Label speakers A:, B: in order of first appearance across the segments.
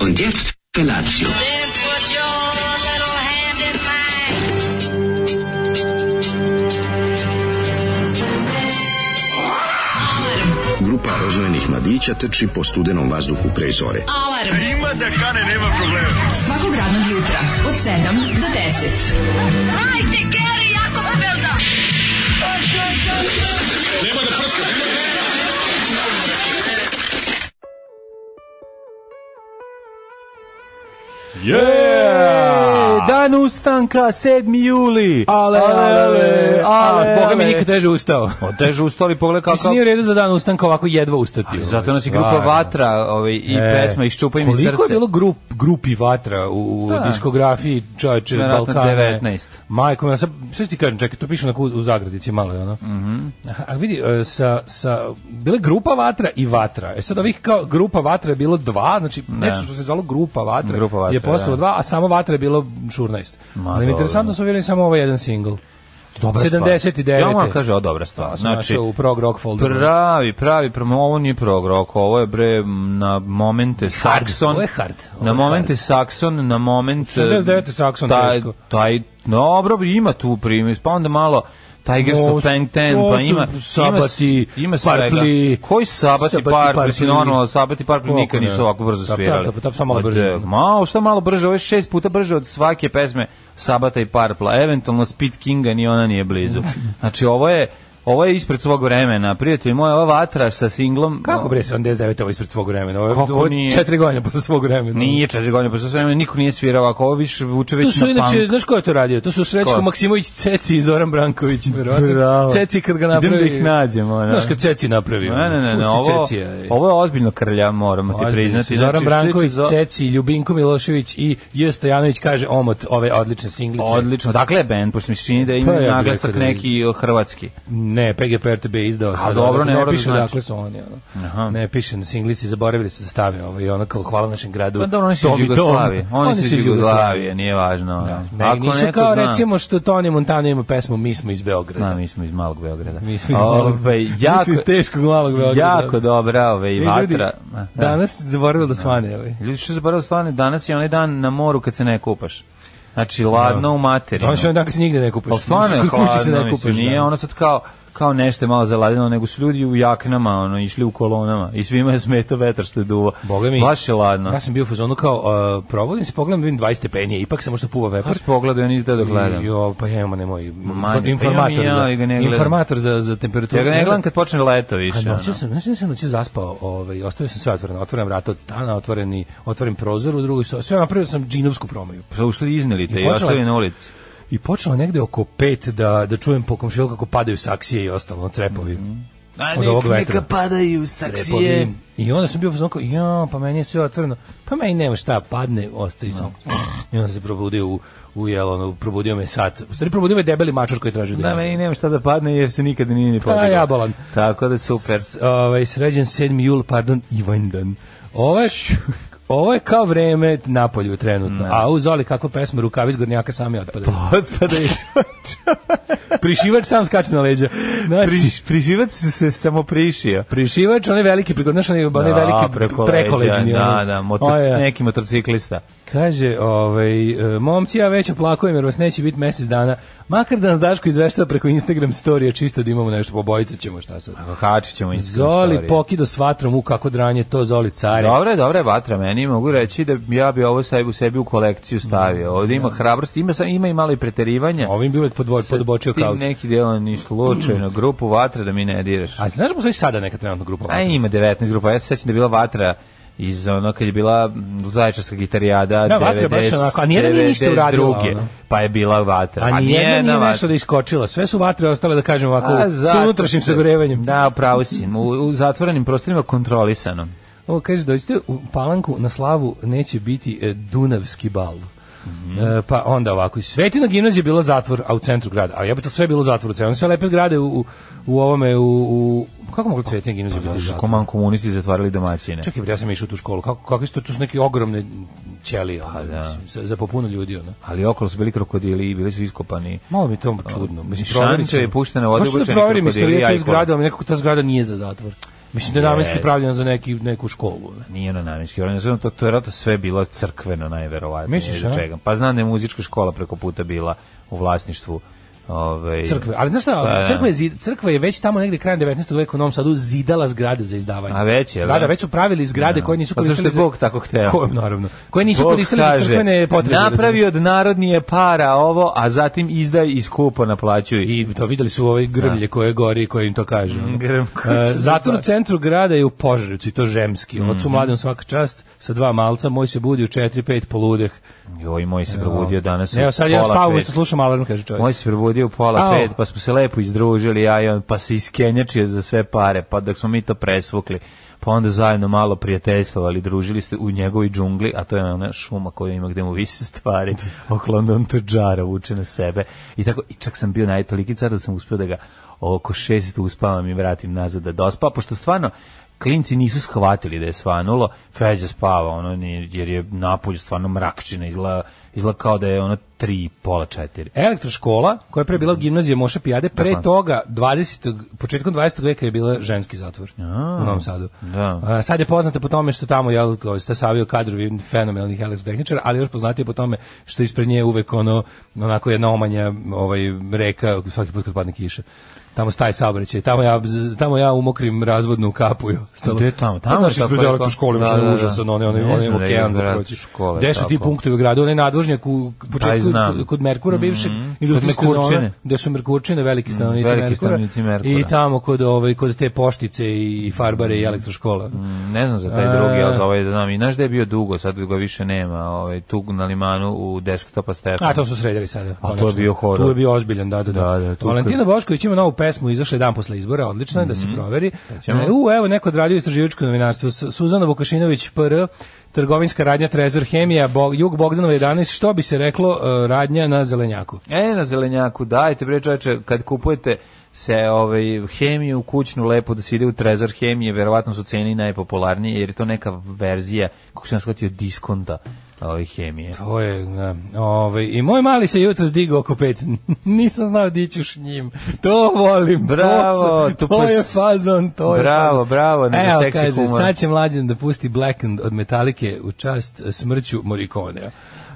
A: Und jetzt Felatio.
B: Then put your little hand in mine.
C: Grupa rozvojenih mladića teči po studenom vazduhu pre zore.
D: Alarm. A ima da kane, nema problema. Svakog radnog jutra, od 7 do 10.
E: Yeah!
F: Ej, Dan ustanka, 7. juli.
E: Ale, ale, ale, ale,
F: ale.
E: Boga mi nikad teže ustao.
F: Oteže ustali, pogledaj
E: Mislim,
F: kako...
E: nije u redu za dan ustanka ovako jedva ustati.
F: Ali
E: Ovo,
F: zato nas i
E: stvarno.
F: grupa Vatra ovaj, i
E: E,
F: pesma Iščupaj mi srce.
E: Koliko je bilo grup, grupi Vatra u, u
F: Da.
E: diskografiji čovječe
F: Vjerojatno
E: Balkana?
F: 19.
E: Majko, moja, sad, sad ti kažem, čekaj, to piše onako u, u zagradici malo, je ono.
F: Mhm.
E: Aha, A vidi, e, sa, sa, bila je grupa Vatra i Vatra. E sad ovih kao grupa Vatra je bilo dva, znači nešto što se zvalo grupa Vatra,
F: Grupa Vatra,
E: je postalo
F: da.
E: dva, a samo Vatra je bilo 14.
F: Ma,
E: Ali mi je
F: dobro.
E: interesantno su uvjerili samo ovaj jedan singl.
F: Dobra stvar.
E: 79.
F: Ja vam kaže, o, dobra stvar.
E: znači,
F: Znači,
E: u prog rock folderu.
F: pravi, pravi, prvo ovo nije prog rock, ovo je bre na momente Saxon.
E: ovo je hard, ovo
F: Na
E: je
F: momente Saxon, na moment...
E: 89. Saxon
F: taj,
E: teško.
F: taj, dobro, ima tu primis, pa onda malo Tigers
E: Ovo
F: of
E: su-
F: Tank Ten,
E: ovo
F: pa
E: su
F: ima... ima s-
E: Sabati,
F: ima svega.
E: Parpli,
F: Koji Sabati,
E: Sabati,
F: Parpli,
E: Parpli.
F: normalno, Sabati, Parpli
E: Kako
F: nikad
E: ne?
F: nisu ovako brzo
E: Da,
F: svirali.
E: da, da, da, samo malo
F: Ma,
E: brže.
F: de, Malo, šta malo brže, ovo je šest puta brže od svake pesme Sabata i Parpla, eventualno Speed Kinga ni ona nije blizu. Znači ovo je Ovo je ispred svog vremena, prijatelj moj, ova vatra sa singlom...
E: Kako bre 79 ovo je ispred svog vremena? Ovo je-
F: Kako
E: ovo je
F: nije?
E: Četiri godine posle svog vremena.
F: Nije četiri godine, pa sa vremena niko nije svirao ovako, ovo više vuče
E: Tu
F: već na
E: su inače,
F: punk.
E: znaš ko je to radio? To su Srećko
F: Ko?
E: Maksimović, Ceci i Zoran Branković, verovatno.
F: Bravo.
E: Ceci kad ga
F: Idem
E: napravi.
F: da ih nađemo, ono.
E: Znaš kad Ceci napravi. ono,
F: Ne, ne, ne, ne,
E: pusti
F: ovo,
E: Cecija, ej.
F: ovo je ozbiljno krlja, moramo ti
E: Ozbiljno su.
F: priznati.
E: Zoran
F: Znači, što se tiče
E: Branković,
F: za-
E: Ceci, Ljubinko Milošević i J. Stojanović kaže omot ove odlične singlice.
F: Odlično, dakle je band, pošto mi se čini da
E: Pa
F: ima
E: ja bih
F: naglasak
E: rekao da
F: neki hrvatski.
E: Ne, PGP RTB je izdao sad.
F: dobro,
E: ono,
F: ne mora da
E: piše
F: znači.
E: dakle su oni. Ono. Ne piše na singlici, zaboravili su da stave ovo i ono kao hvala našem gradu.
F: Pa dobro, oni su
E: Tom
F: iz
E: i Tom.
F: Jugoslavije. Oni su iz Jugoslavije, nije važno.
E: Da.
F: ono.
E: Ne, nisu
F: neko
E: kao
F: zna-
E: recimo što Toni Montana ima pesmu Mi smo iz Beograda.
F: Da, mi smo iz Malog Beograda.
E: Mi smo iz malog,
F: Ovaj,
E: mi
F: jako,
E: smo iz teškog malog Beograda.
F: jako dobra ove, i
E: I
F: vatra.
E: ljudi,
F: Ma, da.
E: Danas zaboravio da svane ovaj.
F: Ljudi što zaboravili stvarno, danas je onaj dan na moru kad se ne kupaš. Znači, ladno u materinu.
E: Ono što onda se nigde ne kupiš.
F: Ali Pa stvarno je
E: Kod kuće se
F: hladno,
E: ne
F: mislim,
E: kupiš.
F: nije ono sad kao kao nešto je malo zaladino, nego su ljudi u jaknama, ono, išli u kolonama i svima je smetao vetar što je duva.
E: Boga mi.
F: Baš je ladno.
E: Ja sam bio u fazonu kao, uh, provodim se, pogledam, vidim 20 stepenije, ipak samo što puva
F: Ja
E: vepar.
F: sam pogledao, ja nisam da dok gledam.
E: Jo, pa ja imam nemoj.
F: Manje, pa
E: informator,
F: imam i ja, ali
E: za,
F: ga ne gledam.
E: informator za, za temperaturu.
F: Ja ga ne gledam kad počne leto više.
E: A noću
F: ono.
E: sam, znači sam noću zaspao, ovaj, ostavio sam sve otvoreno, otvoram vrata od stana, otvoreni, otvorim prozor u drugoj, so- sve napravio sam džinovsku promaju.
F: Pa ušli izneli te
E: I
F: i
E: počela-
F: ostavi na ulici.
E: I počelo negde oko pet da, da čujem po komšilu kako padaju saksije i ostalo, ono, trepovi.
F: Mhm. A
E: Od ovog vetra.
F: padaju
E: Trepovi. I onda sam bio fazon kao, ja, pa meni je sve otvoreno. Pa meni nema šta, padne, ostaje samo. I onda se probudio u, u jel, ono, probudio me sat. U stvari probudio me debeli mačor koji traži
F: Da, meni nema šta da padne jer se nikada nije ni podigao.
E: jabolan.
F: Tako da super.
E: Pa, S- Ovaj sređen 7. jul, pardon, Ivandan. Ovo je Ovo je kao vreme napolju trenutno. A u Zoli kako pesma rukavi iz gornjaka sami otpadaju.
F: Otpadaju.
E: Znači- Prišivač sam skače na leđa. Znači,
F: Pa. Priš, priživac se samo prišio.
E: prišivač, onaj veliki, preko, znaš, onaj, onaj
F: Da,
E: veliki
F: preko leđa,
E: prekoleđni.
F: Da,
E: onaj.
F: da, motor,
E: O, ja.
F: neki motociklista.
E: Kaže, ovaj, e, momci, ja već oplakujem jer vas neće biti mesec dana. Makar da nas Daško izveštava preko Instagram storija, čisto da imamo nešto, pobojica ćemo, šta sad.
F: Hačić ćemo iz
E: Zoli pokido s vatrom, u kako dranje, to Zoli care.
F: Dobre, dobre vatra, meni mogu reći da ja bi ovo sebi u sebi u kolekciju stavio. Ovde
E: Mm.
F: ima hrabrosti, ima sa- ima i malo i preterivanja.
E: Ovim bi uvek podvoj, podbočio
F: Ti
E: kao
F: neki delo ni slučajno grupu vatra da mi ne diraš.
E: A znaš da postoji sada neka trenutna grupa?
F: A ima 19 grupa. Ja se sećam da je bila Vatra iz ono kad je bila Zaječarska gitarijada
E: Da,
F: 90.
E: Vatra je baš onako, a nijedna nije ništa
F: 92.,
E: uradila, ono.
F: Pa je bila Vatra.
E: A nijedna nije
F: Vatra.
E: nešto da iskočila. Sve su vatre ostale, da kažem ovako,
F: A,
E: sa
F: zato
E: unutrašnjim
F: se-
E: sagorevanjem.
F: Da, pravo si. U, u zatvorenim prostorima kontrolisanom.
E: Ovo kaže, dođite u Palanku, na slavu neće biti e, Dunavski bal.
F: Mhm.
E: E, pa onda ovako, Svetina gimnazija je bila zatvor, a u centru grada, a ja bi to sve bilo u zatvoru, ono sve lepe grade u, u, u ovome, u, u kako mogla Svetina gimnazija biti u
F: Zato što
E: zatvoru?
F: koman komunisti zatvarali domaćine.
E: Čekaj, bre, ja sam išao u tu školu, kako, kako isto, tu su neke ogromne ćelije, ono,
F: Pa da.
E: mislim, za, za popuno ljudi, ono.
F: Ali okolo su bili krokodili i bili su iskopani.
E: Malo mi je to čudno.
F: Šančeva je puštena u vodu,
E: Možda da
F: obučeni
E: proverim
F: krokodili i
E: istoriju te
F: ajkula.
E: zgrade, ali nekako ta zgrada nije za zatvor. Mislim da je namenski
F: Je.
E: pravljena za neki, neku školu. ono, ne.
F: Nije na namenski vremena, zato to, to je vjerojatno sve bilo crkveno najverovatnije.
E: Misliš,
F: za
E: a?
F: čega. Pa znam da je muzička škola preko puta bila u vlasništvu ovaj,
E: Crkve. Ali znaš šta,
F: Pa, da.
E: crkva, je, zid- crkva je već tamo negde krajem 19. veka u Novom Sadu zidala zgrade za izdavanje.
F: A već je,
E: Da,
F: da?
E: da, već su pravili zgrade
F: Da.
E: koje nisu
F: Pa zašto je
E: koristili za-
F: Bog tako hteo?
E: Ko, naravno. Koje nisu
F: Bog
E: koristili za
F: kaže,
E: crkvene potrebe.
F: Napravi od narodnije para ovo, a zatim izdaj i skupo naplaćuj.
E: I to videli su ovaj grmlje koje gori i koje im to kaže. ono.
F: grm koji
E: E,
F: se
E: Zatvor u
F: zatvara.
E: centru grada je u Požarevcu i to žemski.
F: Mhm.
E: Ocu mladom svaka čast sa dva malca, moj se budi u 4-5 poludeh.
F: Joj, moj se probudio danas u
E: Evo sad ja
F: pola
E: spavam,
F: pet.
E: to slušam alarm, kaže čovjek.
F: Moj se probudio u pola
E: Spavao.
F: pet, pa smo se lepo izdružili, ja i on, pa se iskenjačio za sve pare, pa dok smo mi to presvukli, pa onda zajedno malo prijateljstvovali, družili ste u njegovoj džungli, a to je ona šuma koju ima gde mu visi stvari, oko onda on to džara vuče na sebe. I tako, i čak sam bio najtoliki car da sam uspio da ga oko šest uspavam i vratim nazad da dospa, pošto stvarno klinci nisu shvatili da je svanulo, Feđa spava, ono, ni- jer je napolju stvarno mrakčina, izgleda, izgleda kao da je ono tri, pola četiri.
E: Elektroškola, koja je pre bila gimnazija Moša Pijade, pre
F: Aha.
E: toga 20. početkom 20. veka je bila ženski zatvor u Novom Sadu.
F: Da.
E: A, sad je poznata po tome što tamo je stasavio kadrovi fenomenalnih elektrotehničara, ali još poznatije po tome što je ispred nje uvek ono onako jedna omanja ovaj reka svaki put kad padne kiša. Tamo staje saobraćaj. Tamo ja tamo ja umokrim razvodnu kapu. i ostalo.
F: Gde je tamo? Tamo
E: Pa, znaš,
F: je tako
E: ispred
F: neko-
E: elektroškole,
F: Da,
E: mislim,
F: da, da.
E: užasan, ono, one one
F: Ne
E: one
F: znam da je
E: okean za
F: grad
E: proći.
F: škole
E: Gde su ti
F: tako?
E: punktovi u gradu? Onaj nadvožnjak u
F: Taj
E: početku
F: znam. Mhm.
E: kod- kod Merkura bivšeg industrijske
F: Merkurčine. Mhm,
E: zone, gde su Merkurčine veliki stanovnici,
F: veliki
E: Merkura,
F: stanovnici Merkura.
E: i tamo kod ovaj kod te poštice i farbare i elektroškola.
F: Ne znam za taj
E: E.
F: drugi, ali za ovaj da znam. I znaš da je bio dugo, sad ga više nema, ovaj, tu na limanu u desktopa Stefana.
E: A to su sredili sada.
F: to je
E: konačno.
F: bio horor.
E: Tu je bio ozbiljan, da, da, da.
F: Da, da, tu
E: Valentina
F: kad-
E: Bošković ima novu pesmu, izašla je dan posle izbora, odlična je, da se proveri.
F: Mhm. ćemo.
E: E, U, evo, neko odradio istraživačko novinarstvo. S- Suzana Vukašinović, PR, trgovinska radnja Trezor Hemija, Bog, Jug Bogdanova 11, što bi se reklo, e, radnja na zelenjaku.
F: E, na zelenjaku, dajte bre čoveče, kad kupujete se ovaj hemiju kućnu lepo da se ide u trezor hemije, verovatno su cene i najpopularnije jer je to neka verzija kako sam shvatio diskonta ovaj hemije.
E: To je, da. Ovaj, I moj mali se jutro zdigao oko pet. Nisam znao di ćuš njim. To volim. to
F: Bravo,
E: sam- to,
F: tu pa
E: je
F: s-
E: fazon. To je
F: Bravo,
E: fazon.
F: bravo, nego
E: Evo,
F: seksi
E: kaže,
F: humor.
E: sad će mlađan da pusti Blackened od Metalike u čast eh, smrću Morikonea.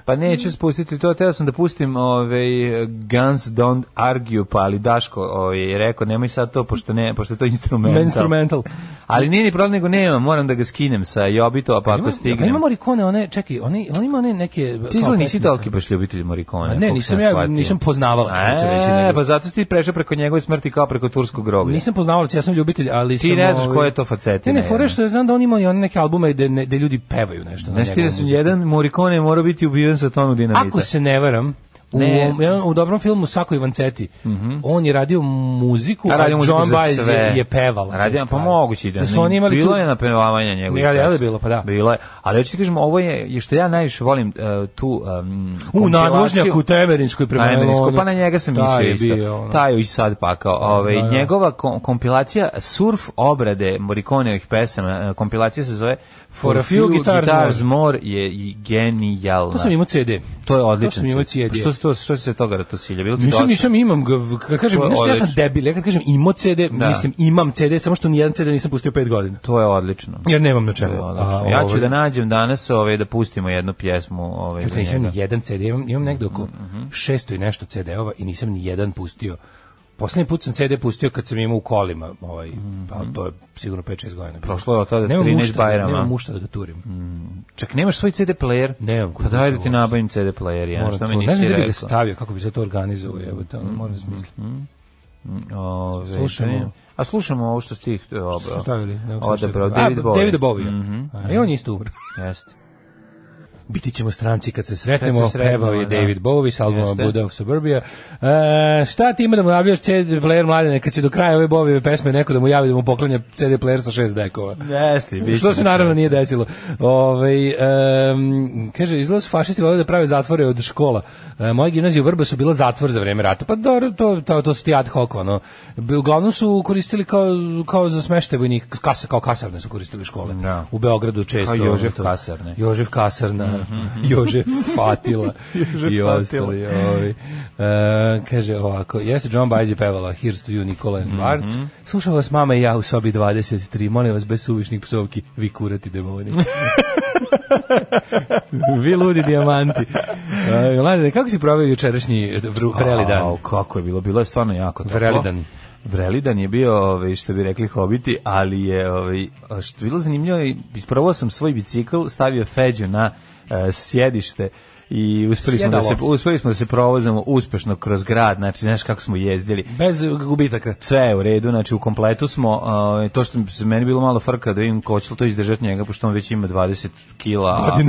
F: Pa neću spustiti to, teo sam da pustim ovaj Guns Don't Argue, pa ali Daško ovaj, je rekao nemoj sad to, pošto, ne, pošto je to instrumental.
E: Instrumental.
F: Ali nije ni problem nego nemam, moram da ga skinem sa Jobito, pa ako stignem.
E: Pa ima Morikone, one, čekaj, oni, on ima one neke... e,
F: Ti
E: kao
F: izgleda nisi
E: pesmice.
F: toliki baš ljubitelj Morikone.
E: A ne, nisam ja, nisam poznavalac, hoću reći,
F: E,
E: nego-
F: pa zato si ti prešao preko njegove smrti kao preko turskog groblja.
E: Nisam poznavalac, ja sam ljubitelj, ali
F: Ti
E: sam,
F: ne znaš
E: ovaj,
F: koje je to facetina,
E: Ne, ne,
F: je,
E: fore
F: ne?
E: što ja znam da on ima i one neke albume gde, ne, gde ljudi pevaju nešto. na
F: Znaš ti
E: njegovu
F: da su
E: muziku.
F: jedan Morikone morao biti ubiven sa tonu dinamita.
E: Ako se ne varam, u,
F: Ne.
E: ovom- jedan- u dobrom filmu Sako Ivancetti, on je radio muziku,
F: A
E: a,
F: radio muziku
E: John
F: za
E: Baez
F: sve.
E: je, je pevala.
F: Radio-
E: te
F: pa
E: stvari.
F: moguće i da.
E: Da su oni imali
F: bilo
E: tu-
F: je napevavanja njegovih.
E: Ja, ja da je
F: pesama.
E: bilo, pa da.
F: Bilo je. Ali hoću ti kažem, ovo je, je što ja najviše volim uh, tu um,
E: U nadvožnjaku u Temerinskoj prema Melonu.
F: pa na njega sam
E: Taj
F: mislio
E: je
F: isto.
E: bio, ono.
F: Taj je i sad pakao. Ovaj,
E: Da, da.
F: Njegova kom- kompilacija surf obrade Morikoneovih pesama, eh, kompilacija se zove For, a few, guitars, more je i genijalna.
E: To sam imao CD.
F: To je odlično.
E: To sam imao CD.
F: Što, se to, što se toga ratosilja? Bilo ti
E: Nisam,
F: dosta?
E: nisam imam ga, v- kad kažem,
F: To je
E: znaš, ja sam
F: odlično.
E: debil, ja kad kažem imao CD,
F: Da.
E: mislim imam CD, samo što nijedan CD nisam pustio pet godina.
F: To je odlično.
E: Jer nemam na čemu.
F: To je odlično.
E: A,
F: ja
E: ovaj,
F: ću da nađem danas ovaj, da pustimo jednu pjesmu ovaj,
E: Ja
F: za
E: nisam ni
F: njega. Mhm,
E: jedan CD, imam, imam negde oko 600 i nešto CD-ova i nisam ni jedan pustio. Poslednji put sam CD pustio kad sam imao u kolima, ovaj, pa to je sigurno 5-6 godina. bilo.
F: Mhm, Prošlo je od tada
E: Nemam
F: 13
E: mušta da-
F: bajrama.
E: Nemam mušta da ga turim.
F: Čak nemaš svoj CD player?
E: Nemam,
F: Pa daj da ti
E: uopšte.
F: nabavim CD player, ja,
E: Moram
F: što
E: to-
F: mi
E: ne
F: nisi
E: znam da bi ga
F: rekao. Mhm,
E: stavio, kako bi se to organizovao, evo, to moram smisliti.
F: Ove,
E: Slušamo.
F: ne. A slušamo ovo što stih e,
E: Što
F: obrao.
E: stavili? Ne,
F: Odabrao,
E: slušaj. A,
F: David Bowie.
E: David Bowie.
F: Mhm.
E: A, I on je isto umro.
F: Jeste.
E: Biti ćemo stranci kad se sretnemo,
F: Kad se sretnemo,
E: pevao je
F: da.
E: David Bowie s albuma
F: Jeste.
E: Buddha of Suburbia. E, šta ti ima da mu nabiješ CD player mladene kad će do kraja ove Bowie pesme neko da mu javi da mu poklanja CD player sa šest dekova?
F: Jeste, biće.
E: Što se naravno nije desilo. Ovaj em, kaže, izlaz fašisti vole da prave zatvore od škola. E, moje gimnazije u Vrba su bila zatvor za vreme rata. Pa dobro, to, to, to su ti ad hoc, ono. Bi- Uglavnom su koristili kao, kao za smešte vojnika, kasa, kao kasarne su koristili škole.
F: Da.
E: U Beogradu često. ono
F: Kao Jožef
E: to-
F: kasarne.
E: Jožef kasarna,
F: Mhm,
E: Jože Fatila
F: Jože
E: i
F: Fatila.
E: ostali. Ovi. E, kaže ovako, jeste John Bajzi pevala Here's to you, Nikola and
F: Mhm.
E: Bart. Slušao vas mama i ja u sobi 23. Molim vas, bez suvišnih psovki, vi kurati demoni. vi ludi dijamanti. E, Mladene, kako si proveo jučerašnji e, vru- vreli dan?
F: Au, kako je bilo, bilo je stvarno jako toplo.
E: Vrelidan.
F: Vrelidan je bio, ovaj, što bi rekli hobiti, ali je, ovaj, što je bilo zanimljivo, je, isprobao sam svoj bicikl, stavio feđu na eh, sjedište i uspeli smo, da se,
E: Sjedalo.
F: uspeli smo da se provozamo uspešno kroz grad, znači, znaš kako smo jezdili.
E: Bez gubitaka.
F: Sve je u redu, znači u kompletu smo, ovaj, to što se meni bilo malo frka da vidim ko će li to izdržati njega, pošto on već ima 20 kila, a,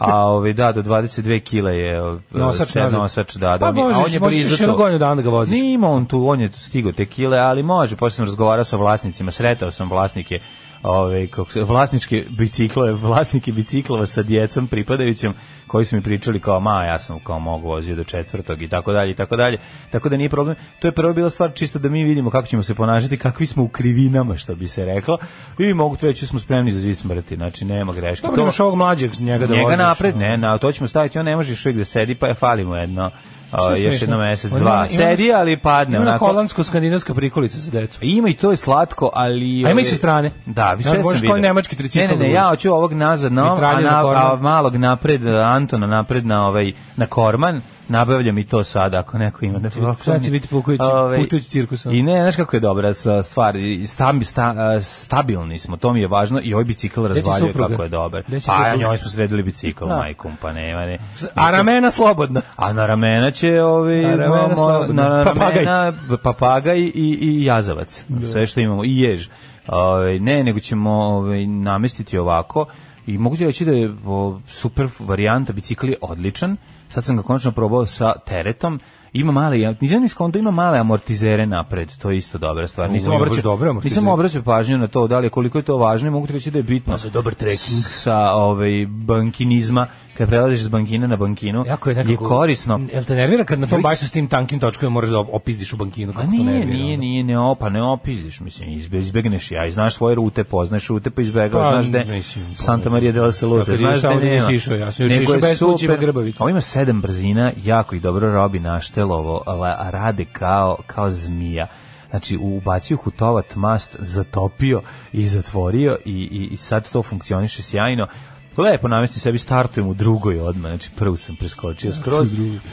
F: a ovaj, da, do 22 kila je ovaj,
E: Nosač
F: sad
E: nazad.
F: nosač, da, da,
E: Pa
F: on je- a
E: možeš-
F: on je
E: možeš
F: blizu
E: još jedno
F: to.
E: godinu dana da ga voziš.
F: Nije imao on tu, on je stigo te kile, ali može, pošto sam razgovarao sa vlasnicima, sretao sam vlasnike ove, kako se, vlasničke biciklove, vlasnike biciklova sa djecom pripadajućim, koji su mi pričali kao, ma, ja sam kao mogu vozio do četvrtog i tako dalje, i tako dalje, tako da nije problem. To je prvo bila stvar čisto da mi vidimo kako ćemo se ponašati, kakvi smo u krivinama, što bi se reklo, i mogu to reći, smo spremni za zid smrti, znači nema greške.
E: Dobro,
F: To-
E: imaš ovog mlađeg njega da
F: njega
E: voziš. ono.
F: napred, ne, na, to ćemo staviti, on ne može još uvijek da sedi, pa je fali mu jedno, a,
E: Što je
F: još
E: smešno?
F: jedno mesec,
E: On ima-
F: dva.
E: ima-
F: Sedi, ali padne,
E: Ima na
F: onako.
E: holandsko-skandinavska prikolica za decu.
F: Ima i to je slatko, ali...
E: A ima i
F: ovaj,
E: sa strane.
F: Da, vi
E: Da,
F: sve sam
E: možeš
F: vidio.
E: kao nemački tricikl
F: Ne, ne,
E: da
F: ne,
E: voziš.
F: ja hoću ovog nazad na, ovom, a,
E: Mitralju na
F: na,
E: korman.
F: a malog napred, Antona napred na, ovaj, na korman, nabavljam i to sada, ako neko ima. Da,
E: Sad će biti pukujući- putujući cirkus, a?
F: I ne, znaš kako je dobra sa- stvar, i stambi, sta, a, stabilni smo, to mi je važno i ovaj bicikl
E: će
F: razvaljuje
E: supruga?
F: kako je dobar.
E: Gde će
F: Pa, ja
E: supruga?
F: njoj smo sredili bicikl,
E: Da.
F: majkom, pa nema ne.
E: A ramena slobodna.
F: A na ramena će ovi
E: Na ramena
F: mo-
E: slobodno.
F: na ramena
E: Papagaj.
F: papagaj i, i jazavac. Sve što imamo i jež. Ovaj, ne, nego ćemo ovaj, namestiti ovako i mogu ti reći da je o, super varijanta, bicikl je odličan. Sad sam ga konačno probao sa teretom. Ima male, nisam ni skonto, ima male amortizere napred, to je isto dobra stvar.
E: U,
F: Nisam
E: ima baš
F: obraćao,
E: dobre amortizere. Pa
F: nisam obraćao pažnju na to, da li je koliko je to važno i mogu ti reći da je bitno.
E: za dobar trekking.
F: Sa ovaj, bankinizma, kad prelaziš s bankine na bankinu,
E: Jako je nekako...
F: korisno.
E: Jel te nervira kad na tom
F: Joj,
E: baš s tim tankim točkama moraš da opizdiš u bankinu?
F: A
E: Kako to
F: Pa nije,
E: nervira,
F: nije,
E: ono?
F: nije, ne opa, ne opizdiš, mislim, izbe, izbegneš ja, i znaš svoje rute, poznaš rute, pa izbegavaš,
E: Pa,
F: znaš gde,
E: mislim, pa,
F: Santa Maria della Salute,
E: Sad kad
F: znaš
E: ideš tamo
F: gde
E: gde
F: nema.
E: nisi išao, ja sam juče
F: Nego
E: išao
F: je
E: bez
F: super.
E: kućiva grbavica.
F: Ovo ima sedam brzina, jako i dobro robi naštelovo, ali rade kao, kao zmija. Znači, ubacio hutovat mast, zatopio i zatvorio i, i, i sad to funkcioniše sjajno. Lepo namestim sebi, startujem u drugoj odmah, znači prvu sam preskočio skroz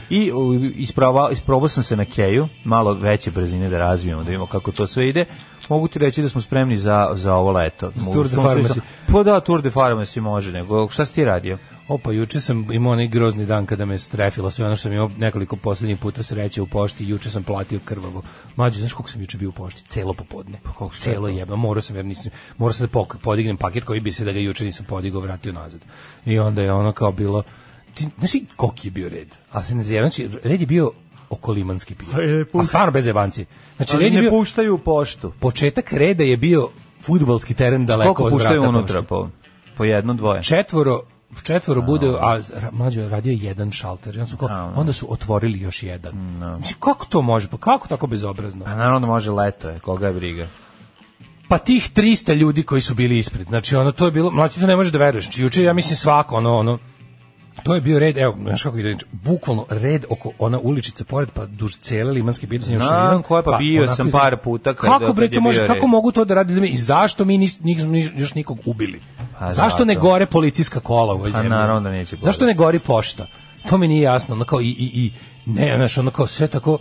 F: i u, isprava, isprobao sam se na keju, malo veće brzine da razvijemo, da vidimo kako to sve ide. Mogu ti reći da smo spremni za, za ovo leto.
E: Tour de Pharmacy.
F: Pa da, Tour de Pharmacy može, nego šta si ti radio?
E: Opa, juče sam imao onaj grozni dan kada me strefilo sve ono što sam imao nekoliko poslednjih puta sreće u pošti, juče sam platio krvavo. Mlađe, znaš koliko sam juče bio u pošti? Celo popodne. Pa koliko Celo jeba, morao sam jer nisam, morao sam da pok- podignem paket koji bi se da ga juče nisam podigao, vratio nazad. I onda je ono kao bilo, ti, znaš i koliki je bio red? Ali se ne zjeva, znači red je bio oko limanski pijac.
F: Pa je,
E: A stvarno bez jebanci. Znači, red je
F: ne
E: bio,
F: puštaju u poštu.
E: početak reda je bio futbalski teren daleko
F: Koliko
E: od
F: puštaju
E: vrata
F: unutra?
E: pošte
F: Po, po jedno, dvoje.
E: četvoro četvoro bude a ra- mlađe je radio jedan šalter i onda su kao- onda su otvorili još jedan mislim kako to može pa kako tako bezobrazno
F: Pa naravno da može leto, je, koga je briga.
E: pa tih 300 ljudi koji su bili ispred znači ono to je bilo mlađe to ne možeš da veruješ znači juče ja mislim svako ono ono To je bio red, evo, znaš kako ide, bukvalno red oko ona uličica pored, pa duž cele Limanske biljce. još
F: Znam
E: jedan,
F: koja, pa bio
E: onako
F: sam
E: izgleda-
F: par puta kad-
E: Kako, bre,
F: kad je
E: to može,
F: bio
E: kako
F: red.
E: mogu to da rade ljudi? I zašto mi nis, nis, nis- još nikog ubili?
F: Pa
E: zašto ne
F: zato.
E: gore policijska kola u ovoj
F: Pa
E: zemlji?
F: naravno da neće
E: Zašto ne gori pošta? To mi nije jasno, ono kao i, i, i ne, znaš, ono kao sve tako,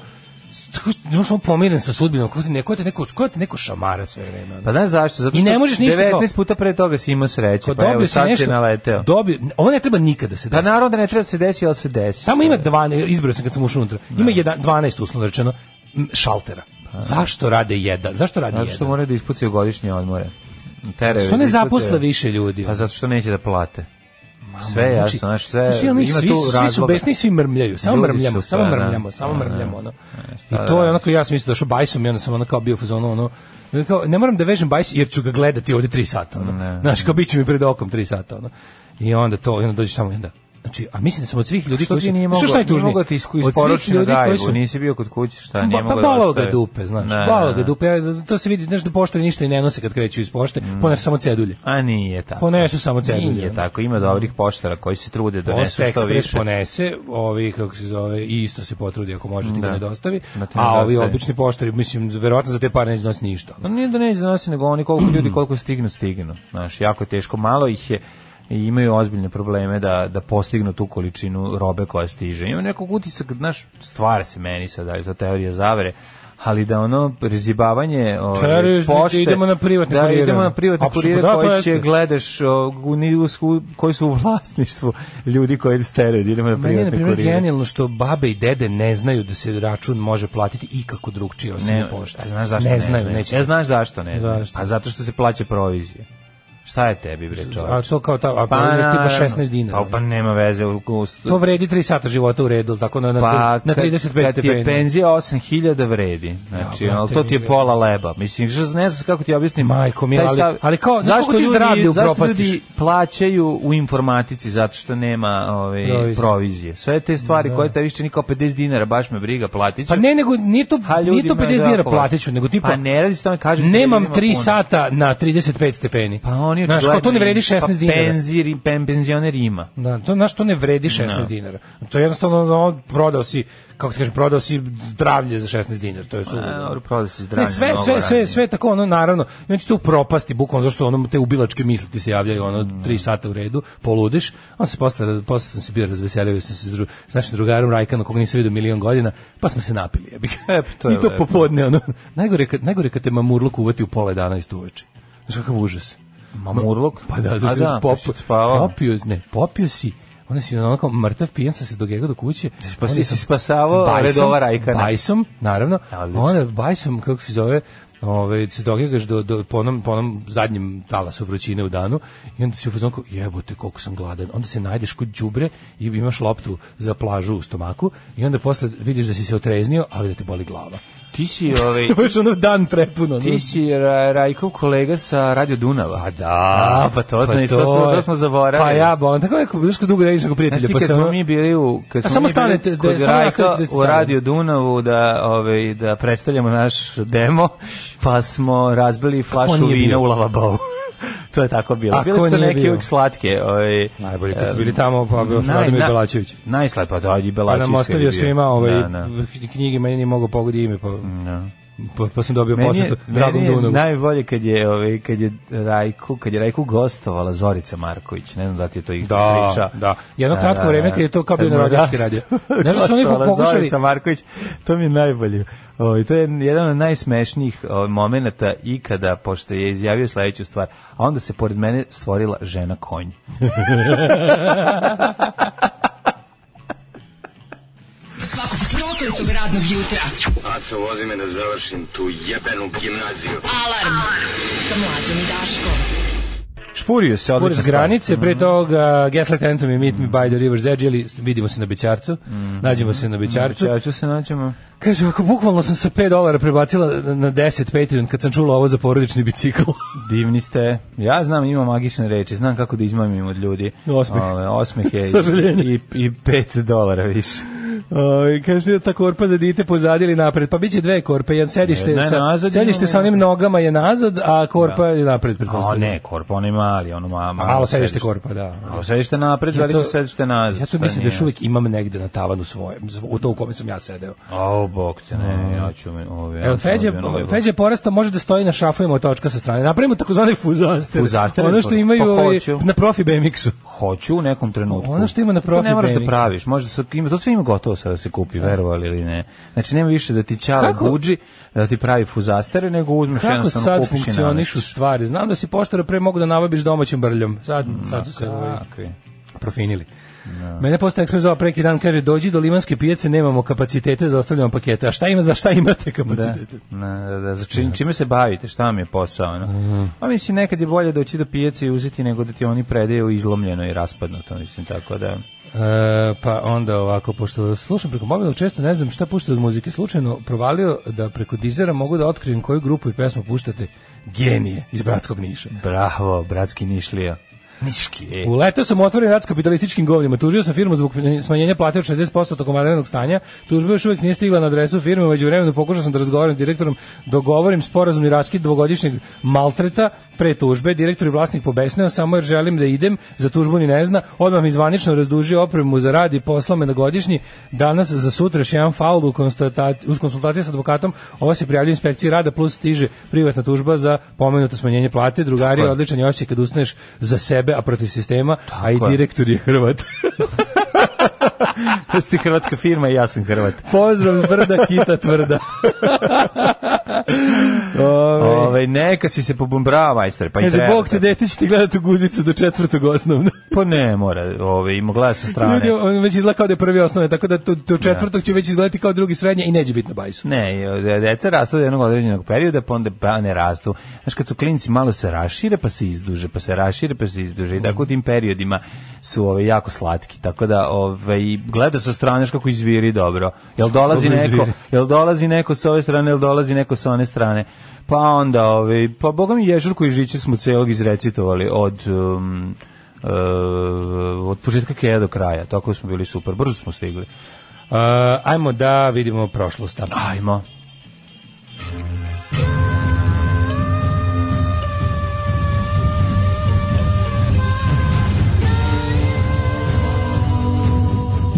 E: tako znaš, ono pomiren sa sudbinom, ko te neko, ko te neko, ko te neko šamara sve vreme. ono.
F: Pa znaš zašto? Zato
E: I
F: što
E: ne možeš ništa kao-
F: 19 puta pre toga si imao sreće,
E: Kao
F: pa evo
E: dobio si
F: sad si
E: nešto-
F: naleteo.
E: Dobio, ovo ne treba nikada se
F: Pa
E: desiti.
F: naravno da ne treba da se desi, ali se desi.
E: Tamo ima 12, izbrao sam kad sam ušao unutra, ima jedan, 12 uslovno rečeno m, šaltera. Zašto rade jedan? Zašto rade
F: Pa. Zato što
E: jedan?
F: moraju da ispucaju godišnje odmore. Teraju
E: Što
F: da
E: ne
F: ispucaju.
E: zaposle više ljudi?
F: Pa zato što neće da plate. Sve je
E: Znači,
F: E, jasno, znaš, sve,
E: znači, ono,
F: ima
E: svi,
F: tu
E: svi su
F: razloga.
E: besni i svi mrmljaju, samo
F: Ljudi
E: mrmljamo,
F: su,
E: samo
F: pa, da.
E: mrmljamo, samo
F: Pa, da.
E: mrmljamo, ono.
F: šta
E: I
F: da
E: to je
F: radiš?
E: onako, ja sam mislio došao bajsom i onda sam ono kao bio u fazonu, ono, kao, ne moram da vežem bajs jer ću ga gledati ovdje tri sata, ono. Znaš, kao bit će mi pred okom tri sata, ono. I onda to, i onda dođeš tamo i onda, Znači, a mislim da sam od svih ljudi
F: Što
E: koji su...
F: ti nije
E: Znaš
F: mogao,
E: šta je
F: nije
E: najtužnije?
F: mogao ti isku-
E: Od svih
F: isporuči na
E: ljudi koji
F: dajbu,
E: su-
F: nisi bio kod kuće, šta,
E: Pa,
F: nije
E: pa
F: mogao
E: bolao ga
F: ostavi.
E: dupe, znaš,
F: Da,
E: bolao
F: da,
E: ga
F: da.
E: dupe, ja- to se vidi, znaš da poštari ništa i ne nose kad kreću iz pošte,
F: Mm.
E: ponese samo cedulje.
F: A nije tako.
E: Ponesu samo cedulje.
F: Nije tako, ima dobrih poštara koji se trude da
E: Post
F: donesu što
E: ekspres
F: više.
E: ponese, ovi kako se zove, i isto se potrudi ako može ti ga
F: Da.
E: ne dostavi,
F: Da ti ne
E: a ovi
F: dostavi.
E: obični poštari, mislim, verovatno za te pare neće nositi ništa.
F: No, nije da neće donosi, nego oni koliko ljudi koliko stignu, stignu. Znaš, jako je teško, malo ih je i imaju ozbiljne probleme da, da postignu tu količinu robe koja stiže. Ima nekog utisak, znaš, stvara se meni sad, da je to teorija zavere, ali da ono prezibavanje ovaj,
E: Teorija,
F: pošte,
E: idemo na privatne
F: da,
E: kurire.
F: idemo na privatne
E: Apsolutno,
F: kurire
E: da, to
F: koji
E: jeste.
F: će gledaš o, u, ni- u sku- koji su u vlasništvu ljudi koji steraju, idemo na
E: Meni je, na
F: privatne
E: primjer,
F: kurire.
E: genijalno što babe i dede ne znaju da se račun može platiti ikako drugčije osim
F: Ne,
E: u pošti.
F: a znaš zašto
E: ne,
F: ne,
E: znaju,
F: znaju?
E: neće.
F: Ne znaš zašto ne znaju?
E: Zašto?
F: Pa zato što se plaća provizija. Šta je tebi, bre, čovječe?
E: A to kao ta, a pa,
F: naravno.
E: tipa 16 dinara.
F: Pa, pa nema veze. U, u,
E: to vredi 3 sata života u redu, ili tako na, na,
F: pa,
E: na 35
F: kad, kad ti je
E: stepeni.
F: penzija 8000 vredi. Znači,
E: Ja,
F: ali
E: brate,
F: to ti je
E: mi-
F: pola leba. Mislim, što ne znam kako ti objasnim.
E: Majko mila,
F: Taj
E: ali-
F: stav-
E: ali kao, znaš koliko ti zdravlje
F: Zašto
E: upropastiš?
F: ljudi plaćaju u informatici zato što nema ove,
E: Provizije.
F: provizije. Sve te stvari koje te više nikao 50 dinara, baš me briga, platit ću.
E: Pa ne, nego nije to,
F: A ljudi
E: nije to
F: me
E: 50 dinara
F: jako-
E: platit ću, nego tipa...
F: Pa ne radi se o tome, kažem ti,
E: Nemam
F: ljudima
E: 3
F: puno.
E: sata na 35 stepeni.
F: Pa oni
E: Znaš, kao to ne vredi 16
F: pa
E: dinara.
F: Penzir, pen, penzioner ima.
E: Da, to znaš to ne vredi 16 dinara. To je jednostavno ono, prodao si, kako ti kažem, prodao si zdravlje za 16 dinara, to je
F: Pa,
E: suludo.
F: dobro, proda se zdravlje.
E: Ne, sve,
F: mnogo
E: sve, sve,
F: ranije.
E: sve je tako ono naravno. I on ti to u propasti bukvalno zašto ono te ubilačke misli ti se javljaju ono
F: Mm.
E: 3 sata u redu, poludiš. On se posle posle sam se bio razveselio jer sam se s dru, s našim drugarom Rajkanom koga nisam video milion godina, pa smo se napili, jebi ga.
F: E, pa to je
E: I to
F: lepo.
E: popodne ono. Najgore je kad najgore je kad te mamurluk uvati u pola 11 uveče. Znaš kakav užas.
F: Mamurluk?
E: Pa da,
F: A
E: znači
F: da,
E: da, pop,
F: pa si spavao.
E: popio, ne, popio si onda si onako mrtav pijan sam se dogegao do kuće.
F: Pa
E: onda
F: si-
E: sam
F: si spasavao redova Rajkana.
E: Bajsom, naravno.
F: Ja, odlično.
E: Onda bajsom, kako se zove, ovaj se dogegaš do, do po onom po onom zadnjem talasu vrućine u danu i onda si u fazonku jebote koliko sam gladan onda se najdeš kod đubre i imaš loptu za plažu u stomaku i onda posle vidiš da si se otreznio ali da te boli glava
F: Ti si, ovaj,
E: baš ono dan prepuno ono.
F: ti si Ra- Rajkov kolega sa Radio Dunava.
E: Pa da.
F: A, pa to znači, to smo-
E: je.
F: to smo zaboravili.
E: Pa ja, bon, tako nekako, znaš kad dugo ne vidiš ako
F: Znaš
E: prijatelja,
F: ti
E: pa
F: kad
E: se ono...
F: smo mi bili u kad
E: A
F: smo
E: samo
F: mi bili
E: stanete, da-
F: kod
E: samo
F: Rajka
E: nastavite da
F: u
E: stanete.
F: Radio Dunavu da ovaj da predstavljamo naš demo pa smo razbili flašu
E: nije
F: vina
E: bio?
F: u lavabou. to je tako bilo.
E: A
F: Bile
E: ko
F: su to
E: nije
F: neke
E: bio?
F: uvijek slatke. Ovaj,
E: Najbolje kad su
F: em,
E: bili tamo, pa bio
F: naj-
E: Radomir
F: na-
E: Belačević.
F: Najslepa, da, i
E: Pa
F: Belačević.
E: nam
F: kad je
E: ostavio
F: bio.
E: svima ovaj,
F: Da, da.
E: knjige, meni nije mogao pogodi ime, pa, pa, pa sam dobio
F: Meni je,
E: posvetu Dragom
F: meni je
E: Dunavu.
F: najbolje kad je, ovaj, kad je Rajku, kad je Rajku gostovala Zorica Marković, ne znam da ti je to ih
E: Da,
F: priča.
E: da. Jedno kratko vreme kad je to kao bio
F: Kad mu
E: narodnjački
F: rast-
E: radio. Znaš što su oni
F: gostovala
E: pokušali-
F: Zorica Marković, to mi je najbolje. Ovaj to je jedan od najsmešnijih ovaj, momenata ikada pošto je izjavio sledeću stvar, a onda se pored mene stvorila žena konj.
D: Svakog prokletog radnog jutra.
C: Aco, vozi me da završim tu jebenu gimnaziju.
D: Alarm. Sa mlađom i Daškom.
F: Špurio se odlično.
E: Pored granice, pre toga Gaslight Anthem i Meet Me by the River's Edge, ili vidimo se na Bećarcu, nađemo se Mhm. na Bećarcu.
F: Ja ću se naćemo.
E: Kaže, ako bukvalno sam sa 5 dolara prebacila na- na 10 Patreon kad sam čula ovo za porodični bicikl.
F: Divni ste. Ja znam, imam magične reči, znam kako da izmamim od ljudi.
E: Osmeh.
F: Ove, osmeh je
E: Sažaljenje.
F: i, i 5 dolara više.
E: Oj, kaže ta korpa za dite pozadi ili napred. Pa biće dve korpe, jedan sedište
F: Jedna je
E: sa
F: nazad,
E: sedište
F: jedna je
E: sa onim nogama je nazad, a korpa
F: Da.
E: je napred
F: A
E: pretpostavljam.
F: ne, korpa, on je mali, ono ma,
E: A malo pa, sedište korpa, da.
F: Malo sedište napred,
E: Ja
F: veliko
E: to-
F: sedište nazad.
E: Ja
F: šta
E: to mislim da
F: nije.
E: još uvijek imam negde na tavanu svoje, u to u kome sam ja sedeo.
F: Au, bog te, ne, ja ono ću mi... Ove,
E: Evo, Feđe, Feđe porasta može da stoji na šafu i motočka sa strane. Napravimo takozvani fuzaster.
F: Fuzaster,
E: Ono što
F: pa
E: imaju ovaj,
F: hoću.
E: na profi BMX-u.
F: Hoću u nekom trenutku.
E: Ono što ima na
F: To
E: profi
F: Ne moraš da
E: Benix.
F: praviš, možda se, ima, to sve ima gotovo sada da se kupi, verovali ili ne. Znači, nema više da ti ćala
E: Kako-
F: guđi, da ti pravi fuzastere, nego uzmeš
E: Kako
F: jednostavno
E: sad
F: kupiš i
E: funkcionišu stvari? Znam da si poštara pre mogu da nabaviš domaćim brljom. Sad,
F: Mm,
E: sad su se ovaj,
F: namestiš. Kakvi?
E: profinili. Mene postaje ekspert zvao preki dan, kaže, dođi do limanske pijace, nemamo kapacitete da ostavljamo pakete. A šta ima, za šta imate
F: Da,
E: kapacitete?
F: na, da, da, za čim, čime se bavite, šta vam je posao? No?
E: Mhm.
F: A mislim, nekad je bolje doći do pijace i uzeti nego da ti oni predeju izlomljeno i raspadnuto, mislim, tako da...
E: E, pa onda ovako, pošto slušam preko mobila, često ne znam šta puštate od muzike. Slučajno provalio da preko dizera mogu da otkrijem koju grupu i pesmu puštate. Genije iz Bratskog Niša.
F: Bravo, bratski Nišlija. Niški, e.
E: Uletao sam u otvoreni rad s kapitalističkim govnima. Tužio sam firmu zbog smanjenja plate od 60% tokom vanrednog stanja. Tužba još uvijek nije stigla na adresu firme. Među vremenu pokušao sam da razgovaram s direktorom. Dogovorim sporazumni raskid dvogodišnjeg maltreta pre tužbe. Direktor i vlasnik pobesneo samo jer želim da idem. Za tužbu ni ne zna. Odmah mi zvanično razdužio opremu za rad i poslao me na godišnji. Danas za sutra još jedan faul u, konstatati- uz konsultaciji sa advokatom. Ovo se prijavljuje inspekciji rada plus stiže privatna tužba za pomenuto smanjenje plate. Drugari,
F: je.
E: odličan je osjećaj kad ustaneš za sebe, a protiv sistema, a i
F: je.
E: direktor je Hrvat.
F: Jesi ti hrvatska firma i ja sam Hrvat.
E: Pozdrav s brda, kita tvrda. Ove,
F: Ove, Ovaj, neka si se pobumbrava, majstore, pa i
E: Ovaj. kaže,
F: treba.
E: Bog te dete će ti gledati u guzicu do četvrtog osnovna.
F: Pa ne, mora, ove, ima gleda sa strane.
E: Ljudi, on već izgleda kao da je prvi osnovne, tako da to- do četvrtog će već izgledati kao drugi srednje i neće biti na bajsu.
F: Ne, de- deca rastu od jednog određenog perioda, pa onda pa ne rastu. Znaš, kad su klinci malo se rašire, pa se izduže, pa se rašire, pa se izduže. I tako u tim periodima su ove, jako slatki. Tako da, ove, i gleda sa strane znaš kako izviri dobro. Jel dolazi
E: Dobro
F: neko,
E: izviri.
F: jel dolazi neko s ove strane, jel dolazi neko s one strane. Pa onda, ove, pa boga mi Ježurku i Žiće smo celog izrecitovali od... um, e, od početka Keja do kraja, tako smo bili super, brzo smo stigli.
E: Uh, ajmo da vidimo prošlost. tamo.
F: Ajmo.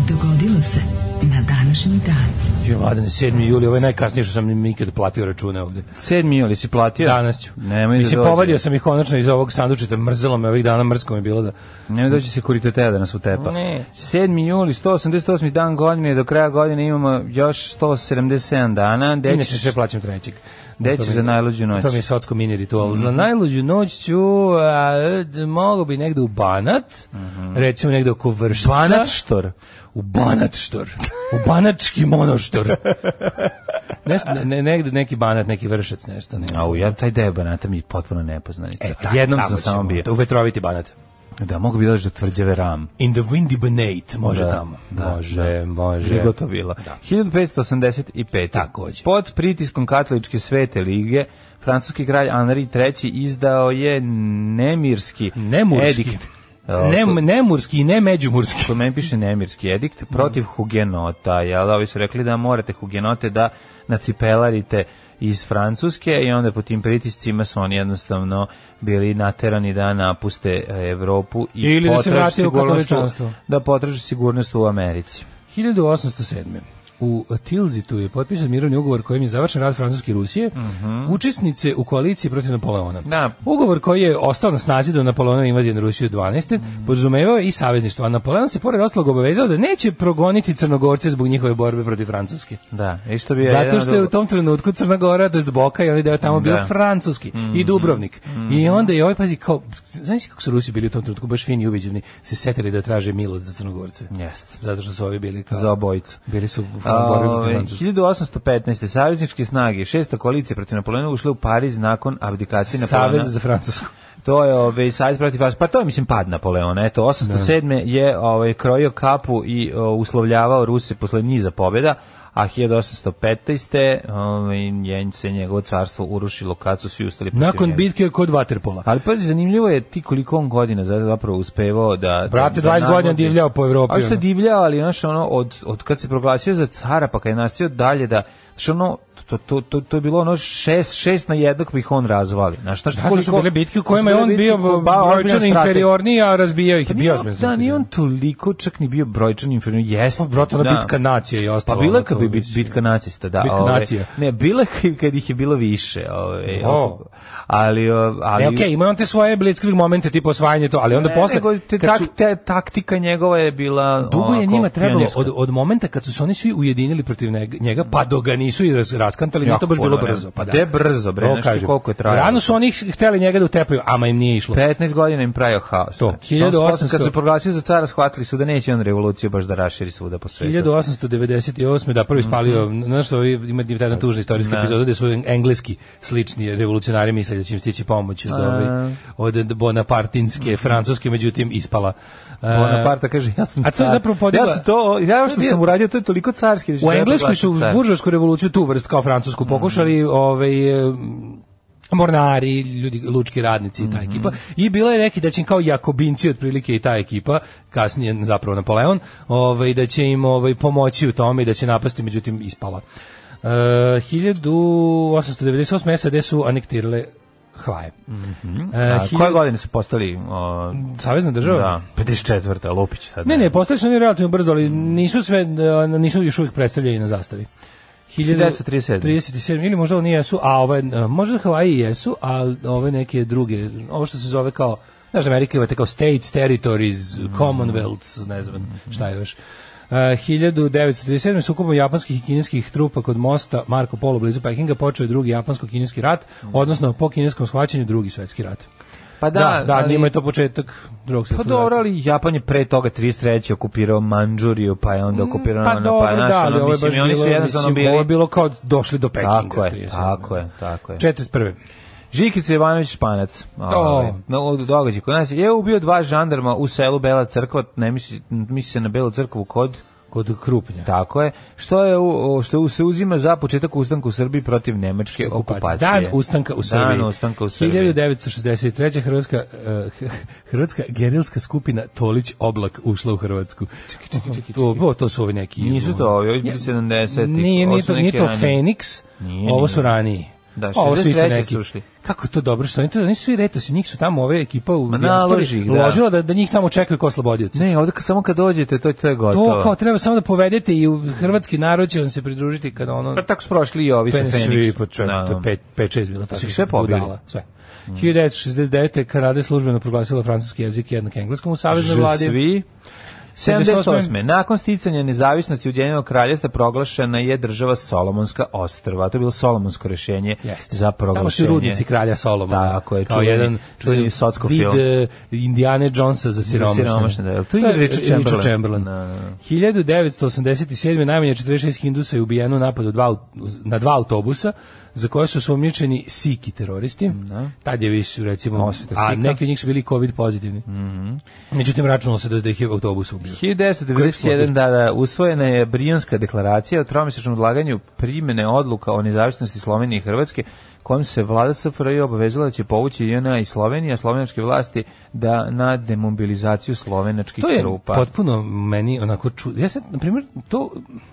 D: Dogodilo se na današnji dan.
E: Jo, mladene, 7. juli, ovo je najkasnije što sam im ikad platio račune ovde.
F: Sedmi juli si platio?
E: Danas ću.
F: Nemoj
E: Mislim,
F: da dođe.
E: povadio sam ih konačno iz ovog sandučeta, mrzelo me ovih dana, mrsko mi je bilo da...
F: Nemoj doći se kuritetera da nas utepa.
E: Pa Ne.
F: 7. juli, 188. dan godine, do kraja godine imamo još 177 dana. Gde
E: Pa, Inače
F: ćeš-
E: sve plaćam trećeg.
F: Gde
E: To
F: ćeš
E: mi-
F: za najluđu noć?
E: To mi je sotsko mini ritual.
F: Mhm.
E: Na najluđu noć ću, a, d- mogo bi negde u Banat,
F: Mhm.
E: recimo negde oko Vršca.
F: Banat štor.
E: U Banat štor. U Banački monoštor. Neš, ne, negde neki Banat, neki Vršac, nešto. Ne.
F: Au, ja taj deo banata mi je potpuno nepoznanica.
E: E, tako,
F: Jednom
E: tamo
F: sam samo
E: ćemo.
F: bio.
E: U Vetroviti Banat.
F: Da, mogu bi doći do tvrđave ram.
E: In the windy Banate, može
F: Da,
E: tamo.
F: da,
E: može, može.
F: Žigo to bilo.
E: Da.
F: 1585.
E: Takođe.
F: Pod pritiskom katoličke svete lige, francuski kralj Henri III izdao je nemirski
E: Nemurski.
F: edikt.
E: Ne, nemurski i ne međumurski.
F: Kod meni piše nemirski edikt protiv
E: Mhm.
F: hugenota, jel? Ovi su rekli da morate hugenote da nacipelarite iz Francuske i onda po tim pritiscima su oni jednostavno bili naterani da napuste e, Evropu i
E: Ili da se
F: potraže
E: vrate u
F: sigurnost
E: katoličanstvo.
F: Da potraže sigurnost u Americi.
E: 1807. U Tilzitu je potpisan mirovni ugovor kojim je završen rad Francuske i Rusije, učesnice u koaliciji protiv Napoleona.
F: Mhm. Da.
E: Ugovor koji je ostao na snazi do Napoleona invazije na Rusiju 12.
F: Mhm.
E: podrazumevao je i savezništvo, a Napoleon se pored ostalog obavezao da neće progoniti Crnogorce zbog njihove borbe protiv Francuske.
F: Da, i što bi je
E: Zato
F: jedan
E: što je u
F: od-
E: tom trenutku Crna Gora, to jest Boka i onaj deo tamo bio
F: Da. Mhm.
E: francuski i Dubrovnik. I onda je ovaj, pazi, kao, znaš kako su Rusi bili u tom trenutku baš fini i ubeđeni, se setili da traže milost za Crnogorce.
F: Jeste.
E: Zato što su ovi bili kao...
F: za obojicu.
E: Bili su u
F: A, ovaj,
E: borbi protiv
F: ove,
E: Francuske.
F: 1815. Savezničke snage šesta koalicija protiv Napoleona ušle u Pariz nakon abdikacije Napoleona.
E: Savez za Francusku.
F: To je ovaj Savez protiv Francuske. Pa to je mislim pad Napoleona. Eto 807 je ovaj krojio kapu i o, uslovljavao Ruse posle niza pobjeda, a 1815. ovaj je se njegovo carstvo urušilo kad su svi ustali protiv
E: Nakon
F: njega.
E: bitke kod Waterpola.
F: Ali pazi, zanimljivo je ti koliko on godina za- zapravo uspevao da...
E: Brate,
F: da- da
E: 20 godina
F: navodi-
E: divljao po Evropi,
F: A što je
E: ono.
F: divljao, ali znaš, ono, od, od kad se proglasio za cara, pa kad je nastio dalje da... Znaš, ono, to, to, to, to je bilo ono šest, šest na jednog bih on razvali. Znaš, znaš
E: Da, to su bile bitke u kojima je on bio brojčano
F: brojčan
E: inferiorniji, a razbijao ih.
F: Pa
E: je
F: nije
E: bio
F: on,
E: ozbiljan
F: da, nije on
E: inferiorni.
F: toliko čak ni bio brojčan inferiorni. Jeste.
E: Pa, brate, ona
F: da.
E: bitka nacije i
F: Pa
E: ostalo.
F: bila je
E: ono,
F: kad
E: to
F: bi
E: mislim.
F: bitka nacista, da.
E: Bitka
F: ovaj.
E: nacija.
F: Ne, bila je kad ih je bilo više. Ovaj,
E: O.
F: ali, o, ali,
E: Ne, okej, ima on te svoje blitzkrieg momente, tipa osvajanje to, ali onda
F: Ne,
E: posle...
F: nego te,
E: kad
F: tak,
E: su-
F: te, taktika njegova je bila
E: Dugo je
F: onako,
E: njima trebalo
F: pionirska.
E: od, od momenta kad su se oni svi ujedinili protiv neg- njega, pa do ga nisu i raz- raskantali, nije
F: Jako
E: to baš bilo
F: puno, ne.
E: brzo. Pa da.
F: Gde brzo, bre,
E: To
F: znaš ti
E: kažem.
F: koliko je trajalo?
E: Rano su oni hteli njega da utepaju, ama im nije išlo.
F: 15 godina im pravio haos.
E: To,
F: znači. Samo su posle
E: 1800.
F: Kad su proglasili za cara, shvatili su da neće on revoluciju baš da raširi svuda po svetu.
E: 1898. da prvi spalio, znaš što ovi- ima jedna tužna istorijska
F: Mhm. Da.
E: epizoda gde su en- engleski slični revolucionari mislili da će im stići pomoć iz dobi, od Bonapartinske,
F: Mhm.
E: francuske, međutim ispala. E,
F: Bonaparta Pa kaže, ja sam
E: a to je
F: car.
E: zapravo podigla-
F: Ja sam to, ja što
E: To je bio-
F: sam uradio, to je toliko carski. da ću
E: U
F: sebe
E: Engleskoj su
F: proglasiti car.
E: buržovsku revoluciju tu vrst kao francusku pokušali, ovaj e, mornari, ljudi, lučki radnici i ta ekipa. I bilo je neki da će im kao jakobinci otprilike i ta ekipa, kasnije zapravo Napoleon, ovaj, da će im ovaj, pomoći u tome i da će napasti, međutim ispala. E, 1898. SAD su anektirale Hvaje. E,
F: A, koje godine su postali? o,
E: Savezna država?
F: da, 54. Lupić sad.
E: Ne, ne, postali su oni relativno brzo, ali nisu sve, da, nisu još uvijek predstavljeni na zastavi.
F: 1937.
E: 37, ili možda oni jesu, a ove, e, možda Havaji jesu, a ove neke druge, ovo što se zove kao, znaš, Amerika imate kao states, territories, commonwealths, ne znam šta je još. E, 1937. sukobom japanskih i kineskih trupa kod mosta Marko Polo blizu Pekinga počeo je drugi japansko-kineski rat, odnosno po kineskom shvaćanju drugi svetski rat.
F: Pa Mm. da,
E: Da, da,
F: ali-
E: njima je to početak drugog
F: Pa
E: svjetskog rata.
F: dobro, ali Japan je pre toga 33. okupirao Mandžuriju, pa je onda okupirao...
E: Pa
F: ono,
E: dobro,
F: znaš,
E: da,
F: ono,
E: ali ovo je
F: mislim,
E: baš
F: i oni su
E: bilo,
F: jednostavno
E: mislim,
F: bili...
E: ovo je bilo kao došli do Pekinga.
F: Tako je,
E: 37.
F: tako je, tako je.
E: 41.
F: Žikica Jovanović Španac. Ovaj, No, događaj kod nas. je. Je ubio dva žandarma u selu Bela crkva, ne misli, misli se na Belu crkvu kod,
E: Kod Krupnja.
F: tako je, što je u- o, što se uzima za početak ustanka u Srbiji protiv nemačke okupacije.
E: Dan ustanka u Srbiji.
F: Dan ustanka u Srbiji.
E: 1963. Hrvatska, eh, Hrvatska gerilska skupina Tolić Oblak ušla u Hrvatsku. Čekaj, čekaj, čekaj. To, to su ovi neki... ono,
F: Nisu to ovi, ovi bili 70-ih,
E: Nije,
F: ovo
E: nije
F: su
E: to, nije
F: neki
E: to
F: raniji.
E: Fenix,
F: Nije,
E: ovo
F: nije.
E: su raniji.
F: Da,
E: Ovo isto
F: 63.
E: neki.
F: su ušli.
E: Kako je to dobro što oni to nisu svi retosi, njih su tamo ove ekipa u
F: Ma
E: dijaspori
F: naloži ih, da.
E: ložila da, da njih tamo čekaju kao oslobodioci.
F: Ne, ovde kad- samo kad dođete, to, Pa to je gotovo.
E: To kao treba samo da povedete i u hrvatski narod će vam se pridružiti kada ono...
F: Pa tako su prošli i ovi sa
E: Penis svi po
F: Feniks.
E: čemu, to je pet- pet, šest bilo tako.
F: Pa ih sve pobili? Mm.
E: Budala, sve. 1969. Kanada je službeno proglasila francuski jezik jednak engleskom u saveznoj vladi.
F: Svi. 78. Nakon sticanja nezavisnosti Ujedinjenog kraljestva proglašena je država Solomonska ostrva. To je bilo Solomonsko rješenje
E: Jeste.
F: za
E: Tamo su i
F: proglašenje.
E: rudnici kralja Solomona.
F: Tako je,
E: Kao
F: čuveni-
E: jedan
F: čuveni socko
E: vid
F: film.
E: e, Indiane Jonesa za siromašne.
F: siromašne, da, jel tu igra
E: Da,
F: Richard Chamberlain?
E: Chamberlain.
F: Da, da.
E: 1987. najmanje 46 hindusa je ubijeno u napadu dva, aut- na dva autobusa za koje su sumnjičeni siki teroristi. Tad je više, recimo,
F: Osveta Mhm.
E: a
F: Sika.
E: neki od njih su bili covid pozitivni. Međutim, računalo se da, da ih je autobus ubio.
F: 1991. da, da, usvojena je Brijanska deklaracija o tromesečnom odlaganju primjene odluka o nezavisnosti Slovenije i Hrvatske kojom se vlada SFRJ obavezala da će povući JNA i Slovenija, slovenačke vlasti da na demobilizaciju slovenačkih
E: To je
F: trupa.
E: potpuno meni onako ču... Ja sad, na primjer, to,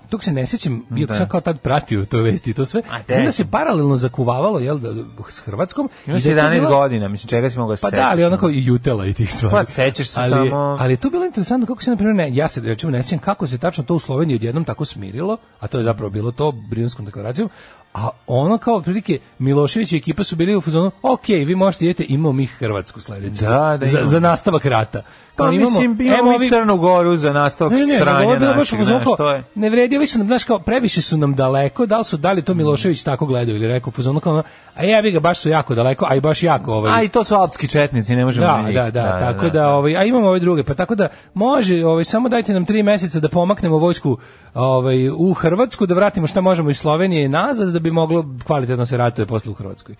E: tog se ne sjećam, iako sam kao tad pratio to vesti i to sve.
F: A,
E: Znam da
F: de.
E: se paralelno zakuvavalo jel, da, s Hrvatskom. i
F: Imaš
E: da je to
F: 11
E: bila-
F: godina, mislim, čega si mogao
E: Pa
F: sećaš,
E: da, ali
F: no?
E: onako i jutela i tih stvari.
F: Pa, sećaš se
E: ali,
F: samo-
E: Ali je to bilo interesantno kako se, na primjer, ne, ja se rečemo ne sjećam kako se tačno to u Sloveniji odjednom tako smirilo, a to je zapravo bilo to Brijunskom deklaracijom, a ono kao otprilike Milošević i ekipa su bili u fazonu, ok, vi možete idete, imamo mi Hrvatsku sledeću
F: Da,
E: za-
F: da,
E: za,
F: imamo.
E: za nastavak rata.
F: Pa
E: Kao,
F: mislim, imamo
E: evo
F: i
E: ovi-
F: Crnu Goru za nastavak
E: ne, ne, ne, nego ovo
F: sranja
E: je bilo baš
F: našeg,
E: u fazonu
F: znaš,
E: kao,
F: to je.
E: ne vredi, ovi su nam, znaš, kao, previše su nam daleko, da li su, da li to Milošević tako gledao ili rekao, u fazonu kao, ono, a ja bi ga, baš su jako daleko, a i baš jako, ovaj,
F: A i to su alpski četnici, ne možemo
E: da,
F: na njih.
E: da, da, tako da, ovaj, a imamo ove druge, pa tako da može, ovaj, samo dajte nam tri meseca da pomaknemo vojsku ovaj, u Hrvatsku, da vratimo šta možemo iz Slovenije i nazad, da bi moglo kvalitetno se ratuje posle u Hrvatskoj.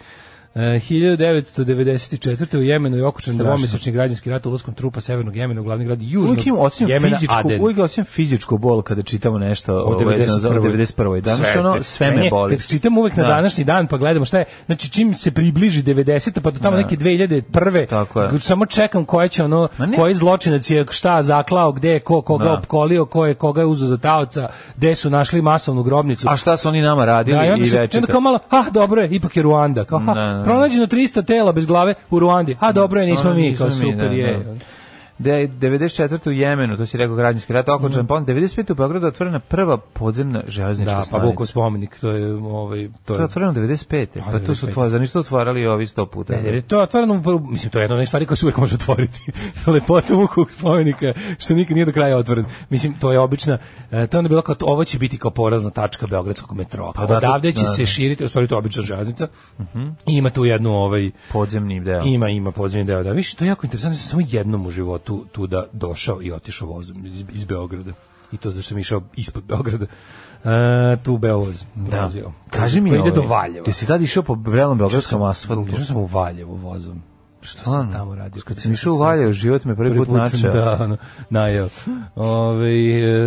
E: E, 1994. u Jemenu je okučen dvomesečni građanski rat ulaskom trupa Severnog Jemena u glavni grad Južnog
F: Uvijek im osim
E: Jemena
F: fizičku,
E: Aden.
F: uvijek osim fizičku bol kada čitamo nešto o 91. Za, o 91. Danas sve, ono sve me
E: Meni je,
F: boli.
E: Kad čitam uvek na
F: Da.
E: današnji dan pa gledamo šta je, znači čim se približi 90. pa do tamo neke 2001.
F: Tako je.
E: Samo čekam koje će ono,
F: Ma ne.
E: koji zločinac je šta zaklao, gde je ko, koga
F: Da.
E: opkolio, ko je koga je uzeo za taoca, gde su našli masovnu grobnicu.
F: A šta su oni nama radili
E: Da, i onda,
F: i
E: se, i
F: večito?
E: onda kao malo, ha, dobro je, ipak je Ruanda. Kao, ha,
F: Da, da.
E: pronađeno 300 tela bez glave u Ruandi. Ha, dobro je, nismo
F: Ono,
E: mi,
F: nismo
E: kao
F: mi,
E: super
F: da,
E: je.
F: da. Da je 94. u Jemenu, to si rekao građanski rat, okončan, pa onda 95. u Beogradu otvorena prva podzemna železnička
E: Mm. Da, pa
F: stanica.
E: Vukov spomenik, to je, ovaj, to
F: To je
E: je
F: otvoreno 95. Pa to su
E: 95..
F: tvoje, zar nisu to otvarali ovi 100 puta?
E: Ne, jer je to otvoreno, u- mislim, to je jedna od onih stvari koja se uvijek može otvoriti. Lepota Vukovog spomenika, što nikad nije do kraja otvoren. Mislim, to je obična, e, to je onda bilo kao, to- ovo će biti kao porazna tačka Beogradskog metroa. Pa
F: da, to-
E: Odavde će
F: da, Mhm.
E: se širiti, u stvari to je obična železnica, i ima tu jednu, ovaj,
F: Podzemni deo.
E: ima, ima podzemni deo. Da, više, to je jako interesantno, ja sam samo jednom u životu tu da došao i otišao vozom iz, iz Beograda. I to zašto sam išao ispod Beograda. E, tu Beovoz.
F: Da.
E: vozio.
F: Kaži mi,
E: Koji
F: ovaj,
E: ide do Valjeva.
F: Ti si tad išao po Brelom Beogradskom asfaltu.
E: Išao sam u Valjevu vozom. Šta sam
F: Stvarno?
E: tamo radio?
F: Kad sam išao u Valjevo, život me prvi put načeo.
E: Da, ono, najeo. Ove,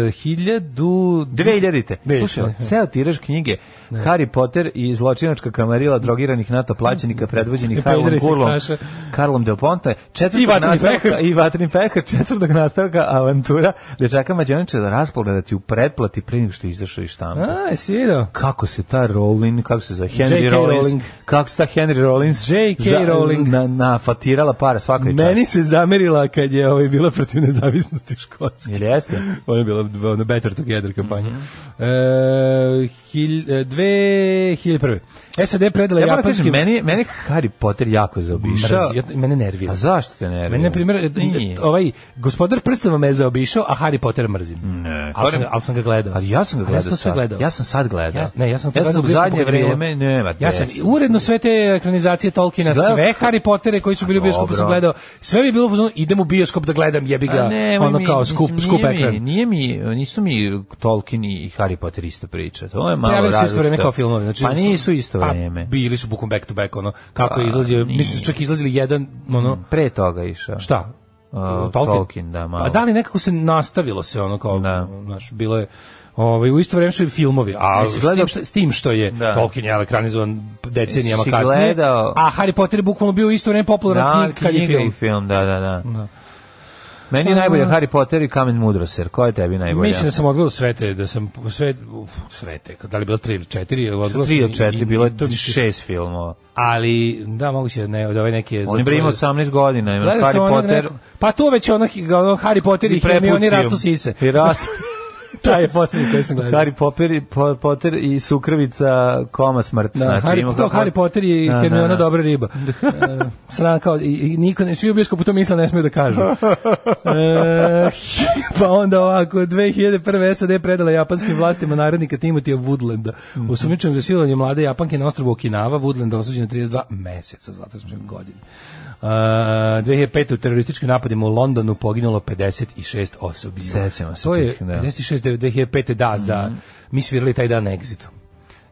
E: e, hiljadu...
F: 2000-te.
E: Već,
F: Slušaj,
E: ne.
F: ceo tiraž knjige Harry Potter i zločinačka kamarila drogiranih NATO plaćenika predvođenih Karlom
E: Pederi se
F: Gurlom,
E: knaše.
F: Karlom Del Ponte, četvrtog
E: I vatreni
F: nastavka-
E: pehar.
F: i vatrin pehar, četvrtog nastavka avantura dečaka Mađanića da raspogledati u pretplati pre nego što je izašao iz štampa.
E: A, jesi vidio?
F: kako se ta Rowling, kako se za Henry
E: J.K.
F: Rollins,
E: Rowling.
F: kako se ta Henry Rollins
E: J.K.
F: za-
E: Rowling.
F: na, nafatirala para svaka je
E: Meni
F: čast.
E: se zamerila kad je ovaj bila protiv nezavisnosti Škotske.
F: Jel Mhm. jeste?
E: Ona je bila ona Better Together kampanja. Mm -hmm. e, hilj, e, dve, hilj prve. SAD predala
F: Ja moram
E: japanski...
F: kažem, meni, meni je Harry Potter jako zaobišao.
E: Mrzi, ja- mene nervira.
F: A zašto te ne?
E: Mene, na primjer, e,
F: Nije.
E: ovaj gospodar prstava me je zaobišao, a Harry Potter mrzim.
F: Ne,
E: ali,
F: to
E: sam,
F: ne-
E: ga- ali sam ga gledao.
F: Ali ja sam ga
E: Ali
F: gledao
E: to sve
F: sad.
E: gledao.
F: Ja sam sad gledao.
E: Ja, ne, ja sam to
F: ja
E: gledao
F: sam u
E: blizu
F: zadnje
E: zbog debila.
F: vreme, ne, ma,
E: Ja sam
F: des.
E: uredno sve te ekranizacije Tolkiena,
F: Si gledao?
E: sve Harry Pottere koji su bili u bioskopu
F: dobro.
E: sam gledao. Sve mi je bilo u fazonu, idem u bioskop da gledam, jebi ga,
F: A ne,
E: ono
F: mi-
E: kao
F: mislim,
E: skup,
F: nije
E: skup
F: mi-
E: ekran.
F: Nije mi, nisu mi Tolkien i Harry Potter isto priča. To je malo
E: Pojavili su isto
F: različito.
E: vreme kao filmovi. Znači,
F: pa nisu isto
E: pa
F: vreme.
E: bili su bukom back to back, ono, kako je
F: Pa,
E: izlazio,
F: nije.
E: mislim su čak izlazili jedan, ono,
F: Pre toga je išao.
E: šta?
F: A, Uh, Tolkien, da, malo.
E: Pa da li nekako se nastavilo se ono kao,
F: Da.
E: znaš, bilo je, ovaj, u isto vreme su i filmovi, a
F: Jesi
E: s
F: gledao-
E: tim, što, s tim što je
F: Da.
E: Tolkien je ekranizovan decenijama
F: Jesi
E: kasnije,
F: gledao-
E: a Harry Potter je bukvalno bio u isto vreme popularan
F: Da,
E: knjig kad je film. Pa,
F: i film, da, da, da. Meni je najbolje Harry Potter i Kamen Mudroser. Ko je tebi najbolje?
E: Mislim da sam odgledao sve te, da sam sve, uf, sve te, da li je bilo tri ili četiri, odgledao
F: Tri
E: sam
F: od
E: i-
F: četiri,
E: i-
F: bilo
E: to
F: je
E: mi se-
F: šest filmova.
E: Ali, da, moguće da ne, da ovaj neki je...
F: On je bre imao 18 godina, ima
E: Gledao sam
F: Harry
E: onog
F: Potter
E: nekog- Pa to već ono, ono Harry Potter i Hermione rastu sise.
F: I rastu
E: Taj je posljednji koji sam gledao.
F: Harry Potter, i- Po- Potter i sukravica koma smrt.
E: Da,
F: znači,
E: Harry,
F: ima
E: to,
F: kako-
E: Harry Potter i
F: Da, da,
E: Hermiona
F: da.
E: dobra riba. E, Sram kao, i, i niko, ne, svi u bioskopu to misle, ne smiju da kažu. E, pa onda ovako, 2001. SAD predala japanskim vlastima narednika Timotija Woodlanda.
F: Mhm.
E: U za silovanje mlade Japanke na ostrovu Okinawa, Woodland osuđen na 32 meseca, zato smo godine. Uh, 2005. u terorističkim napadima u Londonu poginulo 56 osobi.
F: Sećamo se
E: To je
F: tih, da. Mhm.
E: 56 2005. da, za, mi svirali taj dan na Exitu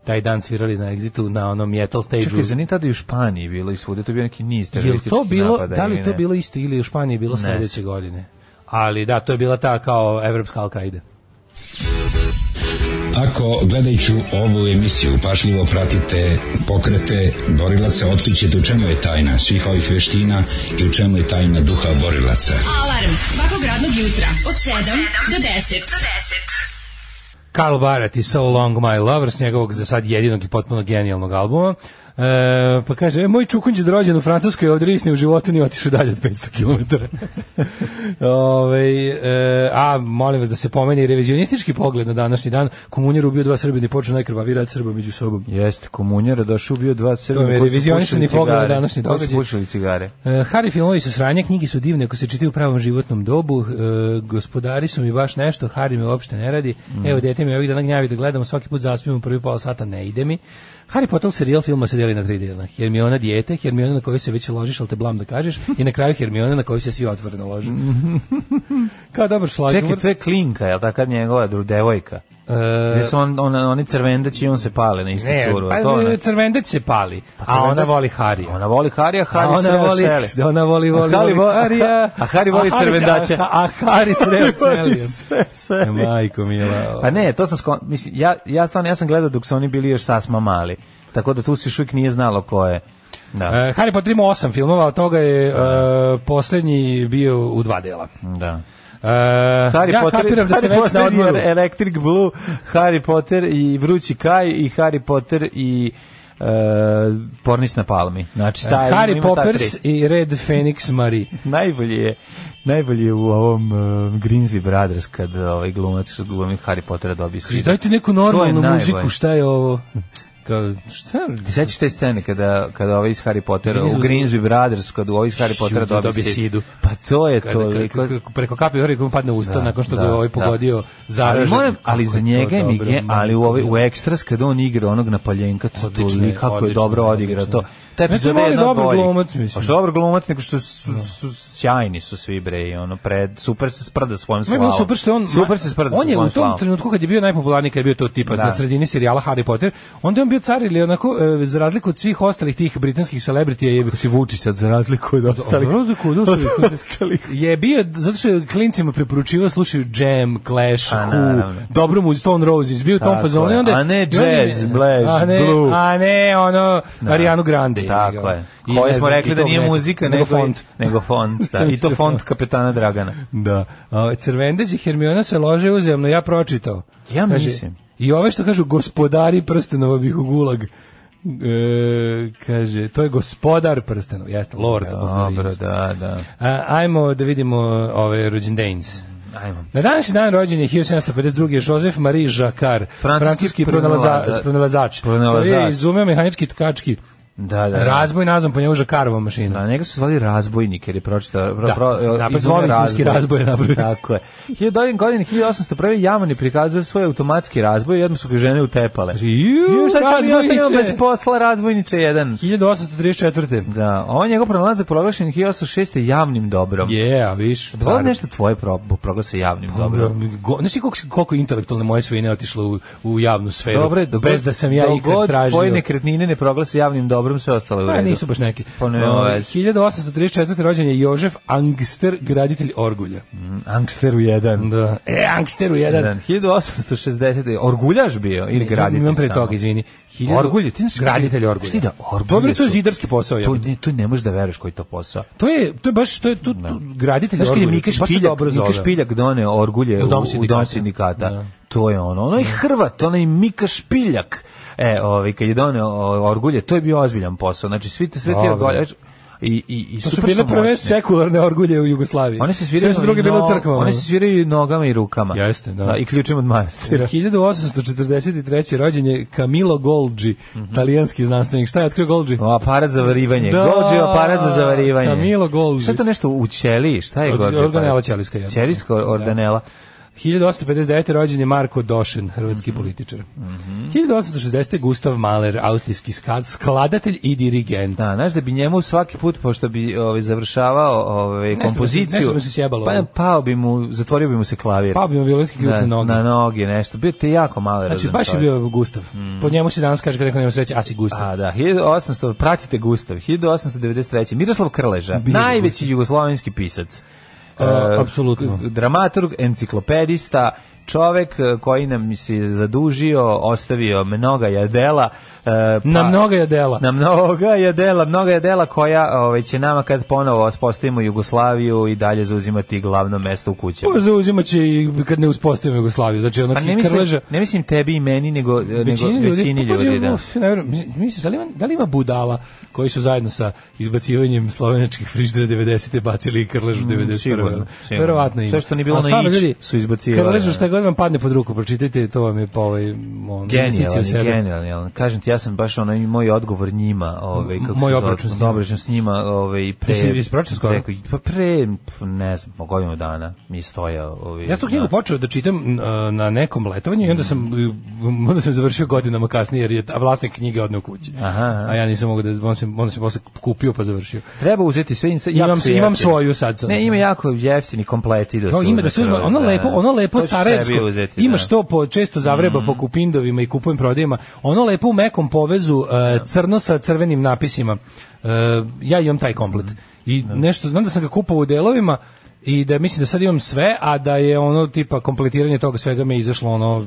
E: taj dan svirali na Exitu na onom metal stage-u.
F: Čekaj, za nije tada i u Španiji bilo i svuda, to je bio neki niz
E: Jel
F: terorističkih
E: to bilo,
F: napada,
E: da li
F: ili
E: je to
F: ne?
E: bilo isto ili u Španiji je bilo
F: Ne
E: sledeće godine? Ali da, to je bila ta kao evropska Al-Qaida.
A: Ako gledajući ovu emisiju pašljivo pratite pokrete borilaca, otkrićete u čemu je tajna svih ovih veština i u čemu je tajna duha borilaca.
D: Alarm svakog radnog jutra od 7 do 10.
E: Karl Barrett i So Long My Lover s njegovog za sad jedinog i potpuno genijalnog albuma. E, pa kaže, e, moj čukunđe rođen u Francuskoj ovdje risni u životu nije otišao dalje od 500 km. Ove, e, a, molim vas da se pomeni revizionistički pogled na današnji dan. Komunjer ubio dva Srbina i počeo najkrvaviji rat Srba među sobom.
F: Jeste, komunjara došao bio dva crvena.
E: To je revizionisani pogled na današnji
F: Ko su
E: događaj.
F: pušili cigare?
E: E, Harry filmovi su sranje, knjige su divne ako se čitaju u pravom životnom dobu, e, gospodari su mi baš nešto, Harry me uopšte ne radi,
F: Mm.
E: evo dete mi ovih dana gnjavi da gledamo, svaki put zaspijem u prvi pola sata, ne ide mi. Harry Potter serijal filma se deli na tri dela, Hermiona dijete, Hermiona na koju se već ložiš, ali te blam da kažeš, i na kraju Hermiona na koju se svi otvoreno lože. Kao dobar šlag.
F: Čekaj, to je Klinka, je li takad njegova dru- devojka? Gde su on, on, oni crvendaći i on se pale na istu
E: E, Ne,
F: curu. a to
E: pa
F: ona- Pa
E: crvendec se pali, a ona
F: crvendac-
E: voli Harija.
F: Ona voli Harija,
E: A
F: Harija
E: ona voli, da ona voli, voli,
F: Harry
E: voli
F: vo-
E: Harija.
F: a Harry voli
E: A Harry-
F: crvendače.
E: A, a Harry sreo Selijem. E,
F: Seli.
E: Majko mila.
F: Pa ne, to sam skon... Mislim, ja, ja stvarno, ja sam gledao dok su oni bili još sasma mali. Tako da tu se još uvijek nije znalo ko je. Da,
E: E, Harry Potter ima osam filmova, od toga je e, posljednji bio u dva dela.
F: da.
E: E,
F: Harry
E: ja
F: Potter,
E: kapiram da ste
F: Harry
E: već na
F: Potter i e,
E: odmoru.
F: Electric Blue, Harry Potter i Vrući Kaj i Harry Potter i e, Pornić na palmi. Znači,
E: E,
F: taj,
E: Harry
F: ima ta
E: Poppers
F: tri.
E: i Red Phoenix Marie.
F: Najbolje je, najbolje je u ovom uh, Grimsby Brothers kad ovaj glumac što glumi Harry Pottera dobije
E: Kaže,
F: svi.
E: dajte neku normalnu
F: najbolje.
E: muziku, šta je ovo? Kao, šta?
F: Sećaš te scene kada, kada ovaj iz Harry Pottera, u
E: Grimsby-
F: Grimsby Brothers, kada ovaj iz Harry Pottera
E: Ju, da
F: dobije
E: dobije
F: sid.
E: sidu.
F: Pa to je
E: Kada-
F: to.
E: kada- kada- preko kapi ori mu padne u usta
F: Da,
E: nakon što
F: da,
E: ga je ovaj
F: da.
E: pogodio zaražen.
F: Ali, moram, ali
E: Kako
F: za
E: je to
F: njega je mi
E: dobro,
F: ge- ali u,
E: majko
F: ovaj,
E: mila.
F: u ekstras kada on igra onog napaljenka, to
E: Odlično
F: odlično,
E: je,
F: kako je
E: odlično,
F: dobro odigrao
E: odlično
F: to.
E: je.
F: Ta
E: Mislim,
F: epizoda
E: on
F: je
E: je
F: jedna od
E: dobar
F: boljih.
E: glumac, mislim.
F: Pa što dobar glumac, nego što su, su, sjajni su svi bre i ono pred super se sprda svojom
E: Ma je
F: slavom.
E: bilo super što je on
F: super se sprda
E: on
F: sa
E: je u tom
F: svojom slavom.
E: trenutku kad je bio najpopularniji kad je bio to tipa
F: Da.
E: na sredini serijala Harry Potter onda je on bio bio car ili onako, e, za razliku od svih ostalih tih britanskih celebritija je...
F: Si Vučić sad za razliku od ostalih.
E: Za razliku od ostalih. je bio, zato što je klincima preporučivao, slušaju Jam, Clash,
F: A,
E: Who,
F: Pa, naravno.
E: dobru mu Stone Roses, bio u tom
F: Tako
E: fazonu. i
F: je.
E: onda-
F: A ne
E: i onda je-
F: jazz, blaze,
E: a ne,
F: blues.
E: A ne, ono, Ariana Grande.
F: Tako
E: jebiga.
F: je.
E: I
F: Koje
E: ne
F: smo
E: znam,
F: rekli
E: i
F: da
E: tog
F: nije
E: nekog-
F: muzika, nego,
E: nego font.
F: Nego font, da. I to font kapetana Dragana.
E: Da. A Crvendeđi Hermiona se lože uzemno, ja pročitao.
F: Ja
E: Kaže,
F: mislim.
E: I ove što kažu gospodari prstenova bih u gulag. E, kaže, to je gospodar prstenova, jeste, lord. of the
F: Dobro,
E: Rings.
F: da, da.
E: A, ajmo da vidimo ove rođendejns.
F: Ajmo.
E: Na današnji dan rođen je 1752. Joseph Marie Jacquard,
F: Francuski
E: francuski,
F: pronalaza-
E: pronalaza, pronalazač.
F: pronalazač.
E: Koji je izumeo mehanički tkački
F: Da, da. da.
E: razboj nazvan po njemu Jacquardova mašina.
F: Da, njega su zvali razbojnik, jer je pročitao... Da,
E: napred zvolinski razboj je napravio.
F: Tako je. 1900 godine, 1801. Jaman je prikazao svoj automatski razboj i odmah su ga žene utepale. Ju,
E: Ju,
F: sad ćemo mi ostavimo bez
E: razbojniče!
F: posla razbojniče jedan.
E: 1834.
F: Da, on je njegov pronalazak proglašen 1806. javnim dobrom. Je.
E: Je, a viš.
F: Zvoli nešto tvoje pro, proglase javnim
E: Dobro.
F: dobrom.
E: Znaš ti koliko, se- koliko intelektualne moje svojine otišlo u, u javnu sferu?
F: Dobro je, dok god-
E: bez da sam ja
F: dok
E: ikad
F: god
E: tražio.
F: tvoje nekretnine ne proglase javnim dobrom, sve ostale u
E: Pa
F: redu.
E: nisu baš neki.
F: Pa ne,
E: Ovaj,
F: vez.
E: 1834. rođen je Jožef Angster, graditelj Orgulja.
F: Angsteru jedan.
E: Da. E, Angsteru jedan.
F: jedan. 1860. Orguljaš bio ili graditelj
E: Imam pre
F: samo?
E: toga, izvini.
F: Orgulje, ti znaš kako-
E: graditelj orgulja.
F: Šti da, orgulje
E: Dobro, to je
F: su-
E: zidarski posao.
F: To,
E: To,
F: ne, to ne možeš da veruješ koji je to posao.
E: to je, to je baš, to je tu, tu graditelj
F: Znaš kad je
E: orgulja.
F: Mika
E: baš se
F: Špiljak,
E: dobro
F: Mika
E: zove.
F: Špiljak doneo orgulje u,
E: U dom
F: u
E: sindikata.
F: dom sindikata.
E: Da.
F: To je ono. Onaj Hrvat, onaj Mika Špiljak. E, ovaj, kad je doneo o, orgulje, to je bio ozbiljan posao. Znači, svi te sve ti
E: Dobro.
F: orguljaš. I, i, i
E: To su
F: super
E: bile prve
F: moćne.
E: sekularne orgulje u Jugoslaviji.
F: One se sviraju,
E: Sve su druge bile u crkvama.
F: One se sviraju i nogama i rukama.
E: Jeste, da.
F: I ključima od manastira.
E: 1843. rođen je Camilo Golgi,
F: Mhm.
E: talijanski znanstvenik. Šta je otkrio Golgi?
F: O, aparat za varivanje. Da,
E: Da,
F: Golđe aparat za zavarivanje.
E: Camilo Golgi.
F: Šta je to nešto u ćeliji? Šta je
E: Od-
F: Golđe?
E: organela ćelijska, jasno.
F: Ćelijska organela.
E: 1859. rođen je Marko Došen, hrvatski
F: Mhm.
E: političar. 1860. Gustav Mahler, austrijski skad- skladatelj i dirigent.
F: Da, znaš da bi njemu svaki put, pošto bi ovaj, završavao ovaj,
E: Nešto bi se-
F: kompoziciju,
E: nešto bi se sjebalo.
F: pa pao bi mu, zatvorio bi mu se klavir.
E: Pa bio violinski ključ
F: na,
E: na noge.
F: na noge, nešto. Bio te jako male
E: Znači, baš je bio Gustav. Po njemu se danas kaže kad neko nema sreće, a si Gustav.
F: Mhm. A, da, 1800, pratite Gustav, 1893. Miroslav Krleža, najveći jugoslovenski pisac.
E: A,
F: E,
E: apsolutno.
F: Dramaturg, enciklopedista, čovek e, koji nam se zadužio, ostavio mnoga jadela. e, pa-
E: na mnoga je dela.
F: Na mnoga jadela, mnoga jadela koja ovaj, će nama kad ponovo uspostavimo Jugoslaviju i dalje zauzimati glavno mesto u kućama.
E: Pa zauzimat će i kad ne uspostavimo Jugoslaviju. Znači, ono,
F: Pa ne
E: Krleža...
F: mislim, ne mislim tebi i meni, nego,
E: većini
F: nego
E: ljudi,
F: većini
E: pa pazi,
F: ljudi da.
E: uf, ne verujem, mi- misliš, da li, ima, da li ima budala koji su zajedno sa izbacivanjem slovenačkih frižidera 90. bacili i krležu 91.
F: Mm, sigurno,
E: Sigurno,
F: sigurno.
E: Verovatno ima.
F: Sve što nije bilo
E: Ali
F: na
E: stvarno,
F: ić
E: ljudi,
F: su izbacivali, da.
E: Krležu šta god vam padne pod ruku, pročitajte, to vam je pa ovaj... On,
F: Genijalan, je, genijalan, je on. Kažem ti, ja sam baš onaj moj odgovor njima, ovaj kako
E: Moj
F: se
E: obračun s
F: zove,
E: njima.
F: obračun s njima, ovaj pre.
E: Jesi- jesi pročitao skoro?
F: preko- Pa pre, p- ne znam, po godinu dana mi stoja ovaj.
E: Ja sam tu knjigu
F: na-
E: počeo da čitam n- a, na nekom letovanju i onda sam m, onda sam završio godinama kasnije jer je ta- vlasnik knjige odneo kući.
F: Aha, aha.
E: A ja nisam mogao da on se on se posle kupio pa završio.
F: Treba uzeti sve ince, jako
E: Imam
F: su
E: se- imam
F: jeftini.
E: svoju sad, sad.
F: Ne, ima jako jeftini kompleti da
E: Kao
F: su
E: ime da se uzme,
F: na kraju,
E: ono
F: da,
E: lepo,
F: da.
E: ono lepo
F: To ću sebi
E: sarajevsko.
F: uzeti,
E: Ima
F: da. Mhm.
E: što po često zavreba po kupindovima i kupujem prodajima. Ono lepo u mekom povezu e, crno sa crvenim napisima. E, ja imam taj komplet. I nešto znam da sam ga kupovao u delovima i da mislim da sad imam sve, a da je ono tipa kompletiranje toga svega mi je izašlo ono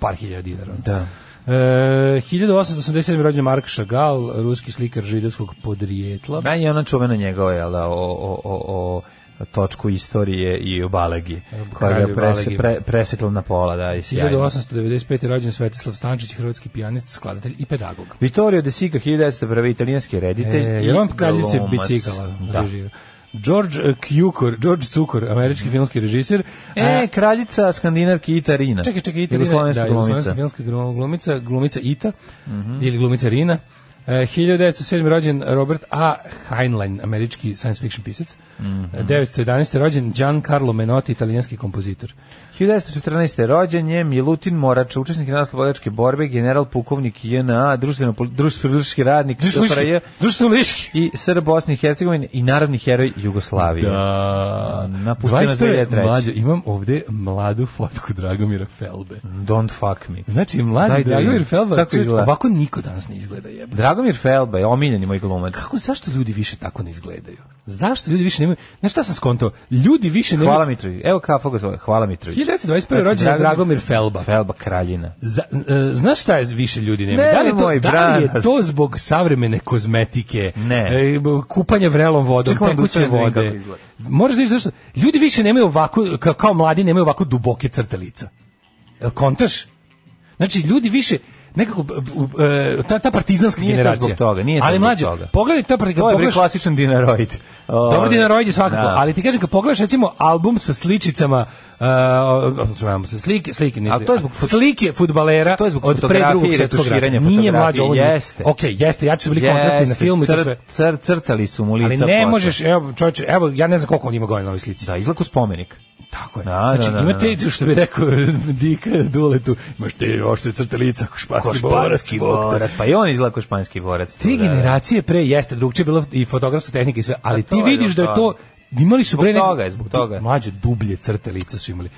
E: par hiljada dinara.
F: Da.
E: E, 1887. rođen Mark Chagall, ruski slikar židovskog podrijetla.
F: Da, i ona čuvena njegova, jel da, o, o, o, o točku istorije i o Balegi, koja ga
E: Kralju
F: prese,
E: Balegi.
F: pre, presekla na pola, da, i sjajno.
E: 1895. je rođen Svetislav Stančić, hrvatski pijanist, skladatelj i pedagog.
F: Vittorio De Sica, 1901. italijanski reditelj.
E: E,
F: i
E: jer on kraljice
F: glumac.
E: bicikala
F: Da.
E: režira. George eh, Cukor, George Cukor, američki filmski režiser.
F: E,
E: A,
F: kraljica skandinavki Ita Rina.
E: čekaj, čekaj, Ita Rina,
F: Jugoslovenska
E: da,
F: glumica.
E: Mhm. jugoslovenska filmska glu- glumica, glumica Ita, ili glumica Rina. E, 1907. rođen Robert A. Heinlein, američki science fiction pisac. Mm 911. rođen Giancarlo Menotti, italijanski kompozitor.
F: 1914. rođen je Milutin Morač, učesnik narodnooslobodilačke borbe, general pukovnik JNA, društveno društveni radnik SFRJ
E: Društvo Liški.
F: i Srb Bosne i Hercegovine i narodni heroj Jugoslavije.
E: Da.
F: Napustio nas 2003.
E: Mlađe, imam ovde mladu fotku Dragomira Felbe.
F: Don't fuck me.
E: Znači, mladi
F: Daj da
E: Dragomir
F: vidim.
E: Felba,
F: Kako
E: čovječ,
F: izgleda?
E: ovako niko danas ne izgleda jebo.
F: Dragomir Felba je omiljeni moj glumac.
E: Kako, zašto ljudi više tako ne izgledaju? Zašto ljudi više nemaju... Znaš šta sam skontao? Ljudi više nemaju...
F: Hvala Mitrović. Evo kako ga zove. Hvala Mitrović.
E: 1921. rođen je Dragomir Felba.
F: Znači, Felba kraljina.
E: Za, e, znaš šta je više ljudi nema?
F: Ne,
E: da, li je
F: moj
E: to, da li je
F: brat.
E: to zbog savremene kozmetike,
F: Ne.
E: e, b- kupanja vrelom vodom,
F: Čekaj, moram da
E: tekuće
F: ustanem da vidim kako
E: vode?
F: izgleda.
E: Moraš da vidiš zašto. Ljudi više nemaju ovako, kao, kao mladi, nemaju ovako duboke crte lica. Jel kontaš? Znači, ljudi više nekako b- b- e, ta, ta partizanska
F: Nije to
E: generacija.
F: zbog toga, nije to
E: Ali
F: zbog
E: mlađo,
F: toga.
E: pogledaj ta partizanska
F: To je bre klasičan dinaroid.
E: Dobar
F: Ove,
E: dinaroid je svakako,
F: da.
E: ali ti kažem kad pogledaš recimo album sa sličicama uh, čujemo se slike, slike, ne
F: Ali
E: slike,
F: to je zbog fot- Znači,
E: slike fudbalera
F: to je zbog
E: od pre
F: fotografije
E: drugog
F: i
E: svetskog rata.
F: retuširanja
E: Nije
F: fotografije,
E: mlađe ovo. nije-
F: jeste.
E: Okej, jeste, ja ću bili kontrasti
F: Jeste,
E: na filmu i to
F: cr-
E: sve.
F: cr- crtali su mu lica.
E: Ali ne
F: posle.
E: možeš, evo čoveče, evo ja ne znam koliko on ima godina na ovoj slici.
F: Da, izlaku spomenik.
E: Tako je.
F: Da, da,
E: znači,
F: da,
E: imate,
F: da,
E: što bi rekao Dika Duletu, imaš te oštre crte lica, ko španski, borac,
F: Španski
E: bog te.
F: borac. Pa i on izlaku španski borac.
E: Te
F: Da, da.
E: generacije pre jeste drugčije bilo i fotografska tehnika i sve, ali
F: Pa to
E: ti
F: je
E: vidiš da je to
F: jednostavno.
E: imali su
F: Zbog
E: bre
F: toga je, zbog toga je.
E: mlađe dublje crte lica su imali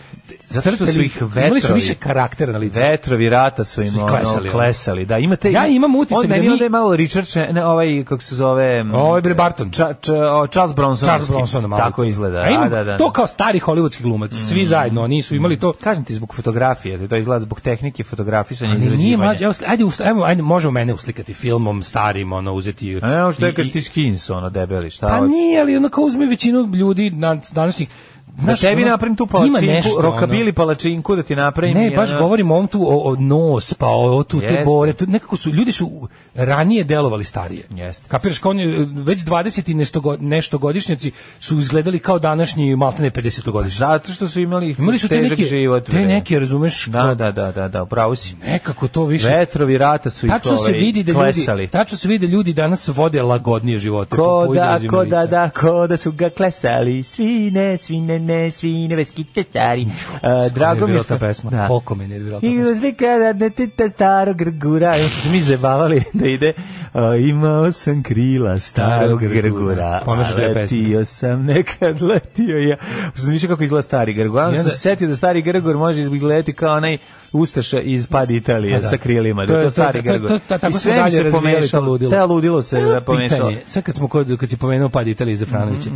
F: Zato što
E: Crte
F: su
E: li-
F: ih
E: imali su
F: vetrovi-
E: više karaktera na licu
F: Vetrovi rata su im
E: Su ih
F: ono,
E: klesali,
F: klesali.
E: ono.
F: Da, imate,
E: Ja imam utisak
F: on
E: da
F: meni
E: mi-
F: onda je malo Richard, Chen- ne, ovaj, kako se zove... m,
E: Ovaj bre Barton.
F: Ča, ča, o, Charles Bronson.
E: Charles Bronson malo.
F: Tako izgleda.
E: A imam
F: da, Mm. da, da.
E: to kao stari hollywoodski glumac svi zajedno oni su imali to
F: Kažem ti zbog fotografije, da to izgleda zbog tehnike fotografisanja i
E: Ali
F: izrađivanja.
E: nije mlađe, evo, ajde, usli- ajmo, ajde, možemo mene uslikati filmom starim, ono, uzeti...
F: A ne, Pa što je
E: i-
F: kaš
E: i-
F: ti skins, ono, debeli, šta
E: Pa
F: hoćeš?
E: nije, ali onako uzme većinu ljudi na, današnjih...
F: Da
E: Znaš,
F: tebi
E: ono,
F: napravim tu
E: ima
F: palačinku,
E: nešto, ono.
F: rokabili palačinku da ti napravim.
E: Ne,
F: i
E: baš
F: ono-
E: govorim o ovom tu o, o nos, pa o, o tu te
F: Jeste.
E: bore, tu nekako su ljudi su ranije delovali starije.
F: Jeste.
E: Kapiraš kao oni, već 20 i nešto, go- nešto godišnjaci su izgledali kao današnji maltene 50 godišnjaci.
F: Zato što su imali,
E: Imali su te
F: težak
E: neke,
F: život.
E: te
F: bre.
E: neke, razumeš,
F: Da, da, da, da, da, upravo si.
E: nekako E, to više.
F: Vetrovi rata su ih
E: Tačno se
F: ovaj,
E: vidi da
F: klesali.
E: ljudi, tačno se vidi da ljudi danas vode lagodnije živote. po-
F: Ko
E: po
F: da,
E: izrazima
F: ko
E: lica.
F: da, da, ko da su ga klesali, svine, svine, ne, svine, veskite stari. Uh, drago mi
E: Nervirala
F: je...
E: ta pesma. Koliko me je nervirala ta
F: I razlika da ne tita starog grgura, i onda smo se mi zabavali da ide uh, imao sam krila starog
E: Starog grgura.
F: grgura,
E: Pomažeš da je
F: a
E: pesma.
F: letio sam nekad, letio ja. Što sam više kako izgleda stari grgur. Onda
E: I
F: sam
E: onda-
F: se setio da stari grgur može izgledati kao onaj Ustaša iz Pad Italije
E: A da.
F: sa krilima,
E: To
F: da je
E: je-
F: to
E: to-
F: stari
E: to- to-
F: grgur.
E: to- tako
F: I
E: smo
F: sve mi
E: dalje
F: se
E: razvijali to
F: pomešalo.
E: ludilo.
F: Ta ludilo se
E: Jedno
F: da pomešalo.
E: pitanje, sad kad smo kod kad si pomenuo pad Italije za
F: Mhm,
E: Franovića.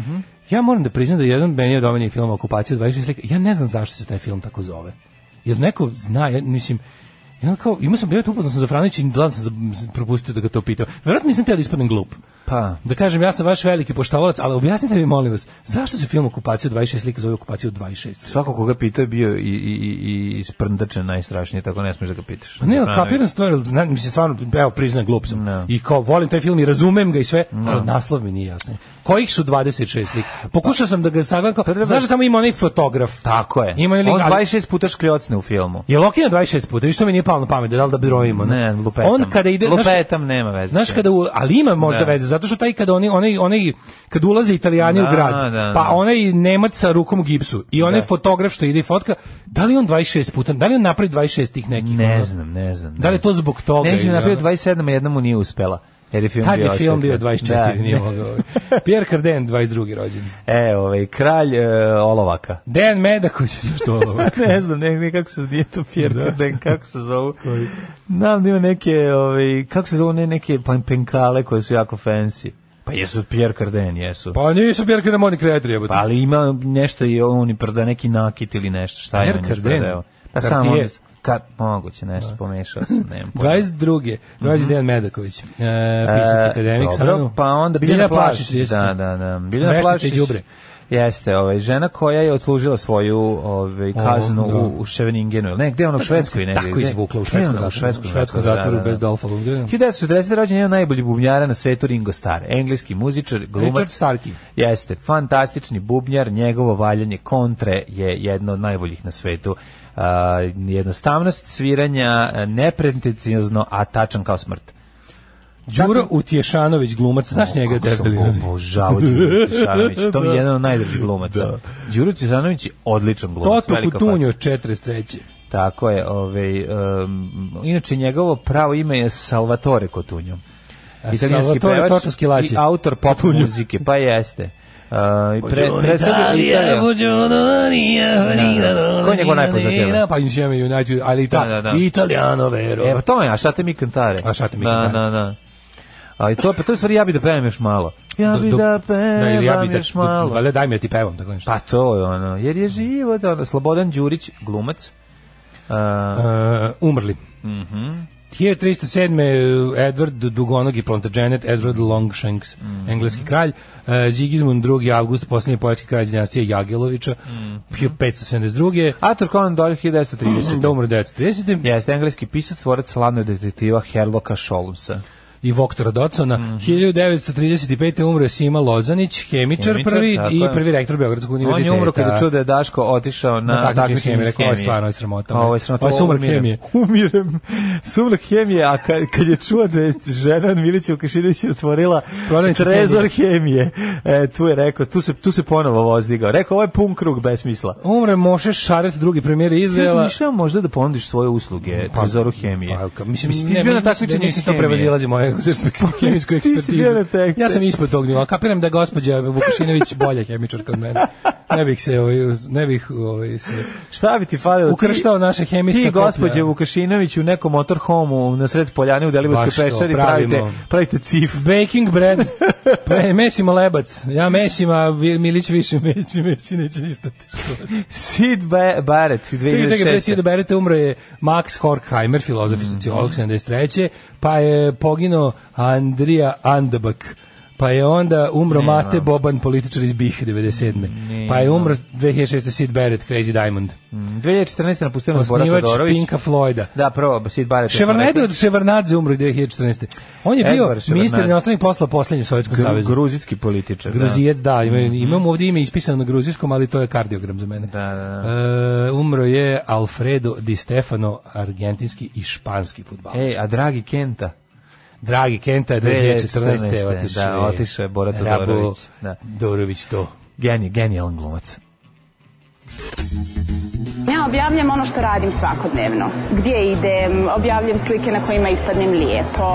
E: Ja moram da priznam da jedan meni od omiljenih filma Okupacija od 26 slika. Ja ne znam zašto se taj film tako zove. Jel neko zna, ja, mislim Ja kao, imao sam bio tu upoznao sam za Franića i glavno sam za- propustio da ga to pitao. Verovatno nisam teo da ispadnem glup.
F: Pa.
E: Da kažem, ja sam vaš veliki poštovalac, ali objasnite mi, molim vas, zašto se film Okupacija od 26 slika zove Okupacija od 26?
F: Svako koga pita je bio i, i, i, i sprndačen najstrašnije, tako ne smiješ da ga pitaš.
E: Pa ne, ali
F: Franović.
E: kapiram stvar, ali znam, mislim stvarno, evo, priznajem, glup sam.
F: Ne.
E: I kao, volim taj film i razumem ga i sve, ali naslov mi nije jasan. Kojih su 26 slika?
F: Pa-
E: Pokušao sam da ga sagledam, kao,
F: trebaš-
E: znaš da tamo ima onaj fotograf.
F: Tako je.
E: Ima onaj lik,
F: On
E: ali-
F: 26 puta škljocne u filmu.
E: Je Lokina 26 puta, viš to mi nije palo na pamet, da li da brojimo?
F: Ne, lupetam.
E: On kada ide, znaš-
F: Lupetam, nema veze.
E: Znaš kada u, ali ima možda
F: Da.
E: veze zato što taj kada oni onaj onaj kad ulaze Italijani
F: Da,
E: u grad,
F: da, da.
E: pa onaj Nemac sa rukom u gipsu i onaj
F: Da.
E: fotograf što ide i fotka, da li on 26 puta, da li on napravi 26 tih nekih? ono?
F: Ne znam, ne znam.
E: Da li je to zbog toga?
F: Ne znam,
E: ili
F: napravio
E: ono?
F: 27, a jedna mu nije uspela. Jer je film
E: Tad
F: bio
E: je film bio
F: osvetljen.
E: 24,
F: Da.
E: nije mogao. Pierre Cardin, 22. rođen.
F: E, ovaj, kralj e, olovaka.
E: Dejan Medaković, zašto ovo?
F: ne znam, ne, ne, kako se nije to Pierre Cardin, kako se zovu. Znam da ima neke, ovaj, kako se zovu, ne, neke pan- penkale koje su jako fancy. Pa jesu Pierre Cardin, jesu.
E: Pa nisu Pierre Cardin modni kreatori, jebote.
F: Pa ali ima nešto i on i prda neki nakit ili nešto, šta je
E: Pierre
F: on
E: Cardin?
F: prodao? Pa samo
E: Cartier.
F: onda, ka, moguće nešto, pomešao sam, nemam pojma.
E: 22. rođen Dejan Medaković. E, pisac,
F: Mhm. E,
E: akademik.
F: dobro,
E: samo-
F: pa onda Biljana, Plašić, da,
E: jeste.
F: da, da. Biljana
E: Veštica i
F: Plašić.
E: đubre.
F: Jeste, ovaj žena koja je odslužila svoju ovaj kaznu
E: da. Pa,
F: u, u Scheveningenu, ili ne, gde je ona u Švedskoj negde.
E: Tako
F: gde-
E: izvukla u
F: gde je ono ona?
E: švedskom zatvoru. U švedskom zatvoru bez Dolfa Lundgrena.
F: 1940. rođen je jedan od najboljih bubnjara na svetu Ringo Starr, engleski muzičar, glumac.
E: Richard Starkey.
F: Jeste, fantastični bubnjar, njegovo valjanje kontre je jedno od najboljih na svetu. A, jednostavnost sviranja, nepretencijozno, a tačan kao smrt.
E: Đuro Utješanović, glumac, znaš njega
F: Kako sam
E: debeli?
F: obožavao Đuru Cesanović. To mi je jedan od najdražih glumaca. Da. Đuru Cesanović je odličan glumac.
E: Toto
F: velika
E: Kutunjo,
F: faca.
E: 43.
F: Tako je. Ovaj, um, inače, njegovo pravo ime je Salvatore Kutunjo. Italijanski
E: Salvatore
F: pevač
E: Toto Schillaci.
F: i autor pop muzike. Pa jeste. Uh, i pre, pre, Ko je njegov najpoznatiji?
E: Pa Insieme United, ali ta,
F: Da, da, da.
E: Italiano vero.
F: Evo, E, pa to je, a šta te mi kantare?
E: A šta te mi kantare.
F: Da, da, da. A i to, pa to je stvari ja bi da pevam još malo. Ja
E: Do-
F: bi
E: do-
F: da
E: da,
F: pevam
E: ili ja bi da-
F: još
E: do-
F: malo.
E: valjda daj mi da ti pevam, tako nešto.
F: Pa to je ono, jer je život, ono, Slobodan Đurić, glumac. Uh,
E: E, umrli. Mhm. 1307. Edward Dugonogi Plantagenet, Edward Longshanks,
F: Mhm.
E: engleski kralj, e, Sigismund II. August, posljednji poetski kralj iz dinastije Jagelovića,
F: Mhm.
E: 572.
F: Arthur Conan Doyle, 1930.
E: Da umre 1930.
F: Jeste engleski pisac, stvorac slavnog detektiva Herloka Sholmesa.
E: i Voktora Docona.
F: Mhm.
E: 1935. umre Sima Lozanić, hemičar,
F: Hemičar,
E: prvi
F: tako
E: i
F: je.
E: prvi rektor Beogradskog
F: On
E: univerziteta.
F: je umro kada čuo da je Daško otišao na,
E: Na takmičenje
F: takmičenje
E: hemije, rekao, ovo je
F: hemije.
E: stvarno, ovo je sramota.
F: A Ovo je sramota.
E: Ovo je sumrak
F: umirem.
E: hemije.
F: Umirem. Sumrak hemije, a kad, kad je čuo da je žena od Milića Vukašinovića otvorila
E: Prodavnicu
F: trezor hemije, e, tu je rekao, tu se, tu se ponovo vozdigao. Rekao, ovo je pun krug bez smisla.
E: Umre Moše Šaret, drugi premijer Izraela.
F: Izvela... možda da ponudiš svoje usluge pa, trezoru hemije.
E: Pa, ka- mislim,
F: Mislim, ti
E: ne,
F: si bio na
E: mislim da
F: takmičenju
E: nisam
F: iz
E: to
F: hemije. Pa,
E: prevazilazi moje hemijsku
F: ti si
E: ekspertizu.
F: bio na tek-
E: ja sam ispod tog nivoa. Kapiram da je gospođa Vukašinović bolja hemičarka od mene. Ne bih se, ovaj, uz- ne bih ovaj, se...
F: Šta bi ti falilo? Ti-
E: Ukrštao naše hemijske
F: Ti,
E: koplja.
F: gospođe Vukašinović, u nekom motorhomu na sred poljane u Delibojskoj
E: Baš to,
F: pešari
E: pravimo.
F: pravite, pravite cif.
E: Baking bread. Pe, mesimo lebac. Ja mesim, a Vi- Milić više mesi, mesi neće ništa.
F: Sid Ba- Barrett, 2006.
E: Čekaj, čekaj, pre Sida Berete umro je Max Horkheimer, filozof i sociolog 73. Pa je poginuo Andrija Andabak. Pa je onda umro Mate Boban, političar iz BiH 97. pa je umro 2006. Sid Barrett, Crazy Diamond.
F: 2014. napustio nas Bora
E: Osnivač
F: Pa Todorović.
E: Pinka Floyda.
F: Da, prvo, Sid Barrett.
E: Ševarnado od Ševarnadze umro 2014. On je bio
F: Edward Ševardnadze.
E: ministar inostranih posla u poslednjem Sovjetskom
F: Gru, Mhm.
E: savezu.
F: gruzijski političar.
E: Gruzijac, da, ima, imam ovdje ime ispisano na gruzijskom, ali to je kardiogram za mene.
F: Da, da,
E: E, umro je Alfredo Di Stefano, argentinski i španski futbal.
F: Da. Ej, a dragi Kenta.
E: Dragi Kenta je 2014.
F: 2014.,
E: otišao
F: da, otišao je Bora Todorović, da.
E: Dorović to.
F: Genij, genijalan glumac.
G: Ja objavljam ono što radim svakodnevno. Gdje idem, objavljam slike na kojima ispadnem lijepo,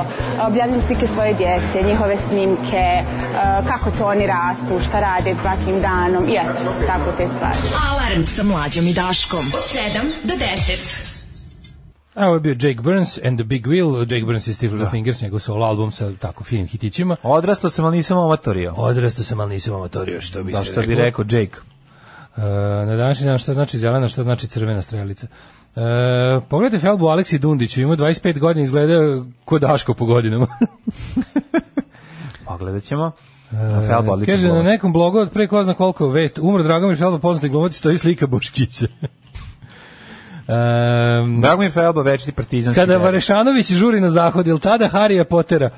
G: objavljam slike svoje djece, njihove snimke, eh, kako to oni rastu, šta rade svakim danom i eto, tako te stvari.
D: Alarm sa mlađom i Daškom. Od 7 do 10.
E: A ovo je bio Jake Burns and the Big Wheel, Jake Burns i Steve Little Fingers, njegov solo album sa tako finim hitićima.
F: Odrastao sam, ali nisam amatorio.
E: Odrastao sam, ali nisam amatorio, što bi
F: Da,
E: se
F: što bi rekao Jake.
E: E, na današnji dan šta znači zelena, šta znači crvena strelica. E, pogledajte Felbu Aleksi Dundiću, ima 25 godina, izgleda ko Daško po godinama.
F: Pogledat ćemo. A E, Felba, odličan
E: E, Kaže, na
F: glumac.
E: nekom blogu od pre ko zna koliko vest, umro Dragomir Felba, poznati glumac, stoji slika Boškića. Ehm,
F: Dragomir Felba, večiti partizanski.
E: kada
F: heroj.
E: Varešanović žuri na zahod, ili tada Harija potera?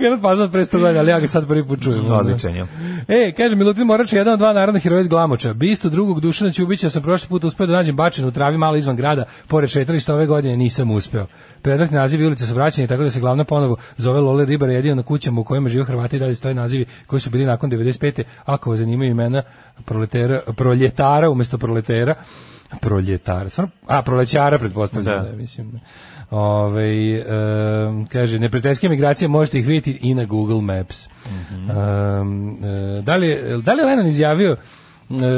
E: Gerard Pazdan pre 100 godina, ali ja ga sad prvi put čujem. ono.
F: Odličan je.
E: E, kaže Milutin Morač, je jedan od dva narodna heroja iz Glamoča. Bistu drugog Dušana Ćubića sam prošli put uspeo da nađem bačen u travi malo izvan grada, pored šetališta ove godine nisam uspeo. Predratni nazivi ulice su vraćeni, tako da se glavna ponovo zove Lole Ribara jedino na kućama u kojima žive Hrvati i dalje stoje nazivi koji su bili nakon 95. Ako vas zanimaju imena proletera, proljetara umesto proletera, proljetara, stvarno, a prolećara pretpostavljam,
F: Da.
E: da, mislim. Ove, kaže, neprijateljske migracije možete ih vidjeti i na Google Maps. Em,
F: Mhm.
E: e, da, li, je- da li je Lennon izjavio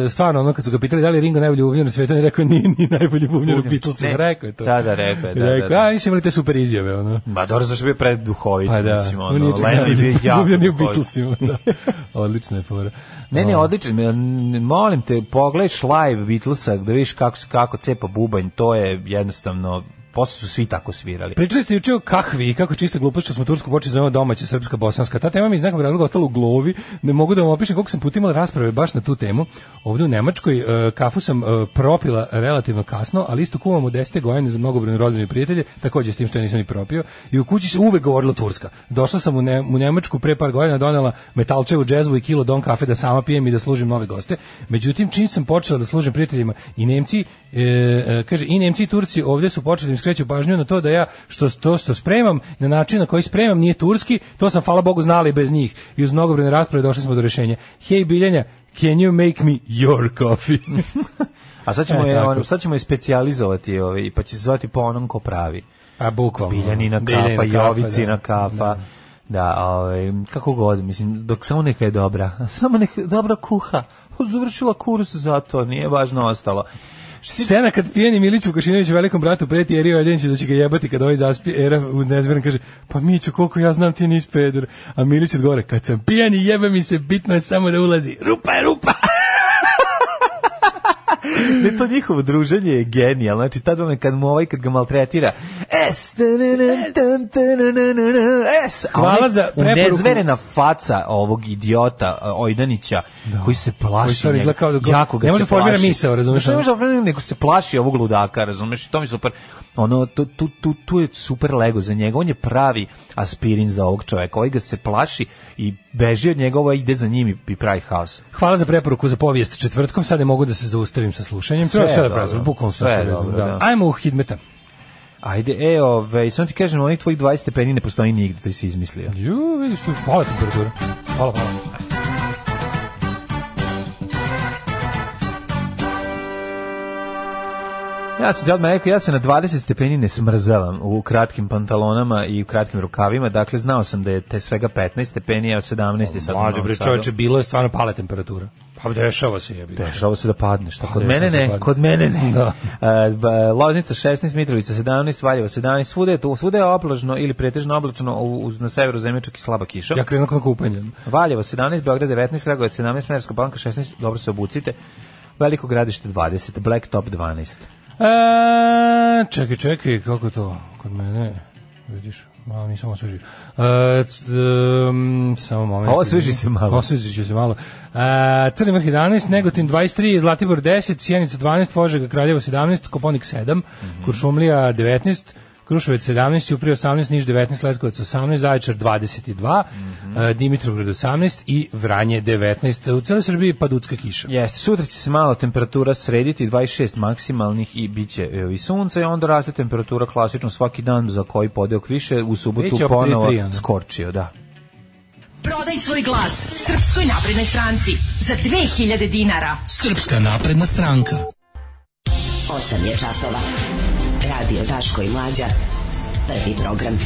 E: e, stvarno ono kad su ga pitali da li je Ringo najbolji bubnjar na svijetu, on je rekao nije ni najbolji bubnjar u
F: Bubnjar,
E: Beatlesima,
F: ne.
E: rekao je to.
F: Da, da, rekao je, da,
E: Rekao,
F: da, da.
E: a nisi imali te super izjave, ono.
F: Ba, dobro, zašto bi pred duhovit,
E: Pa da,
F: mislim,
E: on
F: ono,
E: nije čak
F: Lennon je bio
E: najbolji
F: jako
E: bubnjar ni u
F: duhovit.
E: Beatlesima, da. Odlična je fora.
F: Ne, ne, odličan. m, Molim te, pogledaj live Beatlesa da vidiš kako, se- kako cepa bubanj. To je jednostavno, posle su svi tako svirali.
E: Pričali ste juče o kahvi i kako čista glupost što smo Tursku počeli zovemo domaća srpska bosanska. Ta tema mi iz nekog razloga ostala u glavi. Ne mogu da vam opišem koliko sam puta imala rasprave baš na tu temu. Ovde u Nemačkoj e, kafu sam e, propila relativno kasno, ali isto kuvam u 10. godine za mnogobrojne rodbine i prijatelje, takođe s tim što ja nisam ni propio. I u kući se uvek govorilo turska. Došla sam u, ne, u Nemačku pre par godina, donela metalčevu džezvu i kilo don kafe da sama pijem i da služim nove goste. Međutim, čim sam počela da služim prijateljima i Nemci, e, e, kaže, i Nemci i Turci ovde su počeli da im skreću pažnju na to da ja što to što spremam, na način na koji spremam nije turski, to sam hvala Bogu znali bez njih. I uz mnogobrojne rasprave došli smo do rešenja. Hej Biljanja, can you make me your coffee?
F: A sad ćemo,
E: E,
F: je, ono
E: tako.
F: on- sad ćemo je specijalizovati ovaj, pa će se zvati po onom ko pravi.
E: A bukvalno.
F: Biljanina kafa, Jovicina kafa. Da, ovaj, kako god, mislim, dok samo neka je dobra. Samo neka je dobra kuha. Završila kurs za to, nije važno ostalo.
E: Scena kad pijeni Milić Vukašinović velikom bratu preti Eriju Eljeniću da će ga jebati kad ovaj zaspi, Era u nezveren kaže, pa Miću, koliko ja znam ti nisi peder. A Milić odgovore, kad sam pijan i jebe mi se, bitno je samo da ulazi. Rupa je rupa!
F: Ne, to njihovo druženje je genijalno. Znači, tad vam je kad mu ovaj, kad ga maltretira, es, tanana, tan, tanana, es, a
E: Hvala
F: onaj
E: za preporuku.
F: unezverena faca ovog idiota a, Ojdanića, koji se
E: Koji
F: plaši
E: stvarno izgleda kao da
F: njega.
E: go-
F: Jako ga
E: ne može
F: se
E: da formira
F: plaši.
E: misao, razumeš? ono?
F: Znači, ne može da formira, nego se plaši ovog ludaka, razumeš? I to mi je super. Ono, tu, tu, tu, tu je super lego za njega. On je pravi aspirin za ovog čoveka. Ovaj ga se plaši i beži od njega, ovaj ide za njim i, i pravi haos.
E: Hvala za preporuku za povijest četvrtkom, sad ne mogu da se zaustavim sa slušanjem.
F: Sve
E: Treba
F: je
E: sve da
F: dobro.
E: prazvaš, bukvalno
F: Sve je
E: sve.
F: dobro, da.
E: da. Ajmo u Hidmeta.
F: Ajde, e, ove, samo ti kažem, onih tvojih 20 stepeni ne postoji nigde, to si izmislio.
E: Ju, vidiš tu, hvala temperatura. Hvala, hvala.
F: Ja sam ti odmah rekao, ja se na 20 stepeni ne smrzavam u kratkim pantalonama i u kratkim rukavima, dakle znao sam da je te svega 15 stepeni, a 17 je sad. u
E: Mlađe,
F: Novom
E: bre,
F: Sadu.
E: čovječe, bilo je stvarno pala temperatura. Pa dešava se, jebi. ga.
F: Dešava se da padneš, tako kod
E: dešava
F: mene
E: se da
F: ne,
E: padne.
F: kod mene ne.
E: Da.
F: E, ba- Loznica 16, Mitrovica 17, Valjevo 17, svuda je, to, svuda je oblažno ili pretežno oblačno, u, u- na severu zemlje čak i slaba kiša.
E: Ja krenuo kod kupanja.
F: Valjevo 17, Beograd 19, Kragovac 17, Merska Palanka 16, dobro se obucite. Veliko gradište 20, Black Top 12.
E: E, čekaj, čekaj, kako je to kod mene? Vidiš, malo nisam osvežio. E, c- um, samo moment.
F: Osveži se malo.
E: Osvežit ću se malo. E, Crni vrh 11, Negotin 23, Zlatibor 10, Sjenica 12, Požega Kraljevo 17, Koponik 7,
F: Mhm.
E: Kuršumlija 19, Kruševac 17, Uprije 18, Niš 19, Leskovac 18, Zaječar 22,
F: Mhm.
E: e, Dimitrovgrad 18 i Vranje 19. U celoj Srbiji paducka kiša.
F: Jeste, sutra će se malo temperatura srediti, 26 maksimalnih i bit će e, i sunce, i onda raste temperatura klasično svaki dan za koji podeok više, u subotu
E: Biće oko 33,
F: ponovo
E: ono.
F: skorčio, da.
D: Prodaj svoj glas Srpskoj naprednoj stranci za 2000 dinara.
H: Srpska napredna stranka.
D: 8 je časova. Radio Daško i Mlađa. Prvi program.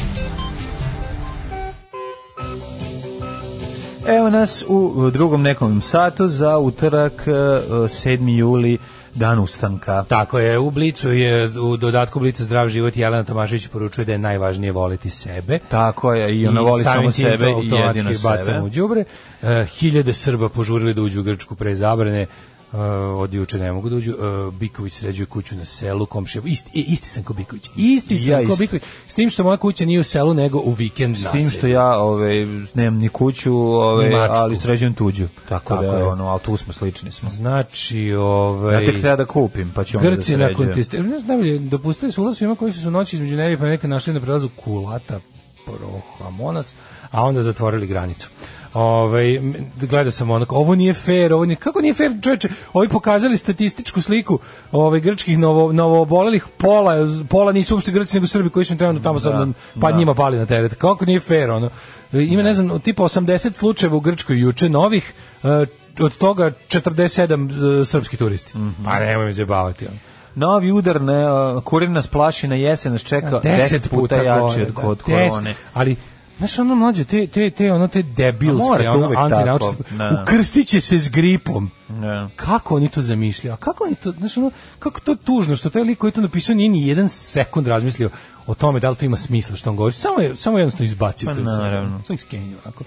F: Evo nas u e, drugom nekom satu za utorak e, e, 7. juli, dan ustanka.
E: Tako je, u Blicu je, u dodatku Blica zdrav život Jelena Tomašić poručuje da je najvažnije voliti sebe.
F: Tako je, i ona voli samo
E: samim tim
F: sebe i
E: automatski
F: jedino
E: bacamo u
F: sebe.
E: đubre. E, hiljade Srba požurili da uđu u Grčku pre zabrane. E, od juče ne mogu da uđu. E, Biković sređuje kuću na selu, komšija. Isti, e, isti sam ko Biković. Isti sam
F: Ja
E: ko
F: isto.
E: Biković. S tim što moja kuća nije u selu, nego u vikend
F: S tim što ja ove, nemam ni kuću, ove,
E: Ni mačku.
F: ali sređujem tuđu. Tako,
E: Tako
F: da,
E: je.
F: ono, ali tu smo, slični smo.
E: Znači,
F: Ja
E: ovaj...
F: tek treba da kupim, pa ću onda da
E: Grci
F: sređujem.
E: nakon tiste, ne znam, najbolje, dopustili su ulaz svima koji su se u noći između Nerija pa neka našli na prelazu Kulata Prohamonas, a onda zatvorili granicu. Ovaj m, gledao sam onako, ovo nije fair, ovo nije, kako nije fair, čoveče, ovi pokazali statističku sliku ovaj, grčkih novo, novoobolelih, pola, pola nisu uopšte Grci nego Srbi koji su im trenutno tamo sad, pa njima pali na teret, kako nije fair, ono, ima, ne znam, tipa 80 slučajeva u Grčkoj juče novih, e, od toga 47 srpski turisti. Pa nemoj me zajebavati. ono.
F: Novi udar na e, kurir nas plaši na jesen nas čeka 10 puta, jači
E: gore,
F: od,
E: da,
F: od
E: deset.
F: korone.
E: Ali Znaš, ono mlađe, te, te, te, ono, te
F: A mora
E: debilske,
F: to
E: ono,
F: uvek
E: antinaučne,
F: tako, da.
E: ukrstit će se s gripom.
F: Da.
E: Kako oni to zamišljaju? A Kako oni to, znaš, ono, kako to tužno, što taj lik koji je to napisao nije ni jedan sekund razmislio o tome da li to ima smisla što on govori. Samo je, samo jednostavno izbacio
F: Pa,
E: to. iz sebe.
F: naravno.
E: Samo ih skenio, onako.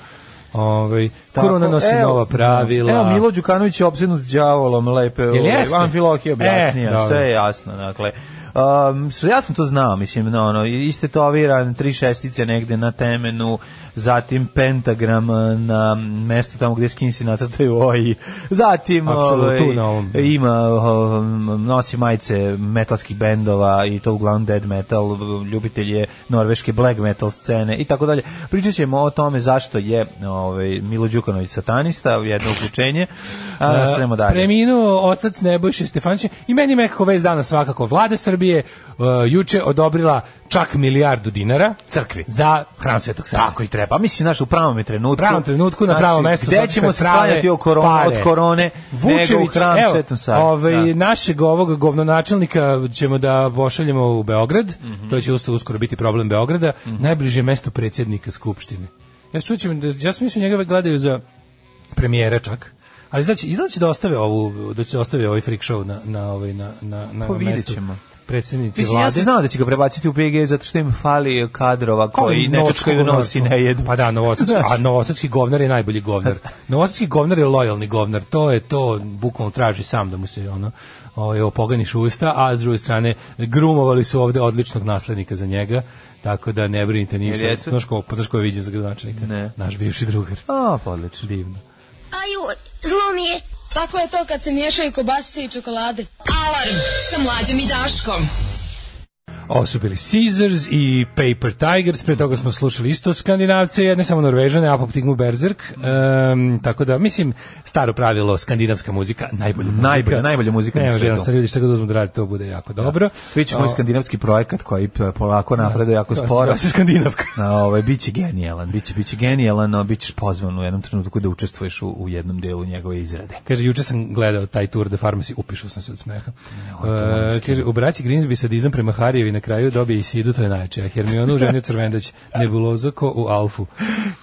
E: Ovaj,
F: Tako,
E: korona nosi
F: evo,
E: nova pravila.
F: Evo, Milo Đukanović je obsednut đavolom, lepe, ovaj,
E: jeste?
F: Amfilohije objasnija,
E: E, dobro.
F: sve je jasno, dakle. Um, sve- ja sam to znao, mislim, no, ono, istetoviran, tri šestice negde na temenu, zatim pentagram e, na mesto tamo gde skinsi nacrtaju oji, zatim
E: Apsolutno,
F: ovaj,
E: na ovom.
F: ima, um, nosi majice metalskih bendova i to uglavnom dead metal, ljubitelj je norveške black metal scene i tako dalje. Pričat ćemo o tome zašto je ovaj, Milo Đukanović satanista, jedno uključenje,
E: E,
F: a nastavljamo dalje.
E: Preminuo otac Nebojše Stefanića i meni je nekako vez dana svakako. Vlada Srbije uh, juče odobrila čak milijardu dinara
F: Crkvi.
E: za hram Svetog Save.
F: Tako i treba. E, pa Mislim, znaš, u pravom je trenutku. Znači,
E: U pravom trenutku, na pravom mestu.
F: Gde
E: zato što
F: ćemo
E: je prave
F: slanjati o korone,
E: pare.
F: od korone nego u
E: Vučević,
F: hram
E: evo,
F: Svetom Savi.
E: ovaj,
F: Da.
E: našeg ovog govnonačelnika ćemo da pošaljemo u Beograd,
F: Mhm.
E: to će usto uskoro biti problem Beograda, najbliže mesto predsjednika Skupštine. Ja se čućem, da, ja sam mislio njega gledaju za premijera čak. Ali znači, izgleda će da ostave ovu, da će ostave ovaj freak show na, na, ovaj, na, na, na
F: Pa vidjet
E: mestu
F: ćemo.
E: predsjednici
F: Mislim, ja
E: vlade.
F: sam znao da će ga prebaciti u PG zato što im fali kadrova koji ne čačkaju nos i ne jedu.
E: Pa da, novosadski,
F: Znaš.
E: a novosadski govnar je najbolji govnar. Novosadski govnar je lojalni govnar. To je to, bukvalno traži sam da mu se ono ovaj opoganiš usta, a s druge strane grumovali su ovde odličnog naslednika za njega. Tako da ne brinite
F: Jel
E: ništa.
F: jesu?
E: Znaš ko, pa znaš ko je viđen za gradonačelnika?
F: Ne.
E: Naš bivši drugar.
F: A, pa odlično.
E: Divno.
B: Aju, zlo mi je.
I: Tako je to kad se miješaju kobasice i čokolade.
D: Alarm sa mlađom i Daškom.
E: Ovo su bili Caesars i Paper Tigers, pre toga smo slušali isto Skandinavce, jedne samo Norvežane, Apoptigmu Berserk, Ehm, tako da, mislim, staro pravilo, skandinavska muzika, najbolja muzika.
F: Najbolja- najbolja muzika na
E: ne,
F: svetu.
E: Ne, ljudi šta god uzmu da radi, to bude jako dobro.
F: Biće moj
E: O,
F: skandinavski projekat koji p- polako napreduje jako sporo.
E: Zove se skandinavka.
F: Na ovaj biće genijalan, biće biće genijalan, no bićeš pozvan u jednom trenutku da učestvuješ u, u jednom delu njegove izrade.
E: Kaže, juče sam gledao taj Tour de Pharmacy, upišao sam se od smeha.
F: ovo je to
E: E,
F: momski.
E: kaže, u braći Grimsby sadizam prema Harijevi na kraju dobije i Sidu, to je najče. Hermionu u ženju Crvendać, Nebulozoko u Alfu.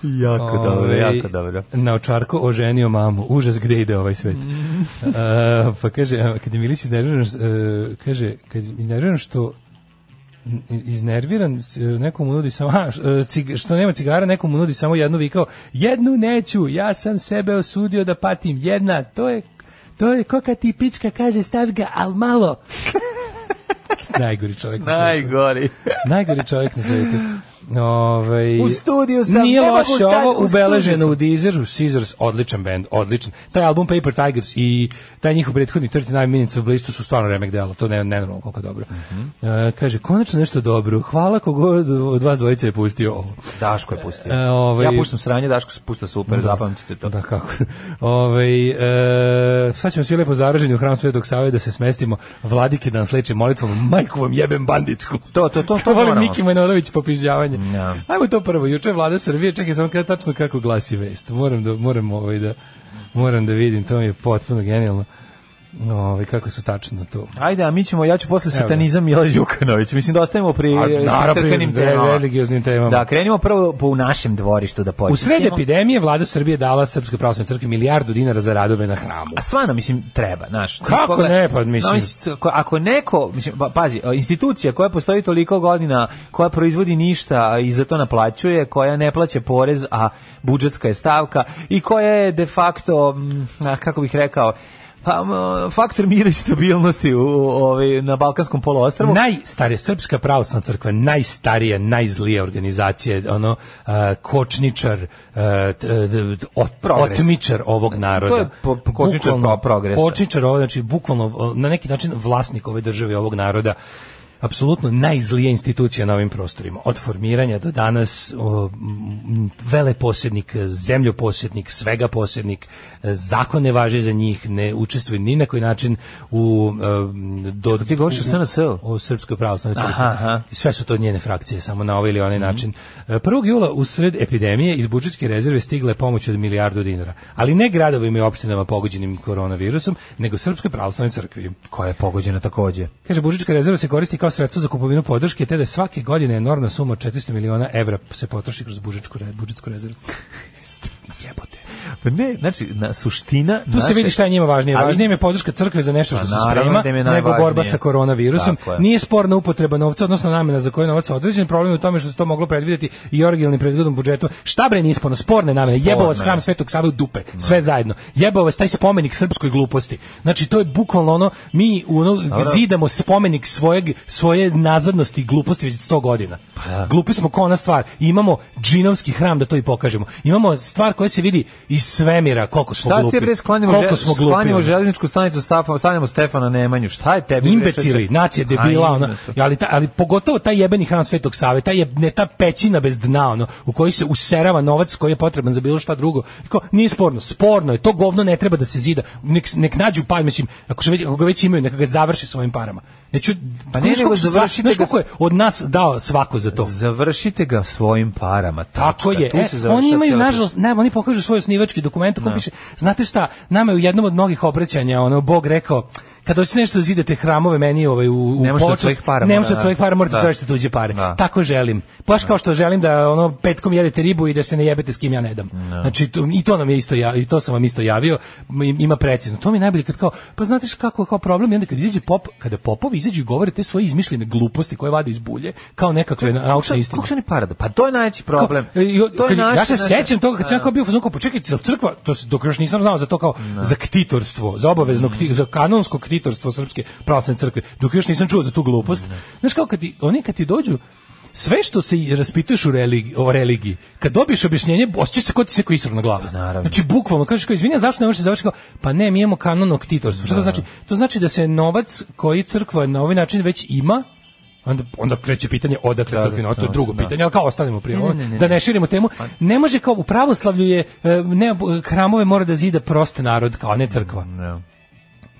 F: Jako dobro,
E: Ovaj,
F: jako dobro.
E: Na očarku oženio mamu. Užas, gde ide ovaj svet?
F: Mm.
E: E, pa kaže, a, kad je Milić iznerviran, e, kaže, kad je iznerviran što iznerviran, s- nekomu nudi samo, aha, š- e, cig- što nema cigara, nekomu nudi samo jednu vikao, jednu neću, ja sam sebe osudio da patim, jedna, to je, to je koka ti pička kaže stav ga, al malo. Najgori čovjek na svijetu.
F: Najgori.
E: Najgori čovjek na svijetu. Ovaj,
F: U studiju sam,
E: Nije
F: ne mogu
E: loše
F: sad, u
E: ovo
F: studiju
E: ubeleženo
F: sam.
E: u Deezeru, Caesars, odličan band, odličan. Taj album Paper Tigers i taj njihov prethodni 39 Minutes of Bliss to su stvarno remek dela, to ne nenormalno koliko je dobro.
F: Mhm.
E: E, kaže, konačno nešto dobro, hvala kogod od vas dvojice je pustio ovo.
F: Daško je pustio.
E: E, ovaj-
F: Ja puštam sranje, Daško se pušta super, zapamtite to.
E: Da, kako. Ovaj e, sad ćemo svi lepo zaraženi u hram Svetog Save da se smestimo. Vladike da nas leče molitvom. Majku vam jebem banditsku.
F: To, to, to, to
E: Volim
F: moramo.
E: Miki Manojlović popizdjavanje.
F: Ja.
E: Ajmo to prvo. Juče je vlada Srbije, čekaj samo kada tačno kako glasi vest. Moram da, moram, ovaj, da, moram da vidim, to mi je potpuno genijalno. Ovaj, kako su tačno to.
F: Ajde, a mi ćemo, ja ću posle satanizam Mila Đukanović. Mislim da ostavimo pri
E: A,
F: e,
E: naravno,
F: crkvenim
E: pri
F: temama.
E: religioznim temama.
F: Da, krenimo prvo po u našem dvorištu da počnemo.
E: U sred epidemije vlada Srbije dala Srpskoj pravoslavnoj crkvi milijardu dinara za radove na hramu.
F: A stvarno, mislim, treba, znaš.
E: Kako ne, pa mislim.
F: No, ako- ako neko, mislim, pa, pazi, e, institucija koja postoji toliko godina, koja proizvodi ništa a i za to naplaćuje, koja ne plaća porez, a budžetska je stavka, i koja je de facto, mm, a, kako bih rekao, pa, m, faktor mira i stabilnosti u, u, ovaj, na Balkanskom poluostrvu.
E: Najstarija srpska pravoslavna crkva, najstarija, najzlija organizacija, ono a, kočničar, a, t- e, d- d- ot-
F: Progres.
E: otmičar ovog naroda.
F: To je po- po- kočničar
E: Bukvalno,
F: pro- progresa.
E: Kočničar, ovo, znači bukvalno o, na neki način vlasnik ove države, ovog naroda. Apsolutno najzlija institucija na ovim prostorima. Od formiranja do danas o, m, veleposjednik, zemljoposjednik, svega posjednik, e, zakon ne važi za njih, ne učestvuje ni na koji način u... e, do,
F: Ti govoriš o SNS-u?
E: o Srpskoj pravoslavnoj crkvi.
F: Aha, aha. Mhm.
E: I Sve su to njene frakcije, samo na ovaj ili onaj način. E, 1. jula u sred epidemije iz budžetske rezerve stigla je pomoć od milijardu dinara, ali ne gradovima i opštinama pogođenim koronavirusom, nego Srpskoj pravoslavnoj crkvi.
F: koja je pogođena takođe.
E: Kaže, budžetska rezerva se koristi kao sredstvo za kupovinu podrške, te da je svake godine enormna suma od 400 miliona evra se potroši kroz budžetsku, re- budžetsku rezervu. Jebote.
F: Pa ne, znači, na, suština...
E: Tu se vidi šta je njima važnije.
F: Ali-
E: Važnije im je podrška crkve za nešto što
F: Pa
E: se
F: naravno
E: sprema,
F: da im je
E: nego
F: najvažnije.
E: borba sa koronavirusom.
F: Tako je.
E: Nije sporna upotreba novca, odnosno namena za koju je novac određen. Problem je u tome što se to moglo predvidjeti i originalnim predvidom budžetu. Šta bre nije sporno? Sporne namene. Jebao vas
F: je.
E: hram Svetog Save u dupe. Sve zajedno. Jebao vas taj spomenik srpskoj gluposti. Znači, to je bukvalno ono, mi ono, zidamo spomenik svojeg, svoje nazadnosti i gluposti već 100 godina.
F: Pa
E: Glupi smo kao ona stvar. Imamo džinovski hram da to i pokažemo. Imamo stvar koja se vidi iz svemira koliko smo
F: Šta
E: glupi.
F: ti je bre sklanjamo,
E: Koliko
F: žel-
E: smo glupi.
F: sklanjamo
E: ono.
F: železničku stanicu, stafa- stavljamo Stefana Nemanju, šta je tebi? bre,
E: Imbecili,
F: čoveče?
E: nacija
F: A,
E: debila, ono, ona,
F: imbecil.
E: ali, ta, ali pogotovo taj jebeni hram Svetog Save, taj je, ne, ta pećina bez dna, ono, u kojoj se userava novac koji je potreban za bilo šta drugo. Kao, nije sporno, sporno je, to govno ne treba da se zida, nek, nek nađu par, mislim, ako, su već, ako ga već imaju, neka ga završe svojim parama. Neću,
F: Pa
E: pa
F: ne,
E: ne,
F: nego
E: ne,
F: završite
E: završite
F: ga
E: koliko je od nas dao svako za to.
F: Završite ga svojim parama. Tačka.
E: Tako je.
F: Tu
E: E,
F: se završava
E: oni imaju
F: cijela
E: nažalost, ne, oni pokažu svoj osnivački dokument u kojem piše, znate šta, nama je u jednom od mnogih obraćanja ono Bog rekao kada hoćete nešto da zidate hramove meni ovaj u u
F: Ne možete od
E: počast,
F: svojih para,
E: Ne možete
F: da.
E: od svojih para, morate
F: Da.
E: da tražite tuđe pare.
F: Da.
E: Tako želim. Baš kao što želim da ono petkom jedete ribu i da se ne jebete s kim ja ne dam. Znači to- i to nam je isto ja i to sam vam isto javio. M- Ima precizno. To mi je najbolje kad kao pa znate šta, kako je kao problem i onda kad izađe pop, kada popovi izađu i govore te svoje izmišljene gluposti koje vade iz bulje kao nekakve naučne
F: priča.
E: istine.
F: Kako se oni para? Pa to je najveći problem.
E: Kao, e, i o- kad-
F: naše-
E: ja se
F: naše-
E: sećam toga kad sam ja kao bio u fazonu kao počekajte, jel crkva, to se dok još nisam znao za to kao za ktitorstvo, za obavezno kti- za kanonsko ktitorstvo srpske pravoslavne crkve, dok još nisam čuo za tu glupost. Znaš kao kad ti, oni kad ti dođu sve što se i raspituješ u religi, o religiji, kad dobiješ objašnjenje, osjećaš se kao ti se kao isro na glavu.
F: naravno.
E: Znači, bukvalno, kažeš kao, izvini, a zašto ne možeš da završi? Kao, pa ne, mi imamo kanonno ktitorstvo. Što to znači? To znači da se novac koji crkva na ovaj način već ima, onda, onda kreće pitanje odakle crkvi novac, to je drugo pitanje, ali kao ostanemo prije ovo, da ne Pa- širimo temu. Ne može kao, u pravoslavlju je, e, ne, hramove mora da zida prost narod, kao a ne crkva.
F: Ne.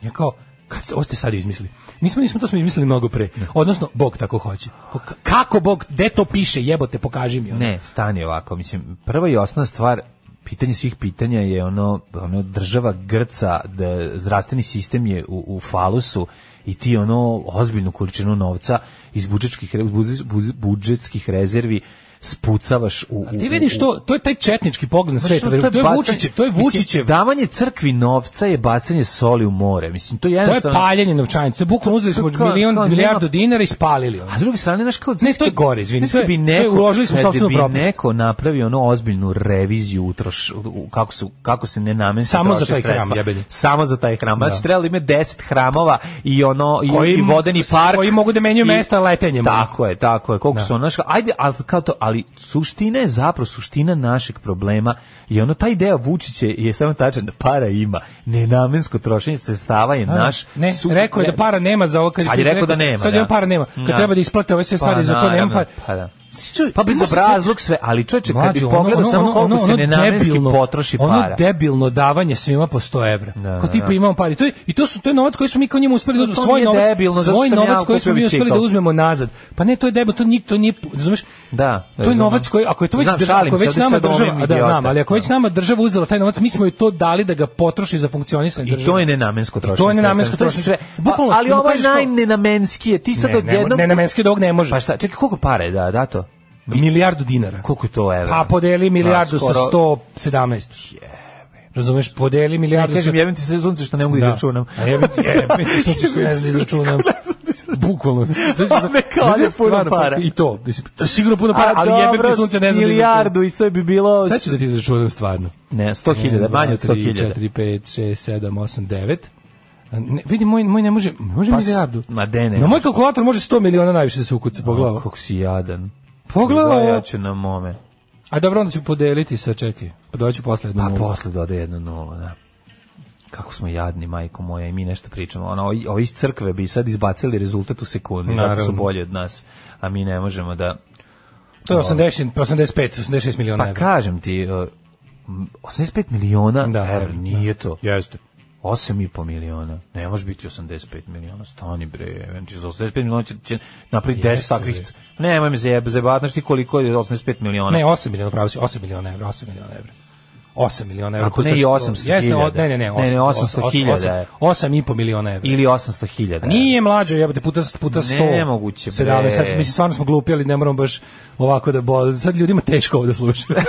E: Ja kao, kad ste, ovo ste sad izmislili. Nismo, nismo, to smo izmislili mnogo pre. Odnosno, Bog tako hoće. Ko- ka- Kako Bog, gde to piše, jebote, pokaži mi. ono.
F: Ne, stani ovako, mislim, prva i osnovna stvar pitanje svih pitanja je ono, ono država Grca, da zdravstveni sistem je u, u falusu i ti ono ozbiljnu količinu novca iz budžetskih, re- buz- buz- budžetskih rezervi spucavaš u...
E: A ti
F: u-
E: vidiš
F: u-
E: to, to je taj četnički pogled na sve,
F: Znaš,
E: Pa to je
F: bacanje-
E: Vučićev, to je
F: mislim,
E: Vučićev
F: Davanje crkvi novca je bacanje soli u more. Mislim, to je
E: To je
F: jednostavno...
E: paljenje novčanica. To je Bukvalno uzeli smo
F: ono- To kao-
E: milion,
F: kao nema-
E: milijardu dinara i spalili. ono.
F: A s druge strane, znaš kao...
E: Ne, to je gore, izvini,
F: znaš kad
E: to je-
F: bi
E: to je
F: neko,
E: uložili smo u
F: kad
E: sopstvenu
F: bi
E: propast.
F: neko napravio ono ozbiljnu reviziju utroš, u- u- kako, su, kako se nenamenski
E: Samo za
F: troše
E: taj hram,
F: sredstva.
E: jebeni.
F: Samo za taj hram. Znači, trebali imati 10 hramova i ono, i,
E: Koji-
F: i vodeni
E: s-
F: park.
E: koji mogu da menjaju
F: i-
E: mesta letenjem.
F: Tako je, tako je. Koliko su ono, znaš, kao, ajde, ali, kao to, ali suština je zapravo, suština našeg problema je ono, taj deo Vučiće je samo tačan, da para ima. Nenamensko trošenje sredstava je naš...
E: ne,
F: su-
E: rekao je da para nema za ovo. Kad
F: Sad je rekao da nema,
E: Sad je
F: da.
E: on para nema. Kad
F: Da.
E: treba da isplate ove sve stvari, za to nema
F: pa naravno,
E: para.
F: Pa da.
E: Čuj,
F: Pa
E: ti
F: bez
E: možeš
F: obrazluk sve, ali čovječe, kad bi
E: Mlađo, ono-
F: pogledao
E: ono-
F: samo
E: ono-
F: koliko
E: ono-
F: se
E: ono
F: nenamenski
E: debilno-
F: potroši
E: Ono
F: para.
E: debilno davanje svima po 100 evra.
F: Da,
E: Kao
F: da,
E: tipa
F: da.
E: imamo pari. To je, I to, su, to je novac koji smo mi kao njemu uspeli da
F: To
E: uzmemo. Svoj
F: nije
E: novac,
F: debilno, zato
E: svoj
F: što sam ja
E: novac koji
F: kupio
E: smo mi uspeli
F: bicikl.
E: da uzmemo nazad. Pa ne, to je debil, to, ni, to nije, razumeš?
F: Da,
E: to je
F: znam.
E: novac koji, ako je to već,
F: Znam,
E: drž-
F: šalim
E: ako je
F: se,
E: već
F: ovdje
E: nama
F: sad
E: država,
F: glumim
E: a da znam,
F: idiota.
E: ali ako je već nama država uzela taj novac, mi smo joj to dali da ga potroši za funkcionisanje
F: I
E: države.
F: to je nenamensko trošenje.
E: to je nenamensko
F: sredstava,
E: trošenje.
F: sve. A-
E: Bukvalno,
F: ali
E: da mu
F: ovo je
E: kažeš kao-
F: najnenamenskije. Ti sad
E: Ne, ne,
F: odjednom...
E: ne, namenski dog ne može.
F: Pa šta, čekaj, koliko pare je da, dato?
E: milijardu dinara.
F: Koliko je to evra?
E: Pa podeli milijardu
F: Da, skoro-
E: sa 117. Razumeš, podeli milijardu
F: Kažem,
E: sa
F: jebim ti se sunce što ne mogu da izračunam.
E: A jebem ti, jebem ti, sunce što ne znam da izračunam. Bukvalno. Znaš,
F: A me kao
E: znaš,
F: da je puno
E: stvarno, pa
F: para.
E: I to, mislim, to je sigurno puno para,
F: A,
E: ali jebem
F: Pa, dobro,
E: ti sunce ne znam da izračunam.
F: Milijardu i sve bi bilo...
E: Sad ću da ti izračunam stvarno.
F: Ne, 100.000, manje od 100.000.
E: 4, 5, 6, 7, 8, 9. A Ne, vidi, moj, moj ne može, može
F: Pa s-
E: milijardu.
F: ma de, ne
E: Na moj
F: može.
E: kalkulator može 100 miliona najviše da se ukuca po glavu.
F: Kako si jadan.
E: Pogledao.
F: Ja ću na mome.
E: A dobro, onda ću podeliti sa, čekaj, doću posle jednu
F: Pa
E: nulu.
F: posle dode jedno nula, da. Kako smo jadni, majko moja, i mi nešto pričamo. Ono, ovi- ovi iz crkve bi sad izbacili rezultat u sekundi, zato su
E: Naravno.
F: bolji od nas, a mi ne možemo da...
E: To je 80, 85, 86 miliona
F: Pa
E: evra.
F: kažem ti, uh, m, 85 miliona
E: Da,
F: evra,
E: da.
F: nije to.
E: Jeste.
F: 8,5 miliona. Ne može biti 85 miliona, stani bre. jebem ti, Za 85 miliona će, će napraviti 10 takvih... Nemoj me zajeb, zajebati, znaš ti koliko je 85 miliona.
E: Ne, 8 miliona, pravo si, 8 miliona evra, 8 miliona evra. 8 miliona evra.
F: Ako ne i 800
E: Jeste, o-
F: hiljada.
E: Ne, ne,
F: Ne,
E: ne,
F: ne, 800 hiljada je.
E: 8,5 miliona evra.
F: Ili 800 hiljada.
E: Nije mlađo, jebote, puta, puta 100.
F: Nemoguće, bre.
E: 17, sad, mislim, stvarno smo glupi, ali ne moramo baš ovako da bol... Sad ljudima teško ovo da slušaju.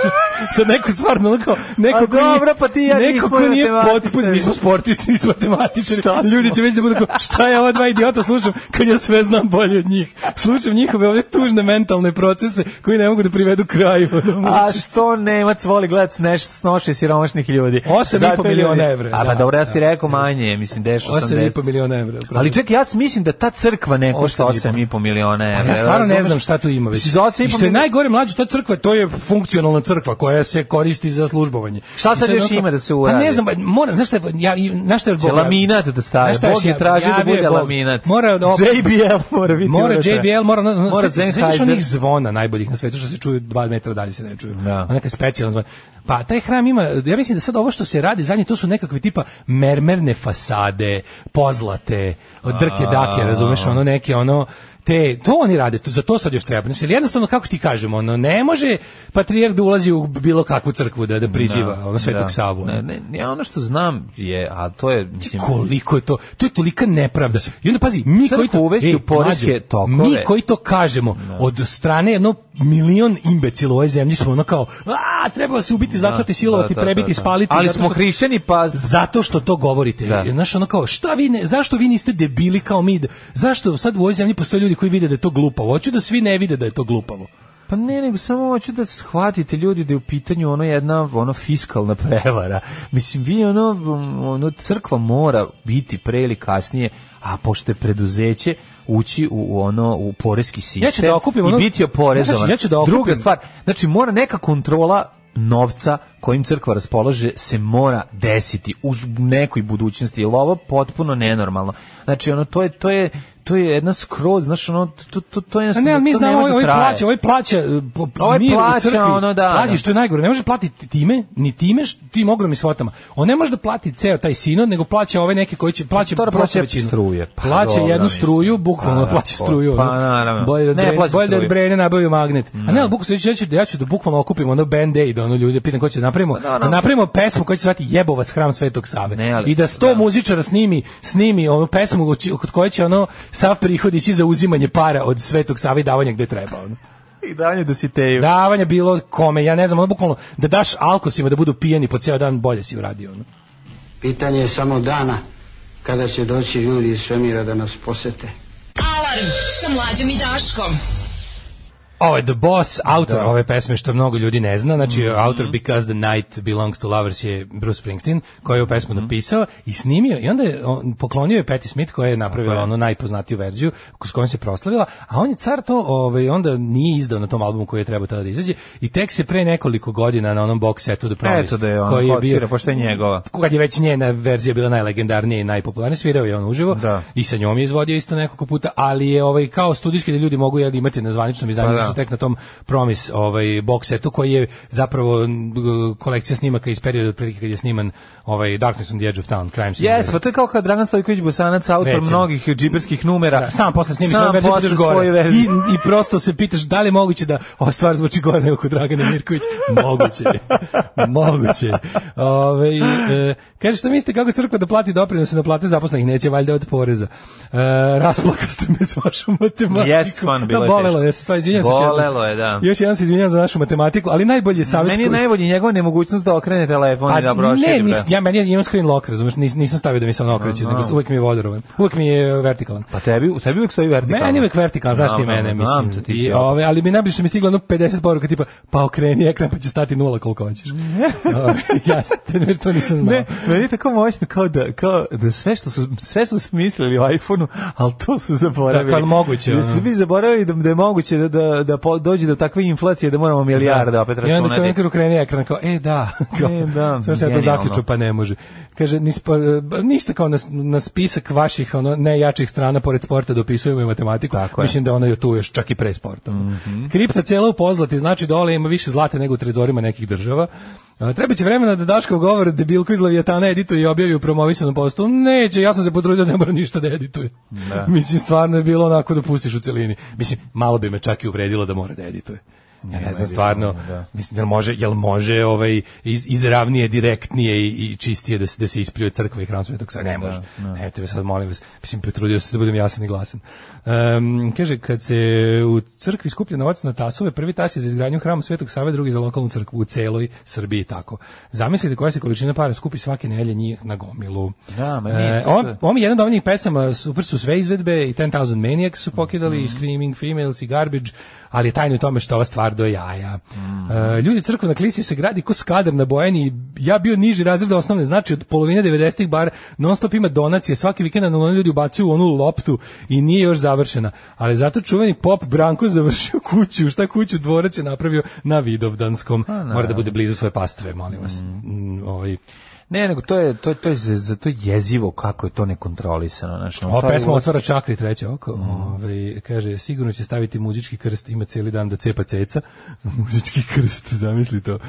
E: sad neko stvarno, ono kao, neko
F: A
E: ko nije-
F: dobro, pa ti i ja
E: neko
F: nismo
E: ko nije
F: matematičari.
E: potpun, mi smo sportisti, nismo matematičari.
F: Šta smo?
E: Ljudi će već da budu kao, šta ja ova dva idiota slušam, kad ja sve znam bolje od njih. Slušam njihove ove tužne mentalne procese koji ne mogu da privedu kraju. ono,
F: A što Nemac voli gledat sneš, snoše siromašnih ljudi?
E: Osam i
F: Zato
E: po
F: ljudi-
E: miliona evra,
F: A pa
E: da,
F: dobro, ja sam ti
E: da,
F: rekao manje, je, mislim, deš
E: 8,5
F: 80.
E: miliona evra.
F: Ali čekaj, ja s- mislim da ta crkva ne košta
E: Osam i po.
F: 8,5 miliona evra.
E: Pa Ja stvarno ne
F: razumeš?
E: znam šta tu ima već.
F: Mislim, za osam i
E: I
F: po
E: što je
F: miliona-
E: najgore mlađe, ta crkva, to je funkcionalna crkva koja se koristi za službovanje.
F: Šta
E: I
F: sad još
E: onako-
F: ima da se
E: Pa
F: uradi?
E: ne znam, ba- mora, znaš šta je, ja, i- znaš šta je Bog-
F: laminat da stave.
E: Znaš šta
F: Bog je
E: ja-
F: tražio da
E: javio
F: bude
E: je Bog.
F: laminat.
E: Mora da op-
F: JBL mora biti.
E: Mora
F: unutra.
E: JBL, mora, no, no,
F: Mora
E: mora Sjećaš
F: Sennheiser.
E: onih zvona najboljih na svetu što se čuju dva metra dalje se ne čuju.
F: Da.
E: Onaka specijalna zvona. Pa taj hram njima, ja mislim da sad ovo što se radi zadnje, to su nekakve tipa mermerne fasade, pozlate, drke dake, razumeš, ono neke, ono, te, to oni rade, to, za to sad još treba. Znači, jednostavno, kako ti kažemo, ono, ne može patrijarh da ulazi u bilo kakvu crkvu da, da priziva, ono, svetog
F: da.
E: Savu. ono.
F: Ne, ne, ja ono što znam je, a to je, mislim,
E: koliko je to to je tolika nepravda i onda pazi mi
F: Crkvu
E: koji to
F: uvesti
E: Ej,
F: u poreske
E: mlađo,
F: tokove.
E: mi koji to kažemo od strane jedno milion imbecila u ovoj zemlji smo ono kao a treba se ubiti zaklati silovati
F: da, da,
E: prebiti
F: da.
E: spaliti
F: Ali
E: zato
F: smo
E: što-
F: hrišćani, pa-
E: zato što to govorite
F: Da.
E: znaš ono kao šta vi ne, zašto vi niste debili kao mi zašto sad u ovoj zemlji postoje ljudi koji vide da je to glupavo hoću da svi ne vide da je to glupavo
F: Pa ne, nego samo hoću da shvatite ljudi da je u pitanju ono jedna ono fiskalna prevara. Mislim, vi ono, ono crkva mora biti pre ili kasnije, a pošto je preduzeće, ući u, u ono u poreski sistem
E: Ja ću da okupim ono-
F: i biti oporezovan.
E: Znači, ja ću da okupim-
F: Druga stvar, znači mora neka kontrola novca kojim crkva raspolaže se mora desiti u nekoj budućnosti, jer ovo potpuno nenormalno. Znači, ono, to je, to je, to je jedna skroz, znaš, ono, to, to, to je...
E: A ne, ali mi
F: to
E: znamo, ovaj,
F: može da
E: ovaj
F: traje.
E: plaća, ovaj plaća, e, po, po-
F: Ovaj
E: mir
F: plaća,
E: u crkvi,
F: ono, da,
E: plaći,
F: da.
E: što je najgore, ne može platiti time, ni time, š- tim ogromnim svotama. On ne može da plati ceo taj sinod, nego plaća ove neke koji će, plaća
F: Dobro,
E: prosto
F: plaća
E: većinu.
F: struje. Pa,
E: plaća
F: dobro,
E: jednu
F: mislim.
E: struju, bukvalno
F: Pa, da,
E: plaća
F: pa,
E: struju.
F: pa,
E: ono.
F: naravno.
E: Bolje da,
F: Ne,
E: Dre-
F: plaća
E: bolje da od
F: struju.
E: Brene nabavio magnet. A ne, ali bukvalno, ja ću, ja ću da bukvalno okupim ono band-aid, ono ljudi, pitam ko će da napravimo,
F: Pa, da,
E: da
F: naravno.
E: napravimo pesmu koja će se zvati Jebo vas hram Svetog Save.
F: Ne, ali-
E: I da sto
F: da.
E: muzičara snimi, snimi onu pesmu od či- kod koje će ono sav prihod ići za uzimanje para od Svetog Save i davanja gde treba. Ono.
F: I danje da si teju.
E: Davanja bilo kome, ja ne znam, ono bukvalno da daš alkosima da budu pijeni po ceo dan, bolje si uradio. Ono.
J: Pitanje je samo dana kada će doći ljudi iz svemira da nas posete.
D: Alarm sa mlađom i Daškom.
E: Ovo je The Boss, autor ove pesme što mnogo ljudi ne zna, znači
F: Mhm.
E: autor Because the Night Belongs to Lovers je Bruce Springsteen, koji je ovu pesmu
F: Mhm.
E: napisao i snimio i onda je on, poklonio je Patti Smith koja je napravila onu najpoznatiju verziju s kojom se proslavila, a on je car to ovaj, onda nije izdao na tom albumu koji je trebao tada da izađe i tek se pre nekoliko godina na onom box setu The Promise
F: Eto da je on
E: koji je bio
F: kocira, pošto je njegova.
E: kad je već njena verzija bila najlegendarnija i najpopularnija, svirao je on uživo
F: Da.
E: i sa njom je izvodio isto nekoliko puta, ali je ovaj kao studijski da ljudi mogu jel, imati na zvaničnom izdanju,
F: Pa da.
E: da. tek na tom promis ovaj box setu koji je zapravo m, g- kolekcija snimaka iz perioda otprilike kad je sniman ovaj Darkness on the Edge of Town, Crime Scene.
F: Jes, pa to je kao kad Dragan Stojković Bosanac, autor
E: Recimo.
F: mnogih džiberskih numera.
E: Da, sam posle snimi
F: Sam
E: svoju verziju,
F: posle
E: budeš
F: svoju
E: gore. I,
F: verziju.
E: I prosto se pitaš da li je moguće da ova stvar zvuči gore nego kod Dragana Mirković. Moguće je. moguće je. Ove, e, kaže, što mislite kako crkva da plati doprinose na plate zaposlenih? Neće valjda od poreza. E, rasplaka ste me s vašom matematikom.
F: Jes, stvarno, bilo
E: da,
F: je
E: bolelo
F: teško.
E: je, stvarno, izvinjam se. još jednom.
F: Bolelo je, da.
E: Još jedan se izvinjam za našu matematiku, ali najbolji je savjet.
F: Meni je
E: koji- Pa
F: najbolji njegova nemogućnost da okrene telefon i da proširi.
E: ne, nis,
F: bre.
E: ja meni je- imam screen lock, razumeš, nis, nisam stavio da mi se on okreće, nego uvijek mi je voderovan. Uvijek mi je vertikalan.
F: Pa tebi, u tebi uvijek stoji vertikalno.
E: Meni uvek vertikalno, znaš ti
F: Znam,
E: mene,
F: znam, znam,
E: mislim.
F: to ti si
E: I,
F: ja.
E: ove, ali mi najbolje što mi je stiglo ono 50 poruka tipa, pa okreni ekran pa će stati nula koliko hoćeš. Ove, ja s- te- to nisam znao.
F: Ne, meni je tako moćno kao da, kao da sve što su, sve su smislili u iPhone-u, ali to su zaboravili.
E: Da, kao moguće,
F: Da
E: ono.
F: su svi zaboravili da, da je moguće da, da, da po, dođe do takve inflacije da moramo milijarde opet
E: I onda kao
F: računati.
E: nekako okreni ekran, kao, e da. Kao,
F: E, da,
E: Sve što ja to
F: genijalno.
E: zaključu, pa ne može. Kaže, nis, pa, e, ništa kao na, s- na spisak vaših ono, najjačih strana, pored sporta, dopisujemo i matematiku.
F: Tako je. Mhm.
E: Mislim da ona je tu još čak i pre sporta. Kripta cijela u pozlati, znači dole ima više zlate nego u trezorima nekih država. E, Treba će vremena da Daškov govor debilko iz Leviatana edituje i objavi u promovisanom postu. Neće, ja sam se potrudio da ne mora ništa da edituje. Mislim, stvarno je bilo onako da pustiš u celini. Mislim, malo bi me čak i uvredilo da mora da edituje. Ja ne znam stvarno, mislim jel može, jel može ovaj iz, izravnije, direktnije i, i čistije da se da se ispljuje crkva i hram Svetog Save, ne može. Ne, tebe sad molim vas, mislim potrudio sam se da budem jasan i glasan. Ehm, kaže kad se u crkvi skuplja novac na tasove, prvi tas je za izgradnju hrama Svetog Save, drugi za lokalnu crkvu u celoj Srbiji tako. Zamislite koja se količina para skupi svake nedelje njih na gomilu.
F: Da, ma nije
E: E,
F: to-
E: on, on mi je jedan od omiljenih pesama, super su sve izvedbe i 10,000 Maniacs su pokidali, i Screaming Females i Garbage, ali je tajno u tome što ova stvar do jaja. E, ljudi crkva na klisi se gradi ko skadar na Bojeni, ja bio niži razred osnovne, znači od polovine 90-ih bar non stop ima donacije, svaki vikend na ono ljudi ubacuju onu loptu i nije još završena, ali zato čuveni pop Branko završio kuću, šta kuću dvorac je napravio na Vidovdanskom, mora da bude blizu svoje pastve, molim vas. Mm, ovaj,
F: Ne, nego to je to to je za to je jezivo kako je to nekontrolisano, znači.
E: Ova pesma otvara čakri treće oko. Ovaj, kaže, sigurno će staviti muzički krst, ima cijeli dan da cepa ceca. muzički krst, zamisli to.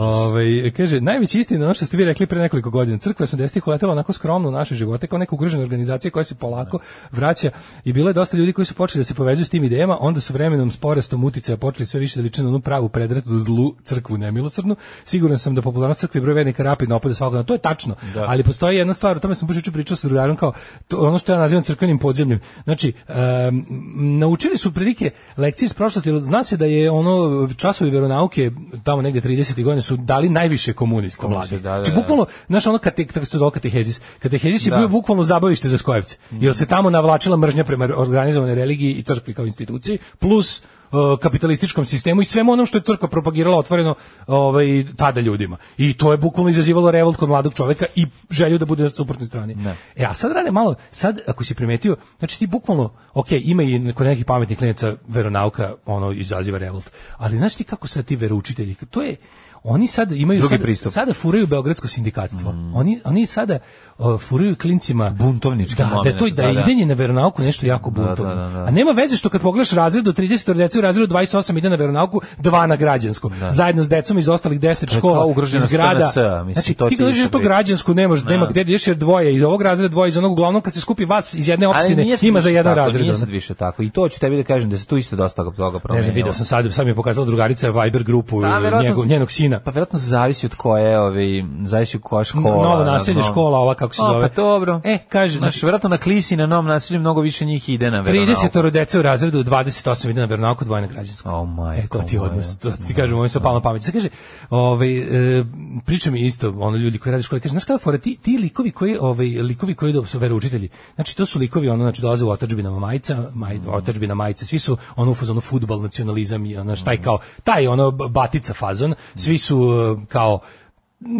E: Ovaj, kaže, najveći istina je ono što ste vi rekli pre nekoliko godina. Crkva 80-ih uletela onako skromno u naše živote kao neka ugrožena organizacija koja se polako vraća i bilo je dosta ljudi koji su počeli da se povezuju s tim idejama, onda su vremenom s porastom uticaja počeli sve više da liče na onu pravu predretnu zlu crkvu nemilosrdnu. Siguran sam da popularnost crkve i broj vernika rapidno opada svakog dana. To je tačno, ali postoji jedna stvar, o tome sam baš juče pričao sa drugarom kao to, ono što ja nazivam crkvenim podzemljem. Znači, em, naučili su prilike lekcije iz prošlosti, jer zna se da je ono časovi veronauke tamo negde 30. godine su dali najviše komunista mladih.
F: da, da,
E: Znači,
F: da.
E: bukvalno, znaš, ono kate, kako se to zvalo, katehezis. Katehezis je
F: Da. Mhm.
E: bio bukvalno zabavište za skojevce, jer se tamo navlačila mržnja prema organizovanoj religiji i crkvi kao instituciji, plus e, kapitalističkom sistemu i svemu onom što je crkva propagirala otvoreno ovaj tada ljudima. I to je bukvalno izazivalo revolt kod mladog čoveka i želju da bude na suprotnoj strani. E a sad rade malo, sad ako si primetio, znači ti bukvalno, ok, ima i neko neki pametni klinaca veronauka ono izaziva revolt. Ali znaš ti kako sad ti veroučitelji, to je oni sad imaju
F: Drugi
E: sada-
F: pristup.
E: sada furaju beogradsko sindikatstvo.
F: Mm.
E: Oni oni sada uh, furaju klincima
F: Buntovnički
E: da, da je to
F: momenat,
E: da, je
F: da, da.
E: idenje na veronauku nešto jako buntovno.
F: da, da, da.
E: A nema veze što kad pogledaš razred do 30 dece u razredu 28 ide na veronauku, dva na građansko. Zajedno s decom iz ostalih 10
F: je
E: škola
F: kao ugroženost
E: iz grada.
F: SNS-a, mislim,
E: znači
F: to
E: ti
F: ti
E: kad dođeš
F: više
E: to
F: priča.
E: građansko nemaš nema
F: Da.
E: gdje ideš jer dvoje iz ovog razreda, dvoje iz onog, uglavnom kad se skupi vas iz jedne
F: Ali
E: opštine
F: nije sad
E: ima
F: više
E: za jedan
F: tako,
E: razred.
F: Nije
E: ono.
F: sad više tako. I to ću tebi da kažem da se tu isto dosta toga promenilo.
E: Ne znam, video sam sad, sad mi je pokazala drugarica Viber grupu
F: Da,
E: e,
F: Pa, verovatno
E: njegov,
F: s-
E: njenog sina.
F: Pa verovatno zavisi od koje, ovaj, zavisi od koja škola.
E: novo naselje,
F: na-
E: škola, ova kako se
F: O,
E: zove.
F: Pa dobro.
E: E, kaže,
F: Znaš, verovatno na klisi i na novom naselju mnogo više njih ide na veronauku.
E: 30 dece u razredu, 28 ide na veronauku, dvoje na građansku.
F: O, majko
E: E, to ti je
F: moja.
E: odnos, to ti kažem, ovo mi se opalo na pamet. Sad kaže, ovaj, e, priča mi isto, ono ljudi koji rade u školi, kaže, znaš kada fora, ti, ti likovi koji, ovaj, likovi koji do- su veroučitelji, znači to su likovi, ono, znači dolaze u otačbinama majica, maj,
F: Mhm.
E: otačbina majice, svi su ono u fazonu futbal, nacionalizam, i, ono, znaš,
F: Mhm.
E: taj kao, taj ono batica fazon, svi su e, kao,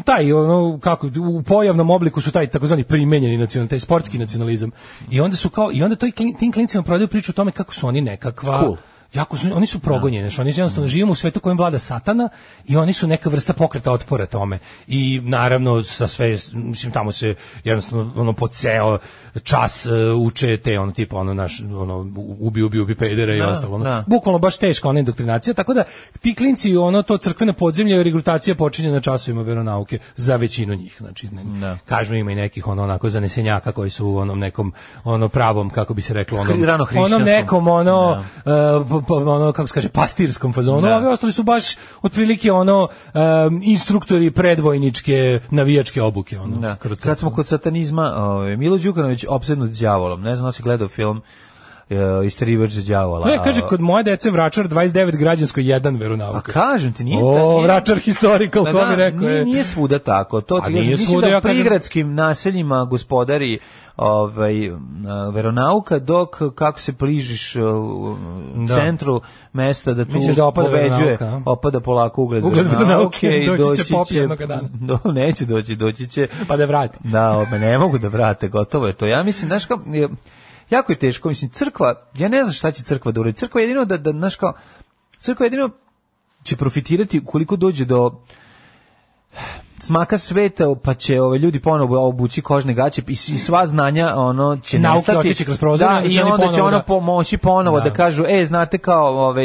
E: taj ono kako u pojavnom obliku su taj takozvani primenjeni nacional taj sportski nacionalizam i onda su kao i onda toj klin, tim klincima prodaju priču o tome kako su oni nekakva
F: Cool.
E: Jako su, oni su progonjeni, znači oni jednostavno živimo u svetu kojem vlada satana i oni su neka vrsta pokreta otpora tome. I naravno sa sve mislim tamo se jednostavno ono po ceo čas e, uče te ono tipa ono naš ono ubi ubi ubi pedere i ostalo. Ono.
F: da.
E: Bukvalno baš teška ona indoktrinacija, tako da ti klinci ono to crkvene podzemlje i regrutacija počinje na časovima veronauke za većinu njih, znači ne, kažu ima i nekih ono onako zanesenjaka koji su u onom nekom ono pravom kako bi se reklo onom,
F: Rano
E: onom
F: hrišćanskom.
E: nekom ono e, p- p- ono kako se kaže pastirskom fazonu,
F: Da.
E: a ovi ostali su baš otprilike ono e, instruktori predvojničke navijačke obuke ono.
F: Da.
E: kroz-
F: Kad smo kod satanizma, ovaj, Milo Đukanović opsednut đavolom. Ne znam da si gledao film e, Isterivač đavola.
E: Ne, E, kaže, kod moje dece vračar 29 građansko 1
F: A
E: veronauke.
F: pa kažem ti, nije... ta-
E: O,
F: nije-
E: vračar historical,
F: Pa
E: ko
F: da,
E: bi rekao
F: nije,
E: je.
F: nije svuda tako. To
E: A
F: ti
E: nije
F: nije
E: svuda,
F: da
E: ja
F: u
E: kažem-
F: prigradskim naseljima gospodari ovaj m, veronauka dok kako se bližiš uh,
E: Da.
F: centru mesta da tu
E: Misliš da opada
F: pobeđuje
E: veronauka, a?
F: opada polako ugled,
E: Ugled veronauke,
F: i
E: doći će pop jednoga dana.
F: do, neće doći doći će
E: Pa da vrati.
F: da ome ne mogu da vrate gotovo je to ja mislim znaš kao je- jako je teško mislim crkva ja ne znam šta će crkva da uradi crkva jedino da da znaš kao crkva jedino će profitirati koliko dođe do smaka sveta, pa će ove ljudi ponovo obući kožne gaće i s- i sva znanja ono će
E: Nauke
F: nestati.
E: otići kroz prozor,
F: da,
E: onda će
F: i
E: oni
F: onda će
E: ponovo
F: ono
E: da-
F: pomoći ponovo da.
E: Da.
F: kažu, e, znate kao ovaj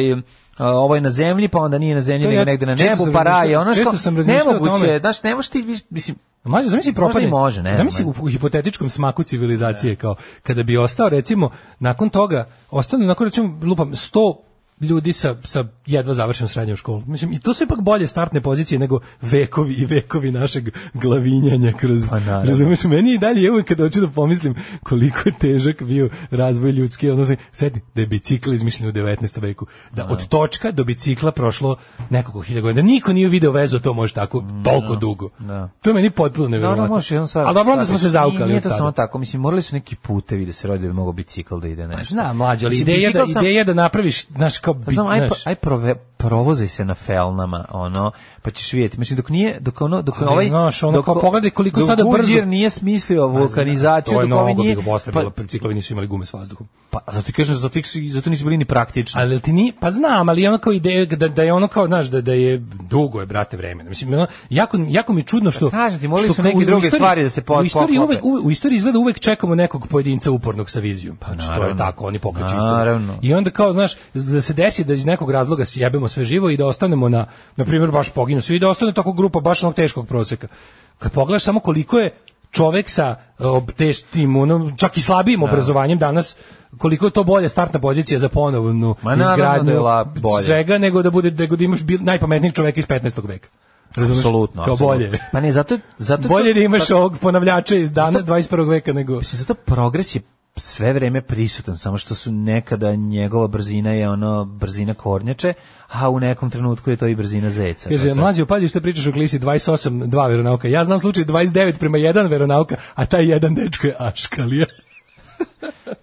F: a, ovo je na zemlji, pa onda nije na zemlji,
E: To
F: nego
E: ja
F: negde na
E: često
F: nebu,
E: sam
F: pa raj, je
E: razmišljao-
F: ono
E: često
F: što
E: sam razmišljao o
F: nemoguće,
E: tome.
F: je, znaš, ne možeš ti, viš- mislim,
E: Mađo, zamisli
F: Možda i
E: propadne.
F: može, ne znam,
E: Zamisli
F: ne.
E: u, u hipotetičkom smaku civilizacije kao kada bi ostao recimo nakon toga ostane nakon recimo lupam 100 ljudi sa, sa jedva završenom srednjom školom. Mislim, i to su ipak bolje startne pozicije nego vekovi i vekovi našeg glavinjanja kroz...
F: Pa naravno.
E: razumeš, meni i dalje je uvijek kad hoću da pomislim koliko je težak bio razvoj ljudski, ono se sedi da je bicikl izmišljen u 19. veku. Da od točka do bicikla prošlo nekoliko hiljada godina. Niko nije video vezu, to može tako toliko dugo.
F: Da.
E: To je meni potpuno ne
F: Dobro, možeš jednom stvar.
E: ali dobro, onda smo
F: shvatiti.
E: se zaukali.
F: Nije to
E: od tada.
F: samo tako, mislim, morali su neki putevi da se rodi da bi mogao bicikl da ide nešto.
E: Znam, Pa mlađe, ali
F: Mislim,
E: ideja da,
F: bicikl sam-
E: ideja da napraviš, znaš, kao, bi,
F: Pa znam, aj,
E: znaš,
F: pro- aj prove, provozaj se na felnama, ono, pa ćeš vidjeti. Mislim, dok nije, dok ono, dok
E: Ali,
F: ovaj...
E: znaš, ono, kao pogledaj koliko
F: dok
E: sada brzo- Pa
F: Goodyear nije smislio vulkanizaciju,
E: to je
F: dok ovaj
E: mnogo bi
F: nije...
E: ga posle
F: pa,
E: bilo, biciklovi nisu imali gume s vazduhom.
F: pa, zato ti kažem, zato, ih su- zato nisu bili ni praktični.
E: Ali ti ni, pa znam, ali ono kao ideja da, da je ono kao, znaš, da, da je dugo je brate vremena. Mislim ono, jako jako mi je čudno što
F: Pa kažem ti, morali
E: što
F: su
E: kao
F: neke
E: u- u
F: druge
E: istoriji-
F: stvari da se po-
E: U istoriji
F: poklope.
E: uvek uvek- u istoriji izgleda uvek čekamo nekog pojedinca upornog sa vizijom. Pa znači, to je
F: naravno.
E: tako, oni pokreću istoriju.
F: Naravno.
E: I onda kao, znaš, da se desi da iz nekog razloga sjebemo sve živo i da ostanemo na na primjer baš poginu svi i da ostane tako grupa baš onog teškog proseka. Kad pogledaš samo koliko je čovek sa e, ob- teš- tim, onom, čak i slabijim obrazovanjem danas koliko je to bolja startna pozicija za ponovnu
F: Ma naravno
E: izgradnju
F: da je la- bolje.
E: svega nego da bude nego da imaš bil, najpametnijeg čoveka iz 15. veka. Razumeš?
F: Apsolutno,
E: Kao
F: apsolutno.
E: bolje.
F: Pa ne, zato, zato
E: bolje
F: to-
E: da imaš ovog ponavljača iz dana 21. veka nego
F: Mislim, zato progres je sve vreme prisutan, samo što su nekada njegova brzina je ono brzina kornjače, a u nekom trenutku je to i brzina zeca. To
E: Kaže,
F: sad-
E: mlađe, pađi šta pričaš o klisi 28, 2 veronauka. Ja znam slučaj 29 prema 1 veronauka, a taj jedan dečko je aškalija.